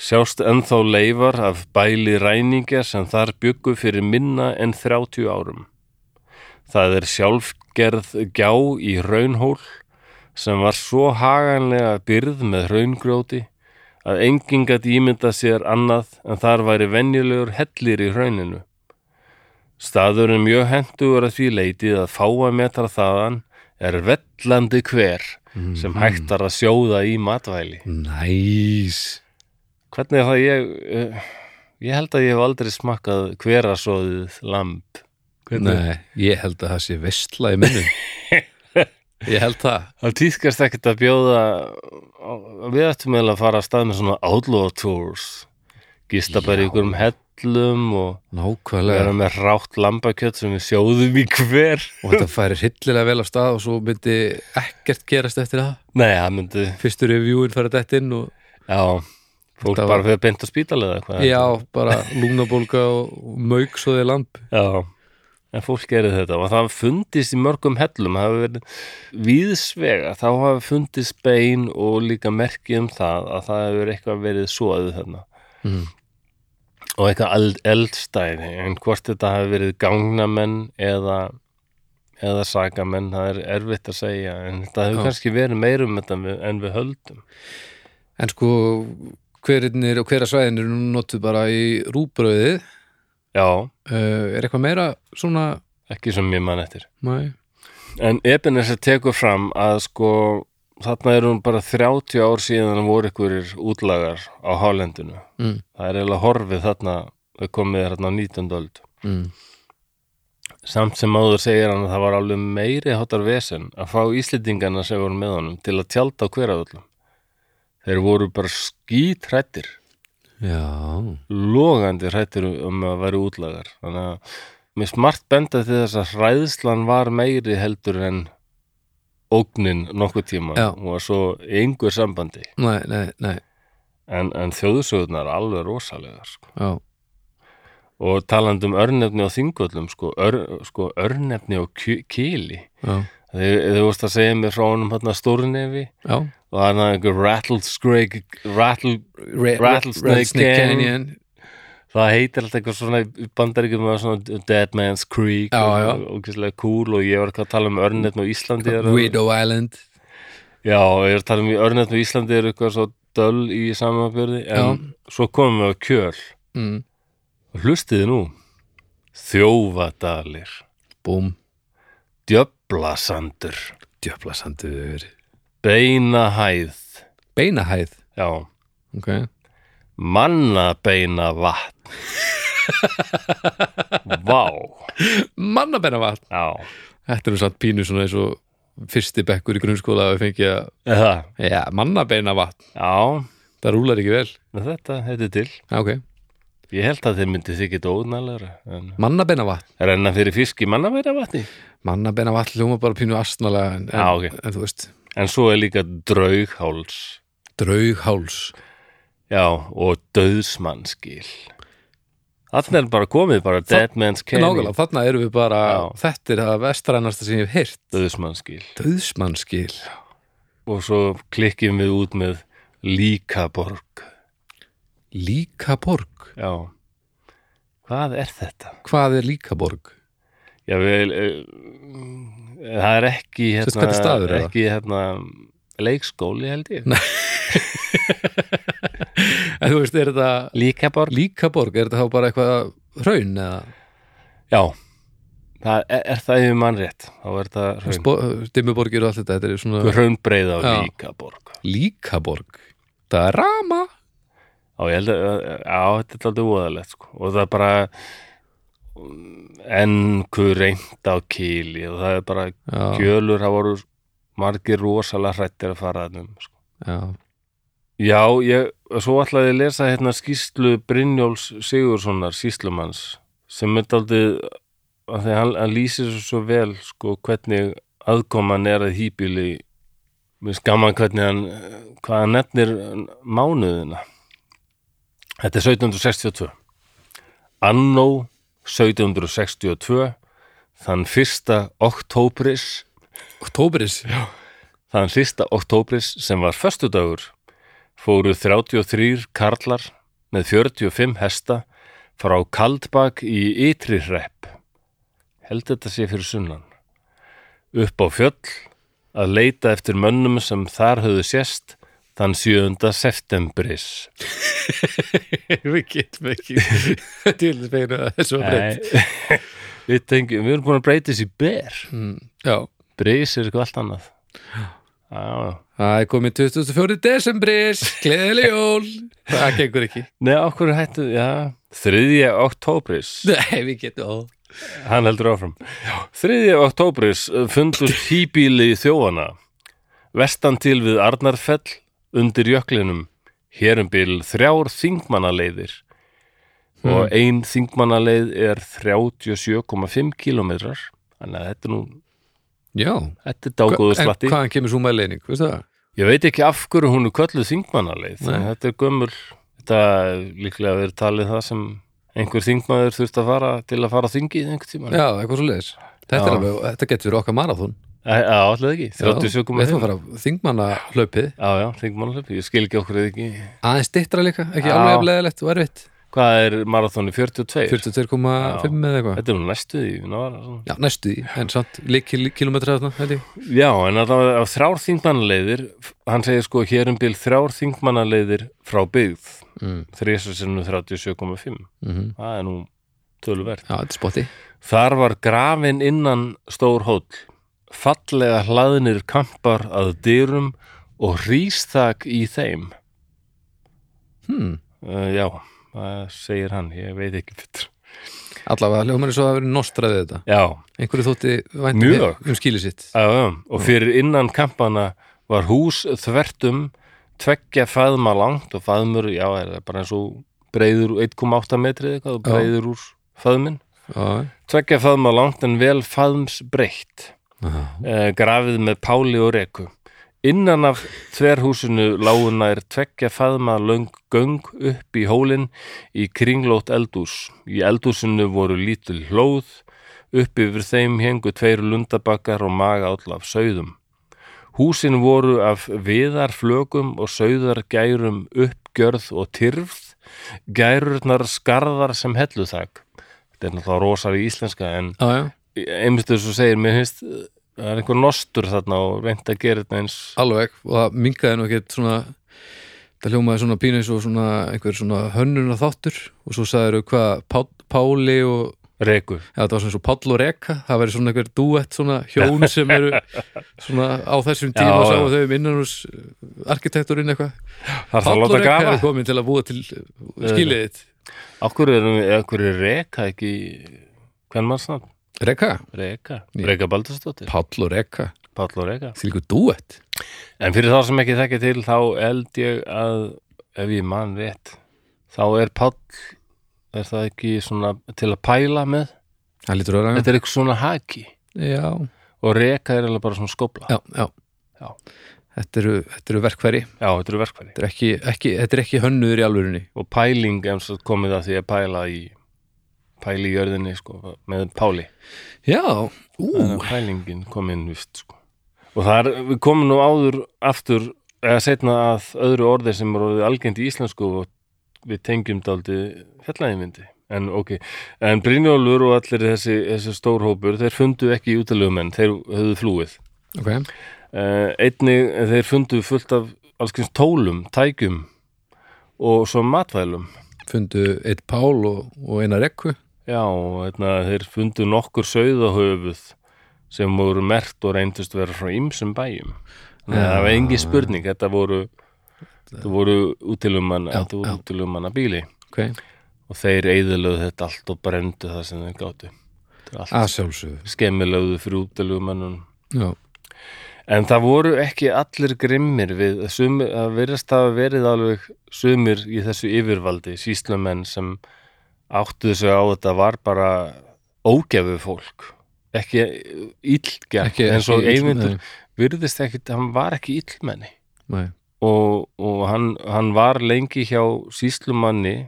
S1: sjást ennþá leifar af bæli ræningja sem þar byggu fyrir minna en 30 árum. Það er sjálfgerð gjá í raunhól sem var svo haganlega byrð með hraungrjóti að enginn gætt ímynda sér annað en þar væri venjulegur hellir í hrauninu. Staðurinn mjög hentugur að því leitið að fáa metra þaðan er vellandi hver sem hægtar að sjóða í matvæli.
S2: Næs
S1: Hvernig er það ég... eh, Ég held að ég hef aldrei smakkað hverasóðið lamb.
S2: Nei, ég held að það sé vestla í minnum *laughs* Ég held það
S1: Það týðkast ekkert að bjóða við ættum eða að fara að stað með svona outlaw tours gista bara í
S2: Já.
S1: einhverjum hellum og vera
S2: Nákvæmlega
S1: með rátt lambakjött sem við sjóðum í hver
S2: Og þetta færi hryllilega vel af stað og svo myndi ekkert gerast eftir það
S1: Nei, það myndi,
S2: Fyrstu reviewin færi þetta inn og
S1: já fólk
S2: Þetta var-
S1: bara fyrir beint á spítalið eða eitthvað
S2: já, bara lungnabólga og mauk svo þeir lamp
S1: Já, en fólk gerir þetta og það hafa fundist í mörgum hellum það hafa verið víðsvega þá hafa fundist bein og líka merki um það að það hefur eitthvað verið svoðu þarna
S2: Mm.
S1: og eitthvað eld, eldstæði en hvort þetta hafi verið gangnamenn eða, eða sakamenn það er erfitt að segja en þetta hefur
S2: Já.
S1: kannski verið meirum þetta en við- en við höldum
S2: En sko, hverinnir og hvera svæðinir nú notuð bara í rúbröðið
S1: Já,
S2: uh, Er eitthvað meira svona
S1: ekki sem ég man eftir
S2: Nei,
S1: En Ebenezer tekur fram að sko þarna eru hún bara 30 ár síðan voru ykkurir útlagar á hálendinu.
S2: mm,
S1: Það er eiginlega horfið þarna þau komið þarna á 19. öld.
S2: mm.
S1: Samt sem áður segir hann að það var alveg meiri hátar vesen að fá íslendingana sem voru með honum til að tjálta á hveraföllum. Þeir voru bara skítrættir,
S2: Já
S1: logandi hrættir um að vera útlagar. Þannig að mér smart benda til þess að hræðslan var meiri heldur en ógnin nokkuð tíma
S2: Já.
S1: og var svo í engu sambandi.
S2: Nei, nei, nei,
S1: En, en þjóðsögurnar er alveg rosalegar sko.
S2: já
S1: og talandi um örnefni og þingöllum sko, ör, sko örnefni og kj- kýli
S2: Já,
S1: þegar þú vorst að segja mér frá honum hérna stórnefi
S2: já.
S1: og hann hafði einhver rattlesnake rattle,
S2: Ra- ra-
S1: Rattlesnake Canyon.
S2: Canyon
S1: það heitir alltaf eitthvað svona í bandaríkjum með svona Dead Man's Creek
S2: Já, já.
S1: og ógeðslega cool og ég var eitthvað að tala um örnefni á Íslandi eru-
S2: Widow Island
S1: já, ég var að tala um örnefni á Íslandi er eitthvað svo döl í samanbyrði en svo komum við á kjöl
S2: mm.
S1: og hlustiði nú þjófadalir
S2: Búm,
S1: Djöblasandur
S2: djöflasandur
S1: Beinahæð
S2: Beinahæð,
S1: Já,
S2: ok
S1: mannabeina
S2: *laughs*
S1: vatn Vá
S2: Mannabennavatn
S1: Já,
S2: Þetta er nú satt pínu svona eins og fyrsti bekkur í grunnskóla að fengja
S1: það,
S2: já, mannabeina vatn,
S1: já
S2: það rúlar ekki vel
S1: en Þetta heitir til
S2: Já, ok,
S1: Ég held að þeir myndi þykir dóðnælega en
S2: mannabeina vatn
S1: renna fyrir fisk í mannabeina vatni
S2: Mannabeina vatn hljóma bara pínu astnalega en,
S1: Já, ok.
S2: en þú veist,
S1: En svo er líka draugháls
S2: draugháls
S1: Já, og döðsmannskil Þannig er bara komið bara Dead Man's Canyon
S2: Nákvæmlega, þarna erum við bara
S1: Já.
S2: þetta er það vestrænasta sem ég hef heyrt
S1: Döðsmannskil
S2: Döðsmannskil
S1: og svo klikkjum við út með líkaborg
S2: Líkaborg,
S1: Já Hvað er þetta?
S2: hvað er Líkaborg?
S1: Já, við, eh, það er ekki
S2: Sérst,
S1: hérna,
S2: hvernig staður er það?
S1: ekki hérna leikskóli held ég
S2: En þú veist, er þetta
S1: Líkaborg
S2: Líkaborg, er þetta þá bara eitthvað hraun eða
S1: Já, það er, er það yfir mann rétt þá er það hraun,
S2: Spo- dimmuborgir og allt þetta, þetta er svona
S1: hraunbreið á
S2: Já.
S1: Líkaborg
S2: Líkaborg Það er rama
S1: Já, ég held að já, þetta er aldrei voðalegt sko. og það er bara enn hver reynd á kýli og það er bara
S2: Já,
S1: kjölur, það voru margir rosalega hrættir að fara þannum sko.
S2: já,
S1: Já, ég, svo ætlaði ég að lesa hérna skýslu Brynjóls Sigurssonar, síslumanns, sem er daldið, að því hann, hann lýsir svo, svo vel, sko, hvernig aðkoman er að hýbíli, mér skamma hvernig hann, hvað hann nefnir mánuðina. Þetta er 1762. Annó 1762, þann fyrsta októbris,
S2: októberis
S1: þann fyrsta októbris sem var föstudagur fóru 33 karlar með 45 hesta frá Kaldbak í Ytri hrepp. Held þetta sé fyrir sunnan. Upp á fjöll að leita eftir mönnum sem þar höfðu sést þann 7. septembris
S2: *laughs* Við getum
S1: *laughs*
S2: ekki til þess vegna að þessu var breytt.
S1: Nei. við, tengjum, við erum búin að breyta þessi ber
S2: Mm, Já,
S1: bris er eitthvað allt annað Já, já
S2: það er komið 24. desembris, gleðileg jól. Það gengur ekki.
S1: Nei, okkur hættu, já 3. októbris
S2: Nei, við getum, ó.
S1: Hann heldur áfram. 3. októbris eh, fundust hýbíli þjófana. Vestan til við Arnarfell undir jöklinum. Hér um bil þrjár þingmannaleiðir.
S2: Hmm.
S1: Og ein þingmannaleið er 37,5 kilometrar. Þannig að þetta er nú,
S2: Já.
S1: þetta er dágóður
S2: En
S1: slatti.
S2: hvaðan kemur svo maður leining, veistu það?
S1: Ég veit ekki af hverju hún er kölluð þingmannaleið.
S2: Nei.
S1: Nei. Þetta er gömul, þetta er líklega verið talið það sem einhver þingmaður þurft að fara til að fara á þingið einhvern tímann.
S2: Já, eitthvað svo leiðis. Þetta, er
S1: Já.
S2: alveg, þetta getur verið okkar marathón.
S1: Já, allir ekki,
S2: Já, Við
S1: 37,5
S2: ætlum að fara þingmanna hlaupið.
S1: Já, já, þingmálahlaup, ég skil ekki okkur eða ekki
S2: Aðeins dittra líka, ekki
S1: Já.
S2: alveg afleðilegt og erfitt.
S1: Hvað er marathóni
S2: Eh.
S1: 42?
S2: 42,5 eða eitthvað.
S1: Þetta er nú næstu því ná, var það svona.
S2: Já, næstu því, en samt líki kilometra þarna, held ég.
S1: Já, en að það var þrjár þingmannaleiðir Hann segir sko hér um bil þrjár þingmannaleiðir frá byggð
S2: Mm.
S1: Þrísasinu 37,5
S2: Mhm.
S1: Það er nú töluvert
S2: Já, þetta er spotti.
S1: Þar var grafin innan stór hóll Fallega hlaðnir kampar að dyrum og rístak í þeim
S2: Hmm.
S1: uh, Já, það segir hann, ég veit ekki betur
S2: Allavega, hljómar er svo að vera nostraðið þetta.
S1: Já,
S2: Einhverju þótti vænt
S1: Mjög.
S2: um skýli sitt.
S1: Já, já, og fyrir innan kampana var hús þvertum tveggja faðma langt og faðmur, já, er það bara eins og breyður úr 1,8 metri eða eitthvað og
S2: Já.
S1: breyður úr faðmin.
S2: Já.
S1: Tveggja faðma langt en vel faðms breytt,
S2: Já.
S1: eh, grafið með páli og reku. Innan af þverhúsinu láguna er tveggja faðma löng göng upp í hólinn í kringlót eldús. Í eldúsinu voru lítil hlóð, upp yfir þeim hengu tveir lundabakkar og magaáll af sauðum. Húsin voru af viðarflögum og sauðargærum uppgjörð og tyrfð, gærurnar skarðar sem helluþak. Þetta er náttúrulega rosalega íslenska en
S2: Já, já,
S1: einmistu svo segir, mér finnst uh, það er einhver nostur þarna og reynd að gera þetta eins
S2: alveg. Og það mingaði nú ekkert svona, það hljómaði svona pínu eins og svona einhver svona hönnuna þáttur og svo sagðið hvað, Pá, Páli og,
S1: reku.
S2: já, það var svona svo Páll og Reka, það væri svona einhver duett, svona hjón sem *laughs* eru svona á þessum tíma
S1: Já,
S2: og sáu
S1: já.
S2: þau um innanús arkitekturinn eitthvað.
S1: Það er það að
S2: Páll og
S1: láta
S2: Reka
S1: grafa.
S2: eru komin til að búa til skýlið þitt.
S1: Akkur er, akkur er reka ekki, hvern mann snart?
S2: Reka?
S1: Reka.
S2: Ný.
S1: Reka Baldursdóttir,
S2: Páll og Reka.
S1: Páll og Reka.
S2: Því líka duett.
S1: En fyrir þá sem ekki þekki til þá held ég að ef ég mann rétt þá er pall er það ekki svona til að pæla með
S2: Það lítur að ræða.
S1: þetta er eitthvað svona haki
S2: Já,
S1: og reka er eiginlega bara svona skópla já,
S2: já, já.
S1: Já.
S2: Þetta eru, þetta eru verkfæri.
S1: þetta eru verkfæri
S2: Þetta er ekki, ekki, þetta er ekki hönnuður í alvörunni.
S1: og pæling eins og komið að því að pæla í pæli í jörðinni sko með páli
S2: Já, ú,
S1: Þannig að pælingin kom inn vist sko og það er, við komum nú áður aftur eða setna að öðru orði sem er orðið algengt í íslensku og við tengjum daldi fjallæðinvindi en ok, en Brynjólfur og allir þessi, þessi stórhópur þeir fundu ekki útilegumenn, þeir höfðu flúið
S2: ok.
S1: uh, einnig þeir fundu fullt af alls kyns tólum, tækjum og svo matvælum
S2: Fundu eitt pál og, og eina rekku.
S1: Já, og hérna, þeir fundu nokkur sauðahöfuð sem voru mert og reyndust vera frá ymsum bæjum. Þannig að
S2: Já.
S1: það var engi spurning, þetta voru, þetta voru útilumanna,
S2: Já,
S1: þetta voru
S2: já.
S1: útilumanna bíli
S2: Ok.
S1: og þeir eyðilöðu þetta allt og brendu það sem þeir gáttu. Þetta er
S2: Að
S1: Allt
S2: sjálfsögðu.
S1: skemmilöðu fyrir útilumannun.
S2: Já,
S1: En það voru ekki allir grimmir við, sumir, það verðast hafa verið alveg sumir í þessu yfirvaldi, síslumenn sem áttu þessu á þetta var bara ógefu fólk, ekki illgjarn,
S2: Ekki-
S1: eins og
S2: ekki ill-
S1: Eyvindur
S2: nei.
S1: virðist ekki, hann var ekki illmenni
S2: næ.
S1: og, og hann, hann var lengi hjá síslumanni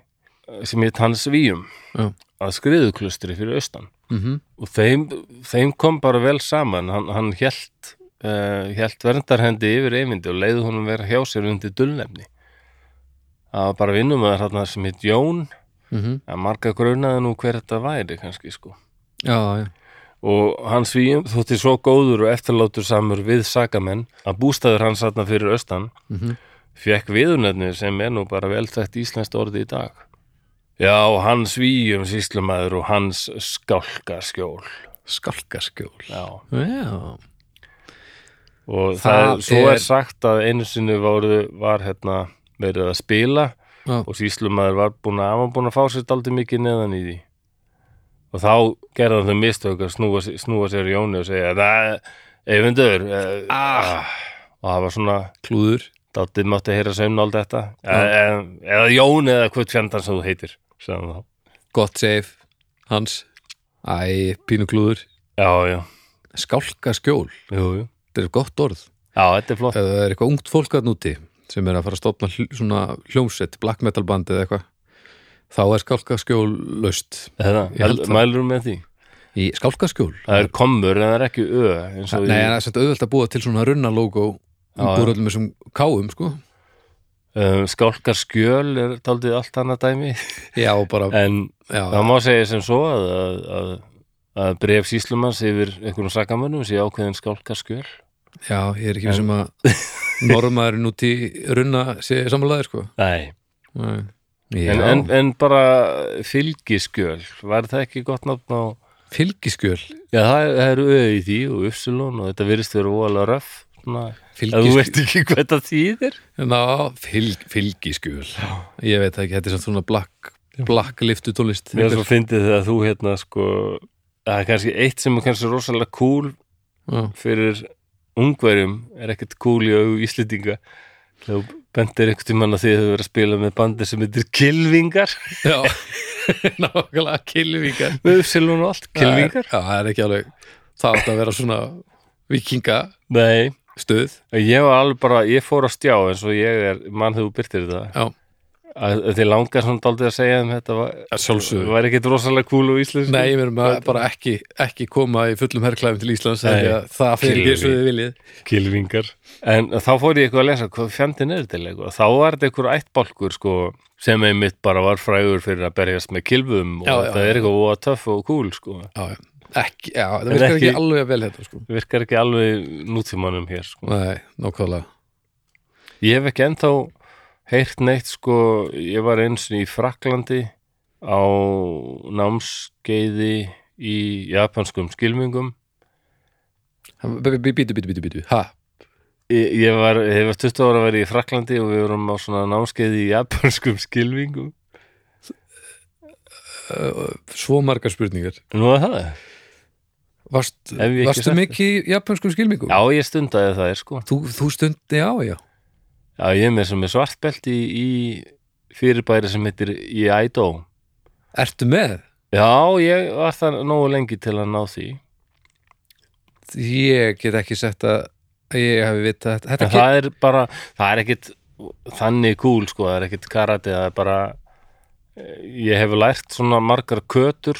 S1: sem heit Hans Víum
S2: Já.
S1: að skriðuklustri fyrir austan
S2: Mm -hmm.
S1: og þeim, þeim kom bara vel saman hann, hann hélt uh, hélt verndarhendi yfir eyvindi og leiði honum vera hjá sér undir dullnefni það var bara vinnum að þarna sem hitt Jón
S2: Mm -hmm.
S1: að marga grunaði nú hver þetta væri kannski sko
S2: Já, já.
S1: og hann svíum þótti svo góður og eftirlátur samur við sakamenn að bústæður hans satna fyrir austan
S2: mm
S1: fekk viðunefni sem er nú bara velþætt íslenskt orði í dag. Já, hans svíum síslumæður og hans skálkaskjól.
S2: Skalkaskjól
S1: Já.
S2: Já,
S1: Og það,
S2: Það
S1: svo
S2: er-
S1: er sagt að einu sinni voru, var hérna verið að spila
S2: Já.
S1: og síslumæður var búin að, hann var búin að fá sér daldið mikið neðan í því. Og þá gerði hann þau mistök að snúa, sér- snúa sér í Jóni og segja, það, efundur, ah. og það var svona,
S2: klúður
S1: Daldið mátti heyra saumnáld þetta e e- Eða Jón eða hvort fjandan sem þú heitir Sæðan þá
S2: Gott save, hans Æ, pínu klúður
S1: Já, já,
S2: Skálkaskjól,
S1: jú, jú
S2: þetta er gott orð
S1: Já, þetta er flott
S2: Ef það er eitthvað ungt fólk að núti sem er að fara að stopna hl svona hljómsveit black metal band eða eitthvað þá er skálkaskjól laust
S1: Þetta,
S2: Ég held
S1: held-
S2: það.
S1: Mælurum Hérna, með því
S2: í skálkaskjól
S1: Það er komur en það er ekki ö eins og
S2: Nei, en það er svolítið auðvelt að búa til svona runna logo
S1: Já, já.
S2: úr öllum þessum káum sko
S1: í um, Skálkar skjöl er daldið allt annað dæmi
S2: Já, og bara
S1: En
S2: Eh, já,
S1: það má segja sem svo að, að, að, að bref síslumans yfir einhvern sakamönnum sé ákveðin skálkar skjöl
S2: já, ég er ekki við *laughs* sem að normaðurinn út í runna sé samanlega sko
S1: Nei en,
S2: Nei. Já,
S1: en, en bara fylgiskjöl Var það ekki gott nafn á
S2: fylgiskjöl
S1: Já, það það eru auðið í því og uppsilon og þetta virðist verið óalega röf svona, að þú
S2: fylgiskjöl,
S1: veit ekki hvað það þýðir
S2: Ná, fylg, fylgiskjöl ég veit það ekki, þetta er samt svona black black liftu tólist
S1: Mér er svo fyndið þegar þú hérna sko, það er kannski eitt sem er kannski rosalega cool
S2: Já.
S1: fyrir ungverjum er ekkert cool í augu íslendinga þegar þú bendir einhvern tímann að því að þau verið að spila með bandi sem heitir Kilvingar
S2: Já, *laughs* nákvæmlega kilvingar
S1: með uppsilon og allt, Kilvingar
S2: Já, það er ekki alveg Það átt að vera svona vikinga
S1: Nei,
S2: stuð
S1: ég var alveg bara, ég fór að stjá eins og ég er, mann þegar þú byrtir þetta
S2: Já,
S1: að, að þið langar svona daldið að segja um þetta var,
S2: sjálfsögur
S1: var ekkert rosalega cool á íslensku
S2: Nei, ég verðum að bara ekki, ekki koma í fullum herrklæðum til Íslands
S1: Nei.
S2: Nei, Það fyrir
S1: Kylfingar.
S2: því svo þið viljið
S1: Kilvingar En þá fór ég eitthvað að lesa hvað fjandinn er til eitthvað Þá var þetta eitthvað ættbálkur sko sem einmitt bara var frægur fyrir að berjast með kilvum og
S2: Já, já,
S1: það
S2: já.
S1: er eitthvað voða töff og cool sko
S2: Já, já. ekki, já, það virkar ekki,
S1: ekki-
S2: alveg vel þetta sko.
S1: virkar ekki alveg nútímanum hér sko
S2: Nei, nákvæmlega
S1: Ég hef ekki ennþá heyrt neitt sko ég var eins í Fraklandi á námskeiði í japanskum skilmingum
S2: B- b- Bítu, bítu, bítu, bítu Ha,
S1: Ég, ég var, hefur 20 ára verið í Fraklandi og við vorum á svona námskeiði í japanskum *laughs* skilmingum
S2: svo margar spurningar
S1: Nú er það
S2: Varst,
S1: Hef ég ekki
S2: Varstu
S1: sagt
S2: mikið í japanskum skilmingum?
S1: Já, ég stundaði það, sko.
S2: Þú, þú stundi, já, já
S1: Já, ég er með sem er svartbelt í, í fyrirbæri sem heitir Iaido.
S2: Ertu með?
S1: Já, ég var það nógu lengi til að ná því.
S2: ég get ekki sett að ég hafi vitað þetta, þetta
S1: En það er bara, það er ekkit þannig cool, sko, það er ekkit karate, það er bara, eh, ég hef lært svona margar kötur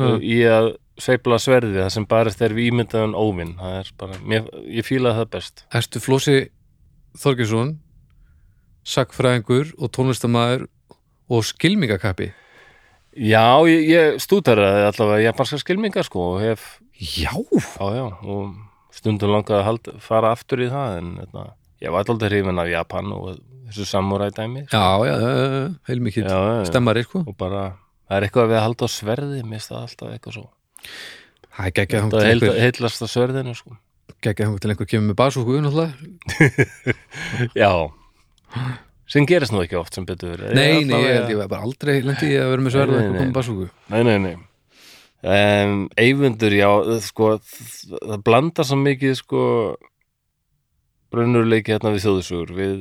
S1: eh,
S2: Mm.
S1: í að sveifla sverði, það sem bara er við ímyndaðan óvinn, það er bara, mér, ég fílaði það best.
S2: get... ertu Flósi Þorgesson sakfræðingur og tónlistamæður og skilmingakappi
S1: Já, ég, ég stúdaraði allavega japanska skilmingar, sko, og hef
S2: já,
S1: Já, já, og stundum langaði að halda, fara aftur í það en þetta, ég var alltaf hrifin af Japan og þessu samúrædæmi
S2: já, já,
S1: Já,
S2: heilmikið
S1: já, já.
S2: stemmari, sko
S1: og bara, það er eitthvað við að halda á sverði mista alltaf eitthvað svo
S2: það er geggjað
S1: það
S2: þangt
S1: heil, heillast að sverðinu
S2: *laughs*
S1: sko
S2: til einhver kemur með basúku náttúrulega.
S1: Já, sem gerist nú ekki oft sem betur verið
S2: nei, nei, ég held ég var bara aldrei lendi ég að vera með sverð
S1: Nei, nei,
S2: og einhver
S1: nei.
S2: komið basúku
S1: Nei, nei, nei um, Eyvindur, já, sko það blandar svo mikið sko brunnuleiki hérna við þjóðusugur við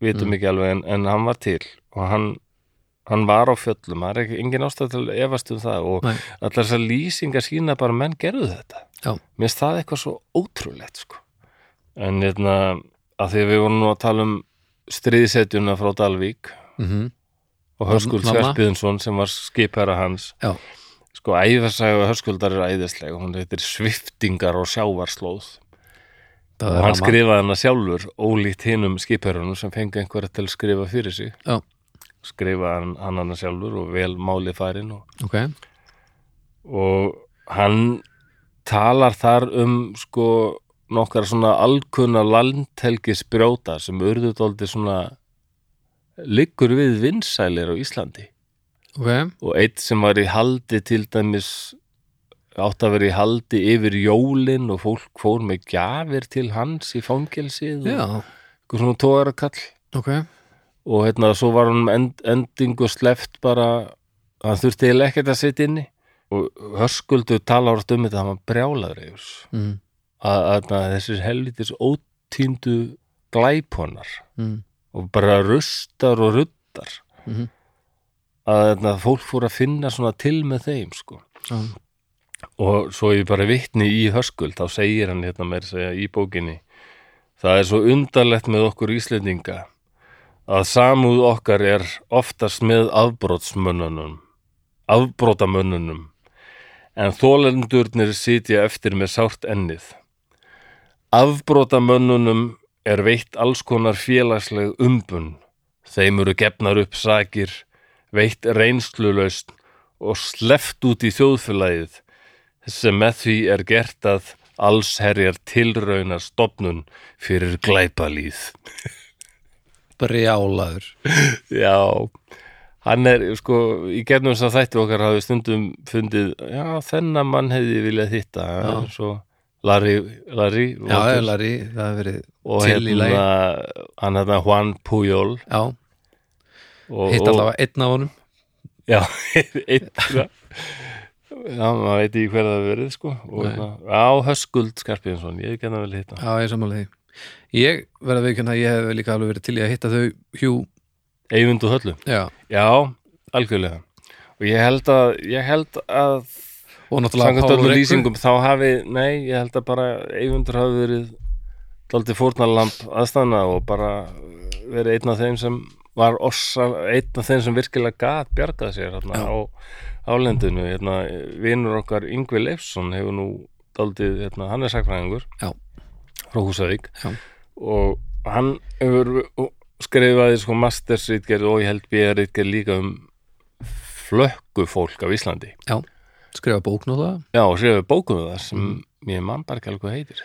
S1: vitum
S2: Mm.
S1: ekki alveg en, en hann var til og hann, hann var á fjöllum það er ekki, engin ástæð til að efast um það og
S2: Nei.
S1: allar þessar lýsingar sína bara menn gerðu þetta
S2: Já.
S1: mér finnst það eitthvað svo ótrúlegt sko en hérna að því að við vorum nú að tala um stríðsetjuna frá Dalvík
S2: mm
S1: og Höskuld
S2: Mamma.
S1: Skarpiðinsson sem var skipherra hans
S2: Já.
S1: sko æfarsaga Höskuldar er æðislega hún heitir Sviftingar og sjávarslóð
S2: það
S1: og
S2: er
S1: hann
S2: ramma.
S1: skrifaði hana sjálfur ólíkt hinum skipherrunum sem fengi einhverja til að skrifa fyrir sig
S2: Já.
S1: skrifaði hann, hann hana sjálfur og vel málið farin og,
S2: ok,
S1: og hann talar þar um sko nokkar svona alkunna landhelgisbrjóta sem urðu dóldi svona liggur við vinsælir á Íslandi
S2: ok,
S1: og eitt sem var í haldi til dæmis átt að vera í haldi yfir jólin og fólk fór með gjafir til hans í fangelsið og
S2: já,
S1: einhver svona tógarakall
S2: ok
S1: og hérna svo var hann end, endingu sleft bara hann þurfti eiginlega ekkert að sitja inni og hörskuldu tala ára um þetta hann var brjálaður yfir þessu.
S2: mm,
S1: að, að, að þessir helvitis ótýndu glæponar
S2: mm,
S1: og bara rustar og ruddar
S2: Mhm.
S1: að, að fólk fór að finna svona til með þeim sko
S2: já,
S1: og svo ég bara vitni í höskuld þá segir hann hérna meir segja í bókinni það er svo undarlegt með okkur Íslendinga að samúð okkar er oftast með afbrotsmönnunum afbrotamönnunum en þólendurnir sitja eftir með sárt ennið afbrotamönnunum er veitt alls konar félagsleg umbun þeim eru gefnar upp sakir veitt reynslulaust og sleft út í þjóðfélagið sem með því er gert að allsherjar tilraunar stopnun fyrir glæpalýð.
S2: brjálaður
S1: Já, hann er, sko, í gegnum þess að þætti okkar hafði stundum fundið, já, þennan mann hefði ég viljað hitta,
S2: Já.
S1: svo Larry, Larry,
S2: já,
S1: Walters
S2: Lari, það hefur verið
S1: og
S2: til í lagi.
S1: hérna, hann hérna Juan Puyol
S2: já,
S1: og,
S2: hitt
S1: og,
S2: allavega einn af honum
S1: já, *laughs* einn, já, já, maður veit í hver það hefur verið, sko, og,
S2: Nei.
S1: hérna, já, Höskuld Skarpinsson, ég hef gennað vel hitta.
S2: já, ég sammála því ég verða viðkjönda að ég hef líka alveg verið til í að hitta þau hjú,
S1: Eyvind og Höllu.
S2: já,
S1: Já, algjörlega og ég held að, ég held að
S2: og náttúrulega
S1: samkvæmt
S2: Pál
S1: öllum
S2: Reykur.
S1: lýsingum þá hafi, nei, ég held að bara eigundur hafi verið daldi fórnarlamp aðstæðna og bara uh, verið einn af þeim sem var ossa, einn af þeim sem virkilega gat bjargað sér hérna,
S2: Já.
S1: á álendinu, hérna, vinur okkar Yngvi Leifsson hefur nú daldið, hérna, hann er sakfræðingur
S2: Já.
S1: frá Húsavík
S2: Já.
S1: og hann hefur skrifaði sko mastersritgerð og ég held bíðarritgerð líka um flökkufólk af Íslandi
S2: skrifa bók náttúrulega
S1: Já, og séu bókum við það sem
S2: Mm.
S1: mér mann bara ekki alveg hvað heitir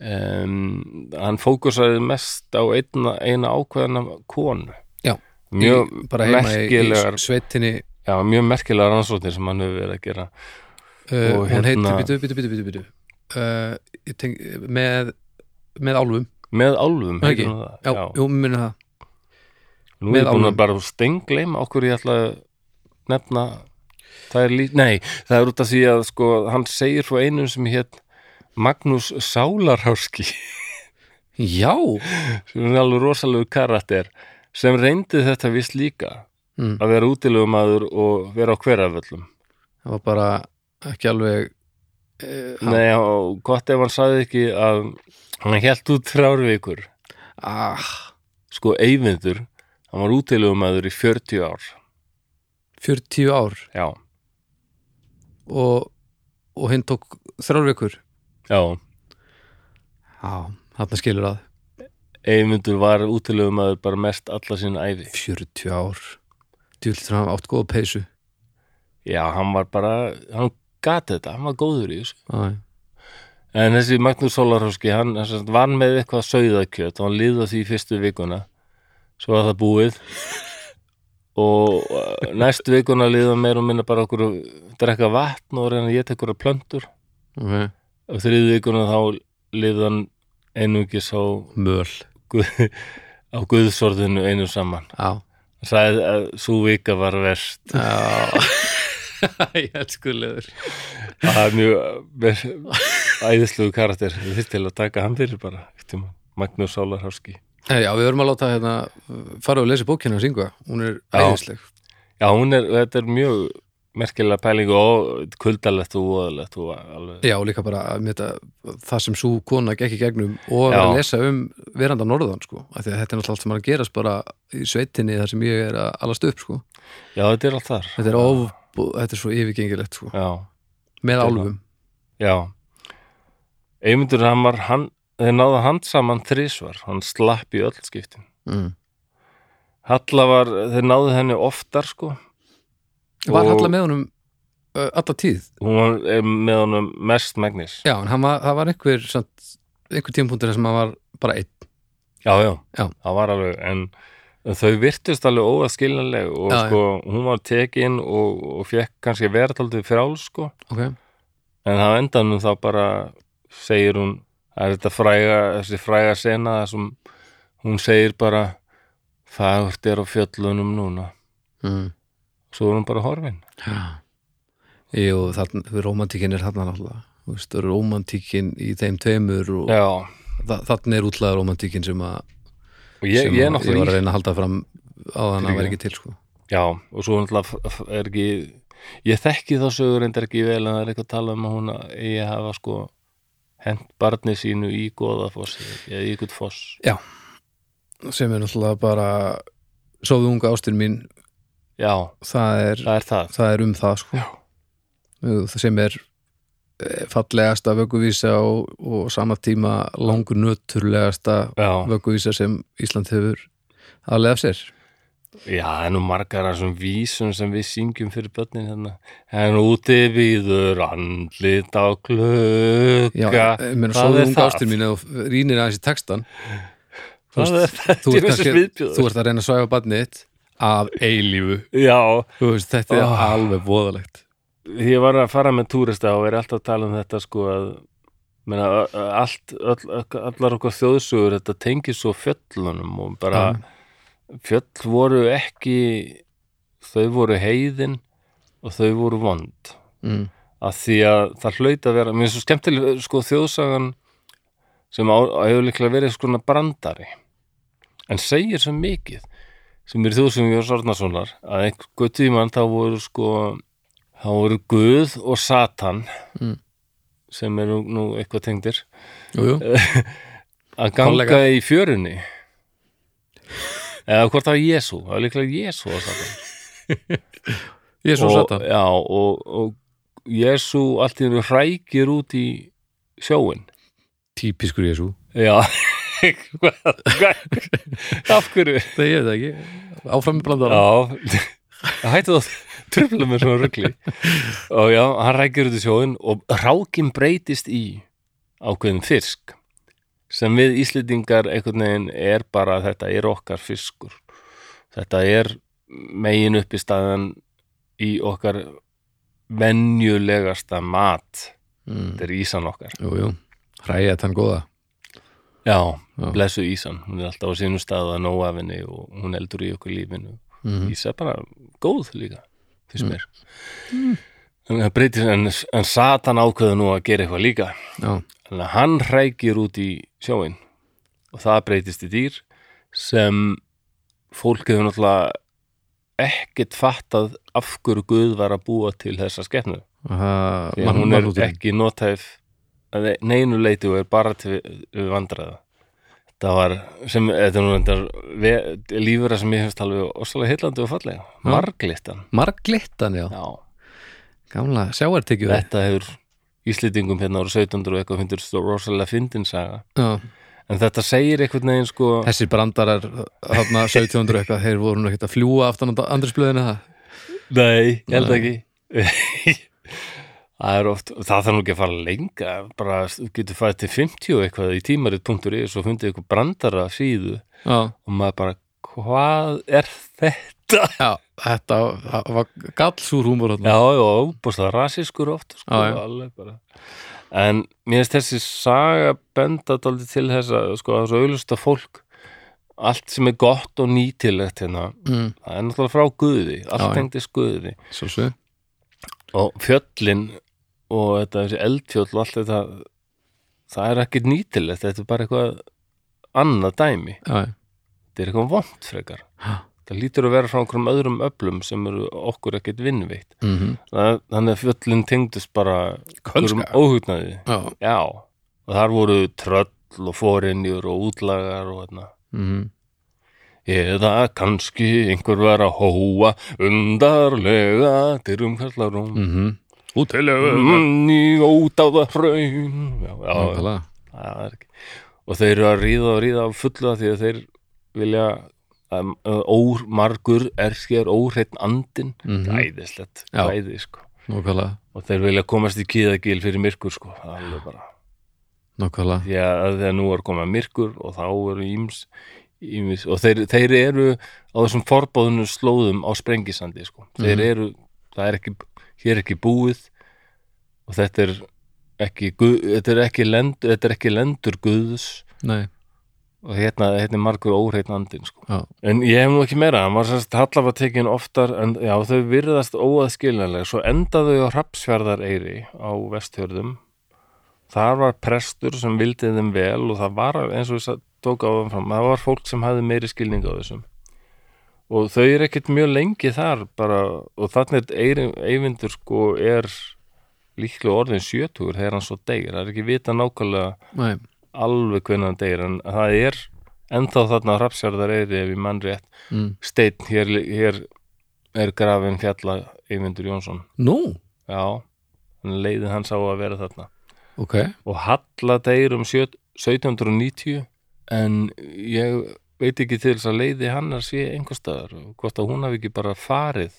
S1: um, Hann fókusaði mest á einna, eina ákveðna konu
S2: Já.
S1: Mjög
S2: Í- bara heima í,
S1: merkilegar
S2: í sveitinni
S1: Já, mjög merkilegar rannsóknir sem hann hefur verið að gera
S2: uh,
S1: Og
S2: hún heitir,
S1: hérna-
S2: bítu, bítu, bítu, bítu, bítu. Uh, ég teng, með með álfum,
S1: Með álfum,
S2: Ekki.
S1: heitir hún það
S2: já, jú, minna það
S1: Nú er
S2: með
S1: ég búin
S2: álfum.
S1: að bara stengleima okkur ég ætla að nefna Það er lí... Nei, það er út af því að sko, hann segir frá einum sem hétt Magnús Sálarháski
S2: já,
S1: sem er alveg rosalegu karakter sem reyndi þetta vist líka
S2: mm,
S1: að vera útilegumæður og vera á hveraföllum
S2: það var bara ekki alveg uh,
S1: Nei, og gott ef hann sagði ekki að hann hélt út þrjár vikur
S2: ah,
S1: sko eyvindur, hann var útilegumæður í 40 ár
S2: 40 ár
S1: já,
S2: og, og hinn tók þrjár vikur
S1: já,
S2: já, þarna skilur að
S1: eyvindur var útilegumæður bara mest alla sína æfi
S2: 40 ár djúltur hann átt góða peysu
S1: já, hann var bara, hann gat þetta hann var góður í þessu
S2: Æ,
S1: En þessi Magnús Sólarhóski, hann hann sem sagt vann með eitthvað sauðakjöt og hann líða því í fyrstu vikuna svo var það búið og eh, næstu vikuna líða meir og minna bara okkur drekka vatn og reyna að geta okkur plöntur
S2: okay.
S1: og þriðu vikuna þá líða hann einungis á,
S2: möl
S1: guð, á guðsorðinu einu saman
S2: já,
S1: hann sagði að svo vika var verst
S2: já. *laughs* ég elskulegur
S1: það er mjög, mjög æðislegu karakter, við þurfum til að taka hann fyrir bara, einhvern tímann. Magnús Sólarhóski
S2: Hey, já, við verðum að láta hérna uh, fara og lesa bókina hans yngva, hún er
S1: Já.
S2: æðisleg
S1: Já, hún er, þetta er mjög merkilega pæling og kuldalegt og óðalegt og alveg.
S2: Já, og líka bara að meta það sem svo kona gekk í gegnum og að
S1: Já.
S2: vera að lesa um veranda norðan sko, af því að þetta er náttúrulega allt sem er að gerast bara í sveitinni þar sem ég er að alast upp sko,
S1: Já, þetta er allt þar.
S2: þetta er of þetta er svo yfirgengilegt sko,
S1: Já,
S2: með
S1: Þetta er
S2: álfum
S1: já. Eymundur Hamar, hann, þeir náðu hand saman þrísvar, hann slapp í öll skiptin.
S2: mm.
S1: Halla var, þeir náðu henni oftar, sko.
S2: Var
S1: Og-
S2: Halla með honum uh, alla tíð
S1: hún var eh, með honum mest megnis
S2: já, en hann var, það var einhver samt, einhver tímapunktur þar sem hann var bara einn
S1: já, já,
S2: Já.
S1: það var alveg en þau virtust alveg óaðskiljanleg og
S2: Já, já.
S1: sko, hún var tekin og, og fekk kannski verðaldið frál sko,
S2: okay.
S1: en það endanum þá bara segir hún það er þetta fræga, þessi fræga sena þar sem hún segir bara fagurt er á fjöllunum núna
S2: mm.
S1: svo er hún bara horfin
S2: Jú, þann, romantíkin er þarna náttúrulega Þú veist, romantíkin í þeim tveimur og
S1: já,
S2: þa- þarna er útlaða romantíkin sem, að,
S1: og ég, ég er
S2: sem að, ég var
S1: náttúrulega
S2: að
S1: í-
S2: reyna að halda fram á þann að vera ekki til sko.
S1: Já, og svo náttúrulega f- f- er ekki ég þekki þá sögur reyndar ekki vel en það er eitthvað að tala um að hún eigi að hafa sko hent barni sínu í goðafoss eða í ykkur foss
S2: sem er náttúrulega bara sofðu unga ástin mín
S1: Já,
S2: það er,
S1: það er það
S2: það er um það sko.
S1: Já.
S2: Jú, það sem er eh, fallegasta vökuvísa og, og sama tíma langur nöturlegasta
S1: Já,
S2: vökuvísa sem Ísland hefur að leða sér
S1: já það er nú margar af þessum vísum sem við syngjum fyrir börnin hérna en úti viður andlit á
S2: Já, eh,
S1: klukka
S2: ég meina,
S1: það
S2: sóðu
S1: er
S2: hún
S1: það.
S2: gástur mín eða rýnir aðeins í textan þú
S1: Það er
S2: veist, þú
S1: þetta
S2: ert
S1: í þessu
S2: kannski- þú
S1: sviðbjóður
S2: ert að reyna að svæfa barnið þitt af eilífu
S1: Já,
S2: Þú veist, þetta er
S1: Ah.
S2: alveg voðalegt
S1: því ég var að fara með túrista og er alltaf að tala um þetta sko að meina, ö- ö- allt, all, allar okkar þjóðsugur þetta tengir svo fjöllunum og bara fjöll voru ekki þau voru heiðin og þau voru vond
S2: mm.
S1: að því að það hlaut að vera mér er svo skemmtileg sko þjóðsagan sem á, á hefur líklega verið sko svona brandari en segir svo mikið sem er þjóðsum Jóns Ornarssonar að einhver tímann þá voru sko þá voru Guð og Satan
S2: Mm.
S1: sem eru nú eitthvað tengdir
S2: jú, jú.
S1: að ganga
S2: Kollegar.
S1: í fjörunni eða hvort það var Jésu það var líklega Jésu og Satan
S2: ég er svo
S1: og,
S2: sata
S1: Já, og, og Jésu allt í hennu hrækir út í sjóin
S2: típiskur ég svo
S1: Já *laughs* Hvað- hvað- Af hverju
S2: það er þetta ekki, áfram með blandara
S1: Já, hættu það *laughs* trufla með svona rugli og já, hann rækir út í sjóin og rákin breytist í ákveðin fisk sem við Íslendingar einhvern veginn er bara þetta er okkar fiskur þetta er megin upp í staðan í okkar venjulegasta mat
S2: mm.
S1: þetta er ísan okkar
S2: jú, jú. hræja þann góða
S1: já,
S2: Já.
S1: blessu ísan, hún er alltaf á sínum stað að nóa af henni og hún eldur í okkur lífinu
S2: mm.
S1: Ísa er bara góð líka finnst mér en það breytir en, en Satan ákveður nú að gera eitthvað líka
S2: já,
S1: þannig að hann hrækir út í sjóin og það breytist í dýr sem fólk hefur náttúrulega ekkert fattað af hverju Guð var að búa til þessa skepnu
S2: Aha,
S1: því
S2: mann-
S1: að hún er
S2: mannúðurinn.
S1: ekki notæf að neinu leiti og er bara til við vandræða þetta var sem, þetta er nú reyndar lífura sem ég hefst alveg óslega heillandi og fallega,
S2: Já.
S1: marglistan
S2: marglittan, já,
S1: já,
S2: gamla sjáartekju
S1: þetta hefur Íslendingum hérna ára 1700 og eitthvað hundur rosalega fyndin saga,
S2: já
S1: en þetta segir einhvern veginn sko,
S2: Þessir brandarar, þarna 1700 eitthvað, þeir voru nú ekkert að fljúa aftan á andrisblöðinu það.
S1: nei, ég held
S2: Nei.
S1: ekki *laughs* það er oft, það þarf nú ekki að fara lengra bara þú getur fæðið til 50 og eitthvað í tímarit.is og fundið eitthvað brandara síðu
S2: Já,
S1: og maður bara, hvað er þetta?
S2: já þetta það var gallsúr húmur
S1: Já,
S2: þarna.
S1: *laughs* já, búinst það rasískur oft sko,
S2: Já, já.
S1: alveg bara En mér finnst þessi saga benda dálítið til þess að sko, það er svo auðlust að fólk allt sem er gott og nýtilegt hérna
S2: Mm,
S1: það er náttúrulega frá Guði,
S2: Já,
S1: allt
S2: já.
S1: tengdist Guði
S2: Sjálfsög.
S1: og fjöllin og þetta þessi eldfjöll og allt þetta það er ekkert nýtilegt, þetta er bara eitthvað annað dæmi,
S2: Já,
S1: þetta er eitthvað vont frekar
S2: já.
S1: það lítur að vera frá einhverjum öðrum öflum sem eru okkur ekkert vinnveitt
S2: Mm
S1: Það- þannig að fjöllin tengdust bara einhverjum
S2: Kölska.
S1: óhugnaði
S2: Já.
S1: já, og þar voru tröll og fórinjur og útlagar og þarna
S2: Mm
S1: eða kannski einhver var að hóa undarlega dyrum kallarum
S2: -hmm. Útilega.
S1: manni út á það hraun já, já, já,
S2: Nákvæmlega.
S1: það er ekki og þeir eru að ríða og ríða á fulla því að þeir vilja um, ómargur er hér óhreitt andin
S2: Mhm.
S1: æðislegt,
S2: Já.
S1: æði sko
S2: Nákvæmlega,
S1: og þeir vilja komast í kýðagil fyrir myrkur sko, alveg bara
S2: nákvæmlega
S1: því að þegar nú er komað myrkur og þá eru íms, íms og þeir, þeir eru á þessum forbóðunum slóðum á sprengisandi sko. þeir
S2: Mhm.
S1: eru, það er ekki hér er ekki búið og þetta er ekki guð, þetta, er ekki lend, þetta er ekki lendur guðs
S2: Nei,
S1: og hérna, hérna er margur óhreinn andinn sko.
S2: já,
S1: en ég hef nú ekki meira, hann var sérst hallafa tekin oftar, en já þau virðast óaðskiljanlega, svo enda þau á Hrapsfjörðar eiri á vestfjörðum þar var prestur sem vildi þeim vel og það var eins og þess að tók á þeim fram, það var fólk sem hafði meiri skilning á þessum og þau eru ekkert mjög lengi þar bara, og þannig er Eyvindur sko er líklega orðin sjötugur þegar hann svo deyr, það er ekki vita nákvæmlega
S2: nei,
S1: alveg hvernig hann deyr en það er ennþá þarna rafsjarðar eiri ef ég mann rétt
S2: mm.
S1: steinn, hér, hér er grafin fjalla Eyvindur Jónsson
S2: Nú,
S1: já, en leiðin hans á að vera þarna
S2: ok
S1: og Halla deyr um sjö- 1790 en ég veit ekki til þess að leiði hannar sé einhver staðar og hvort að hún hafi ekki bara farið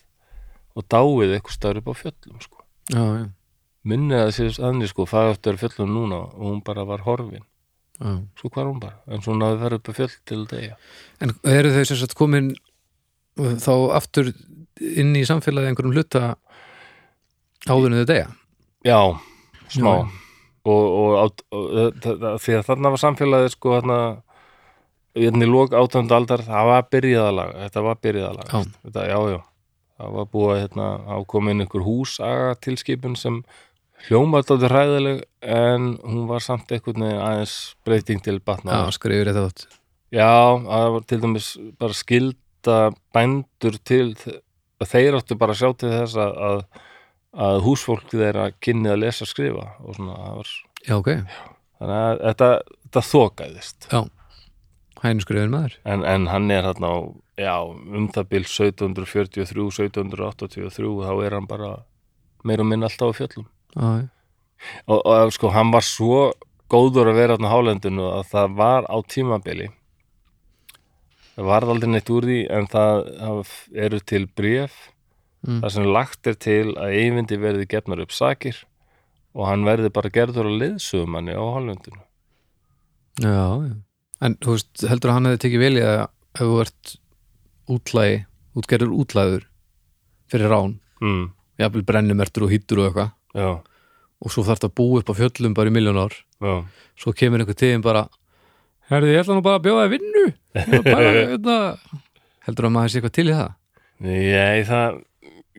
S1: og dáið einhver staðar upp á fjöllum sko.
S2: Já, já,
S1: minni að sé þannig sko, það eftir fjöllum núna og hún bara var horfin
S2: já
S1: svo hvar hún bara, en svo hún hafi verið upp á fjöll til að deyja
S2: En eru þau sem sagt komin uh, þá aftur inn í samfélagi einhverjum hluta áðurinn þau degja?
S1: Já, smá
S2: Já.
S1: og, og, át- og, og þa- þa- því að þarna var samfélagið sko þarna hérna í lók átöndu aldar það var byrjaðalag, þetta var byrjaðalag
S2: Já.
S1: þetta, já, já, það var búið að, hérna, að koma inn ykkur húsaga tilskipun sem hljómaði þáttu hræðileg en hún var samt einhvern veginn aðeins breyting til batna
S2: Já, skrifur þetta átt.
S1: Já, það var til dæmis bara skilda bændur til að þeir áttu bara að sjá til þess að, að, að húsfólk þeirra kynni að lesa og skrifa og svona það var,
S2: Já, ok.
S1: þannig að þetta, þetta þokaðist
S2: Já. Hænu skrifin maður.
S1: en, en hann er þarna á, já, um það bil 1743, 1783 þá er hann bara meir og minn alltaf á fjöllum
S2: Já, já.
S1: og, og sko, hann var svo góður að vera þarna á hálendinu að það var á tímabili það varð aldrei neitt úr því en það, það eru til bréf
S2: Mm.
S1: þar sem lagt er til að eyvindi verði gefnar upp sakir og hann verði bara gerður að liðsugumanni á hálendinu
S2: Já, já. En þú veist, heldur að hann hefði tekið vel í að ef þú ert útlægi, útgerður útlæður fyrir rán,
S1: mm,
S2: jafnvel brennumertur og hýttur og eitthvað
S1: já,
S2: og svo þarf þetta að búa upp á fjöllum bara í miljón ár
S1: já,
S2: svo kemur einhver tíðin bara herði, ég ætla nú bara að bjóða þér vinnu
S1: *laughs*
S2: bara, hérna heldur að maður sé eitthvað til í það
S1: ég, það,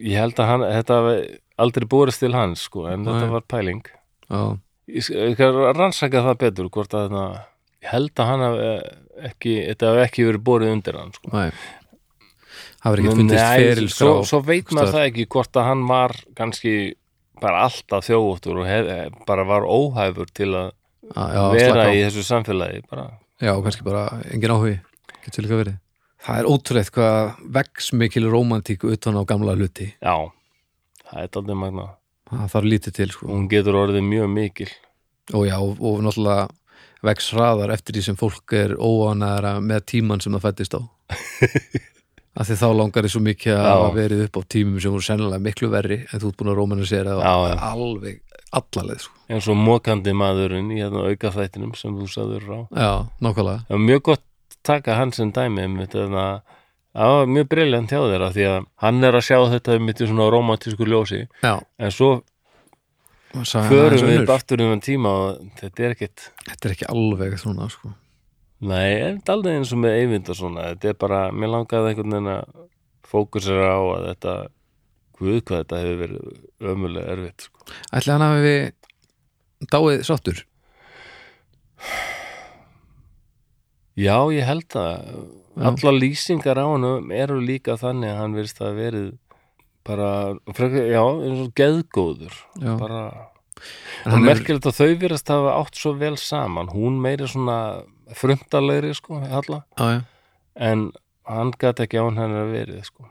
S1: ég held að hann, þetta hafi aldrei borist til hans sko, en
S2: Nei.
S1: þetta var pæling
S2: já,
S1: ég sk- ég skal rannsaka það betur hvort að þetta ég held að hann haf ekki þetta hef ekki verið borið undir hann sko.
S2: næ það verður ekki
S1: Men
S2: fundist
S1: nei,
S2: ferilskrá
S1: svo, svo veit maður
S2: staðar.
S1: það ekki hvort að hann var kannski bara alltaf þjófóttur og hef, eh, bara var óhæfur til að
S2: já, já,
S1: vera
S2: slaka á.
S1: í þessu samfélagi bara.
S2: já, kannski bara engin áhugi getur líka verið það er ótrúlegt hvað vex mikil romantík utan á gamla hluti
S1: já, það er aldrei magna
S2: það þarf lítið til sko
S1: hún getur orðið mjög mikil
S2: og já, og, og náttúrulega vex hraðar eftir því sem fólk er óanæðara með tímann sem það fættist á
S1: *laughs*
S2: af því þá langar þið svo mikið að
S1: Já.
S2: hafa verið upp á tímum sem voru sennilega miklu verri en þú ert búin að rómanisera
S1: Já,
S2: það
S1: já.
S2: alveg allaleg sko.
S1: eins og mókandi maðurinn í hérna auka þættinum sem þú sagður rá
S2: já, nákvæmlega
S1: það var mjög gott taka hann sem dæmi einmitt, þannig að það var mjög briljant hjá þér af því að hann er að sjá þetta mitt í svona romantísku ljósi
S2: já,
S1: en svo
S2: sagan aðeins
S1: förum við
S2: önnur.
S1: upp aftur um þann tíma og þetta er ekkit
S2: þetta er ekki alveg svona sko.
S1: nei, er þetta aldrei eins og með Eyvind og svona þetta er bara, mér langaði einhvern veginn að fókusera á að þetta guð hvað þetta hefur verið ömulega erfitt sko.
S2: ætli hann hafi við dáið sáttur
S1: já, ég held það allar lýsingar á hann eru líka þannig að hann virðist að verið bara, frekar, já, eins og geðgóður
S2: já,
S1: bara,
S2: En
S1: og
S2: hann er,
S1: merkilegt að þau virðast hafa átt svo vel saman hún meiri svona frumtalegri sko, halla,
S2: á, já.
S1: en hann gat ekki án hennar verið sko.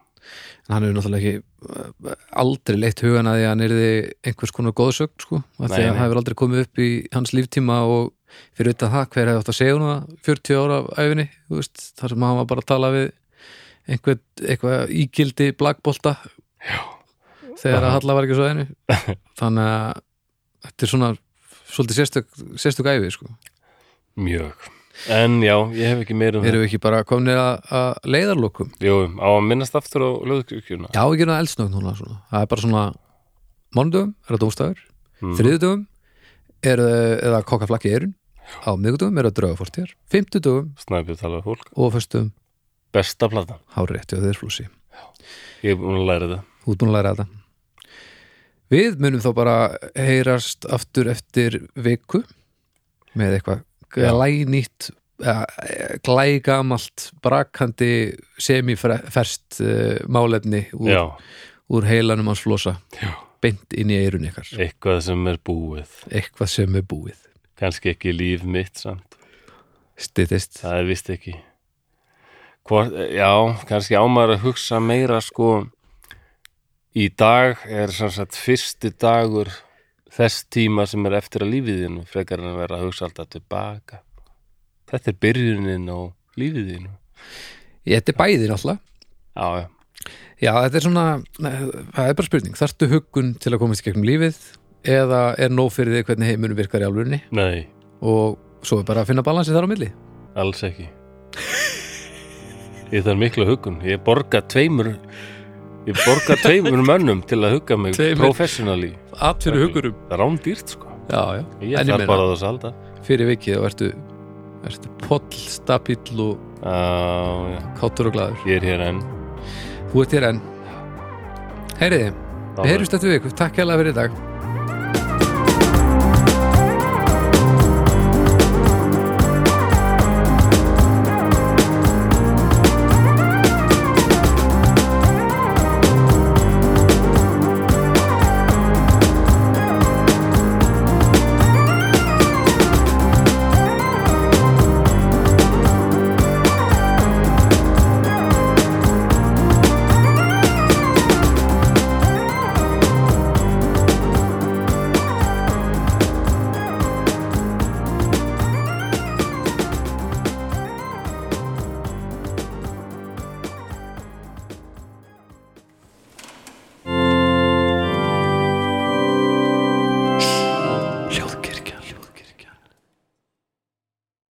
S2: En hann hefur náttúrulega ekki uh, aldrei leitt hugan að því að hann erði einhvers konar góðsögn sko, af því
S1: Nei,
S2: að
S1: nei.
S2: hann hefur aldrei komið upp í hans líftíma og fyrir auðvitað það hver hefði átt að segja hún það 40 ára af æfinni, þú veist, þar sem hann var bara að tala við einhvern, eitthvað ígildi blagbolta þegar að
S1: Aha.
S2: Halla var ekki á svæðinu þannig að þetta er svona svolítið sérstök, sérstök æfi sko.
S1: mjög en já, ég hef ekki meira um
S2: erum við ekki bara komnir að, að leiðarlokum
S1: það jú, á að minnast aftur á löðkirkjuna
S2: já, ekki náða eldsnögn núna svona. það er bara svona mánudöfum, er það dómstæður
S1: Mhm.
S2: mm. þriðudöfum er, eða kokkaflakki erun á miðgudöfum er það draugafortjar, fimmtudöfum
S1: snæpið talað fólk,
S2: og föstum
S1: besta plata
S2: hárétti og þeirflúsi
S1: ég er búin að læra þetta
S2: Þú ert búin að læra þetta Við munum þá bara heyrast aftur eftir viku með eitthvað
S1: Já.
S2: glænýtt eh, glægamalt brakandi semifærst uh, málefni úr,
S1: já,
S2: úr heilanum hans flosa
S1: Já.
S2: beint inn í eirun ykkar
S1: eitthvað sem er búið
S2: eitthvað sem er búið
S1: kannski ekki líf mitt samt
S2: stittist
S1: það er vist ekki Hvort, já, kannski ámar að hugsa meira sko í dag er sem sagt fyrsti dagur þess tíma sem er eftir að lífiðinu frekar en að vera að hugsa alltaf tilbaka þetta er byrjunin á lífiðinu
S2: Ég þetta er bæðin alltaf
S1: já, já,
S2: Já, þetta er svona, eh, það er bara spurning Þartu huggun til að komast í gegnum lífið eða er nóg fyrir þig hvernig heimunum virkar í alvörunni
S1: nei,
S2: og svo er bara að finna balansi þar á milli
S1: alls ekki ég þarf miklu hugun ég borga tveimur ég borga tveimur mönnum til að hugga mig
S2: Tveimur.
S1: professionally,
S2: allt
S1: fyrir
S2: hugurum
S1: það er rándýrt sko
S2: já, já.
S1: ég
S2: En ég
S1: þarf
S2: meina-
S1: bara á þess að halda
S2: fyrir vikið og ertu, ertu poll, stabill og
S1: Já, já,
S2: kátur og glaður
S1: ég er hér enn
S2: hú ert hér enn heyriði, við heyrjumst eftir viku, takk hérlega fyrir í dag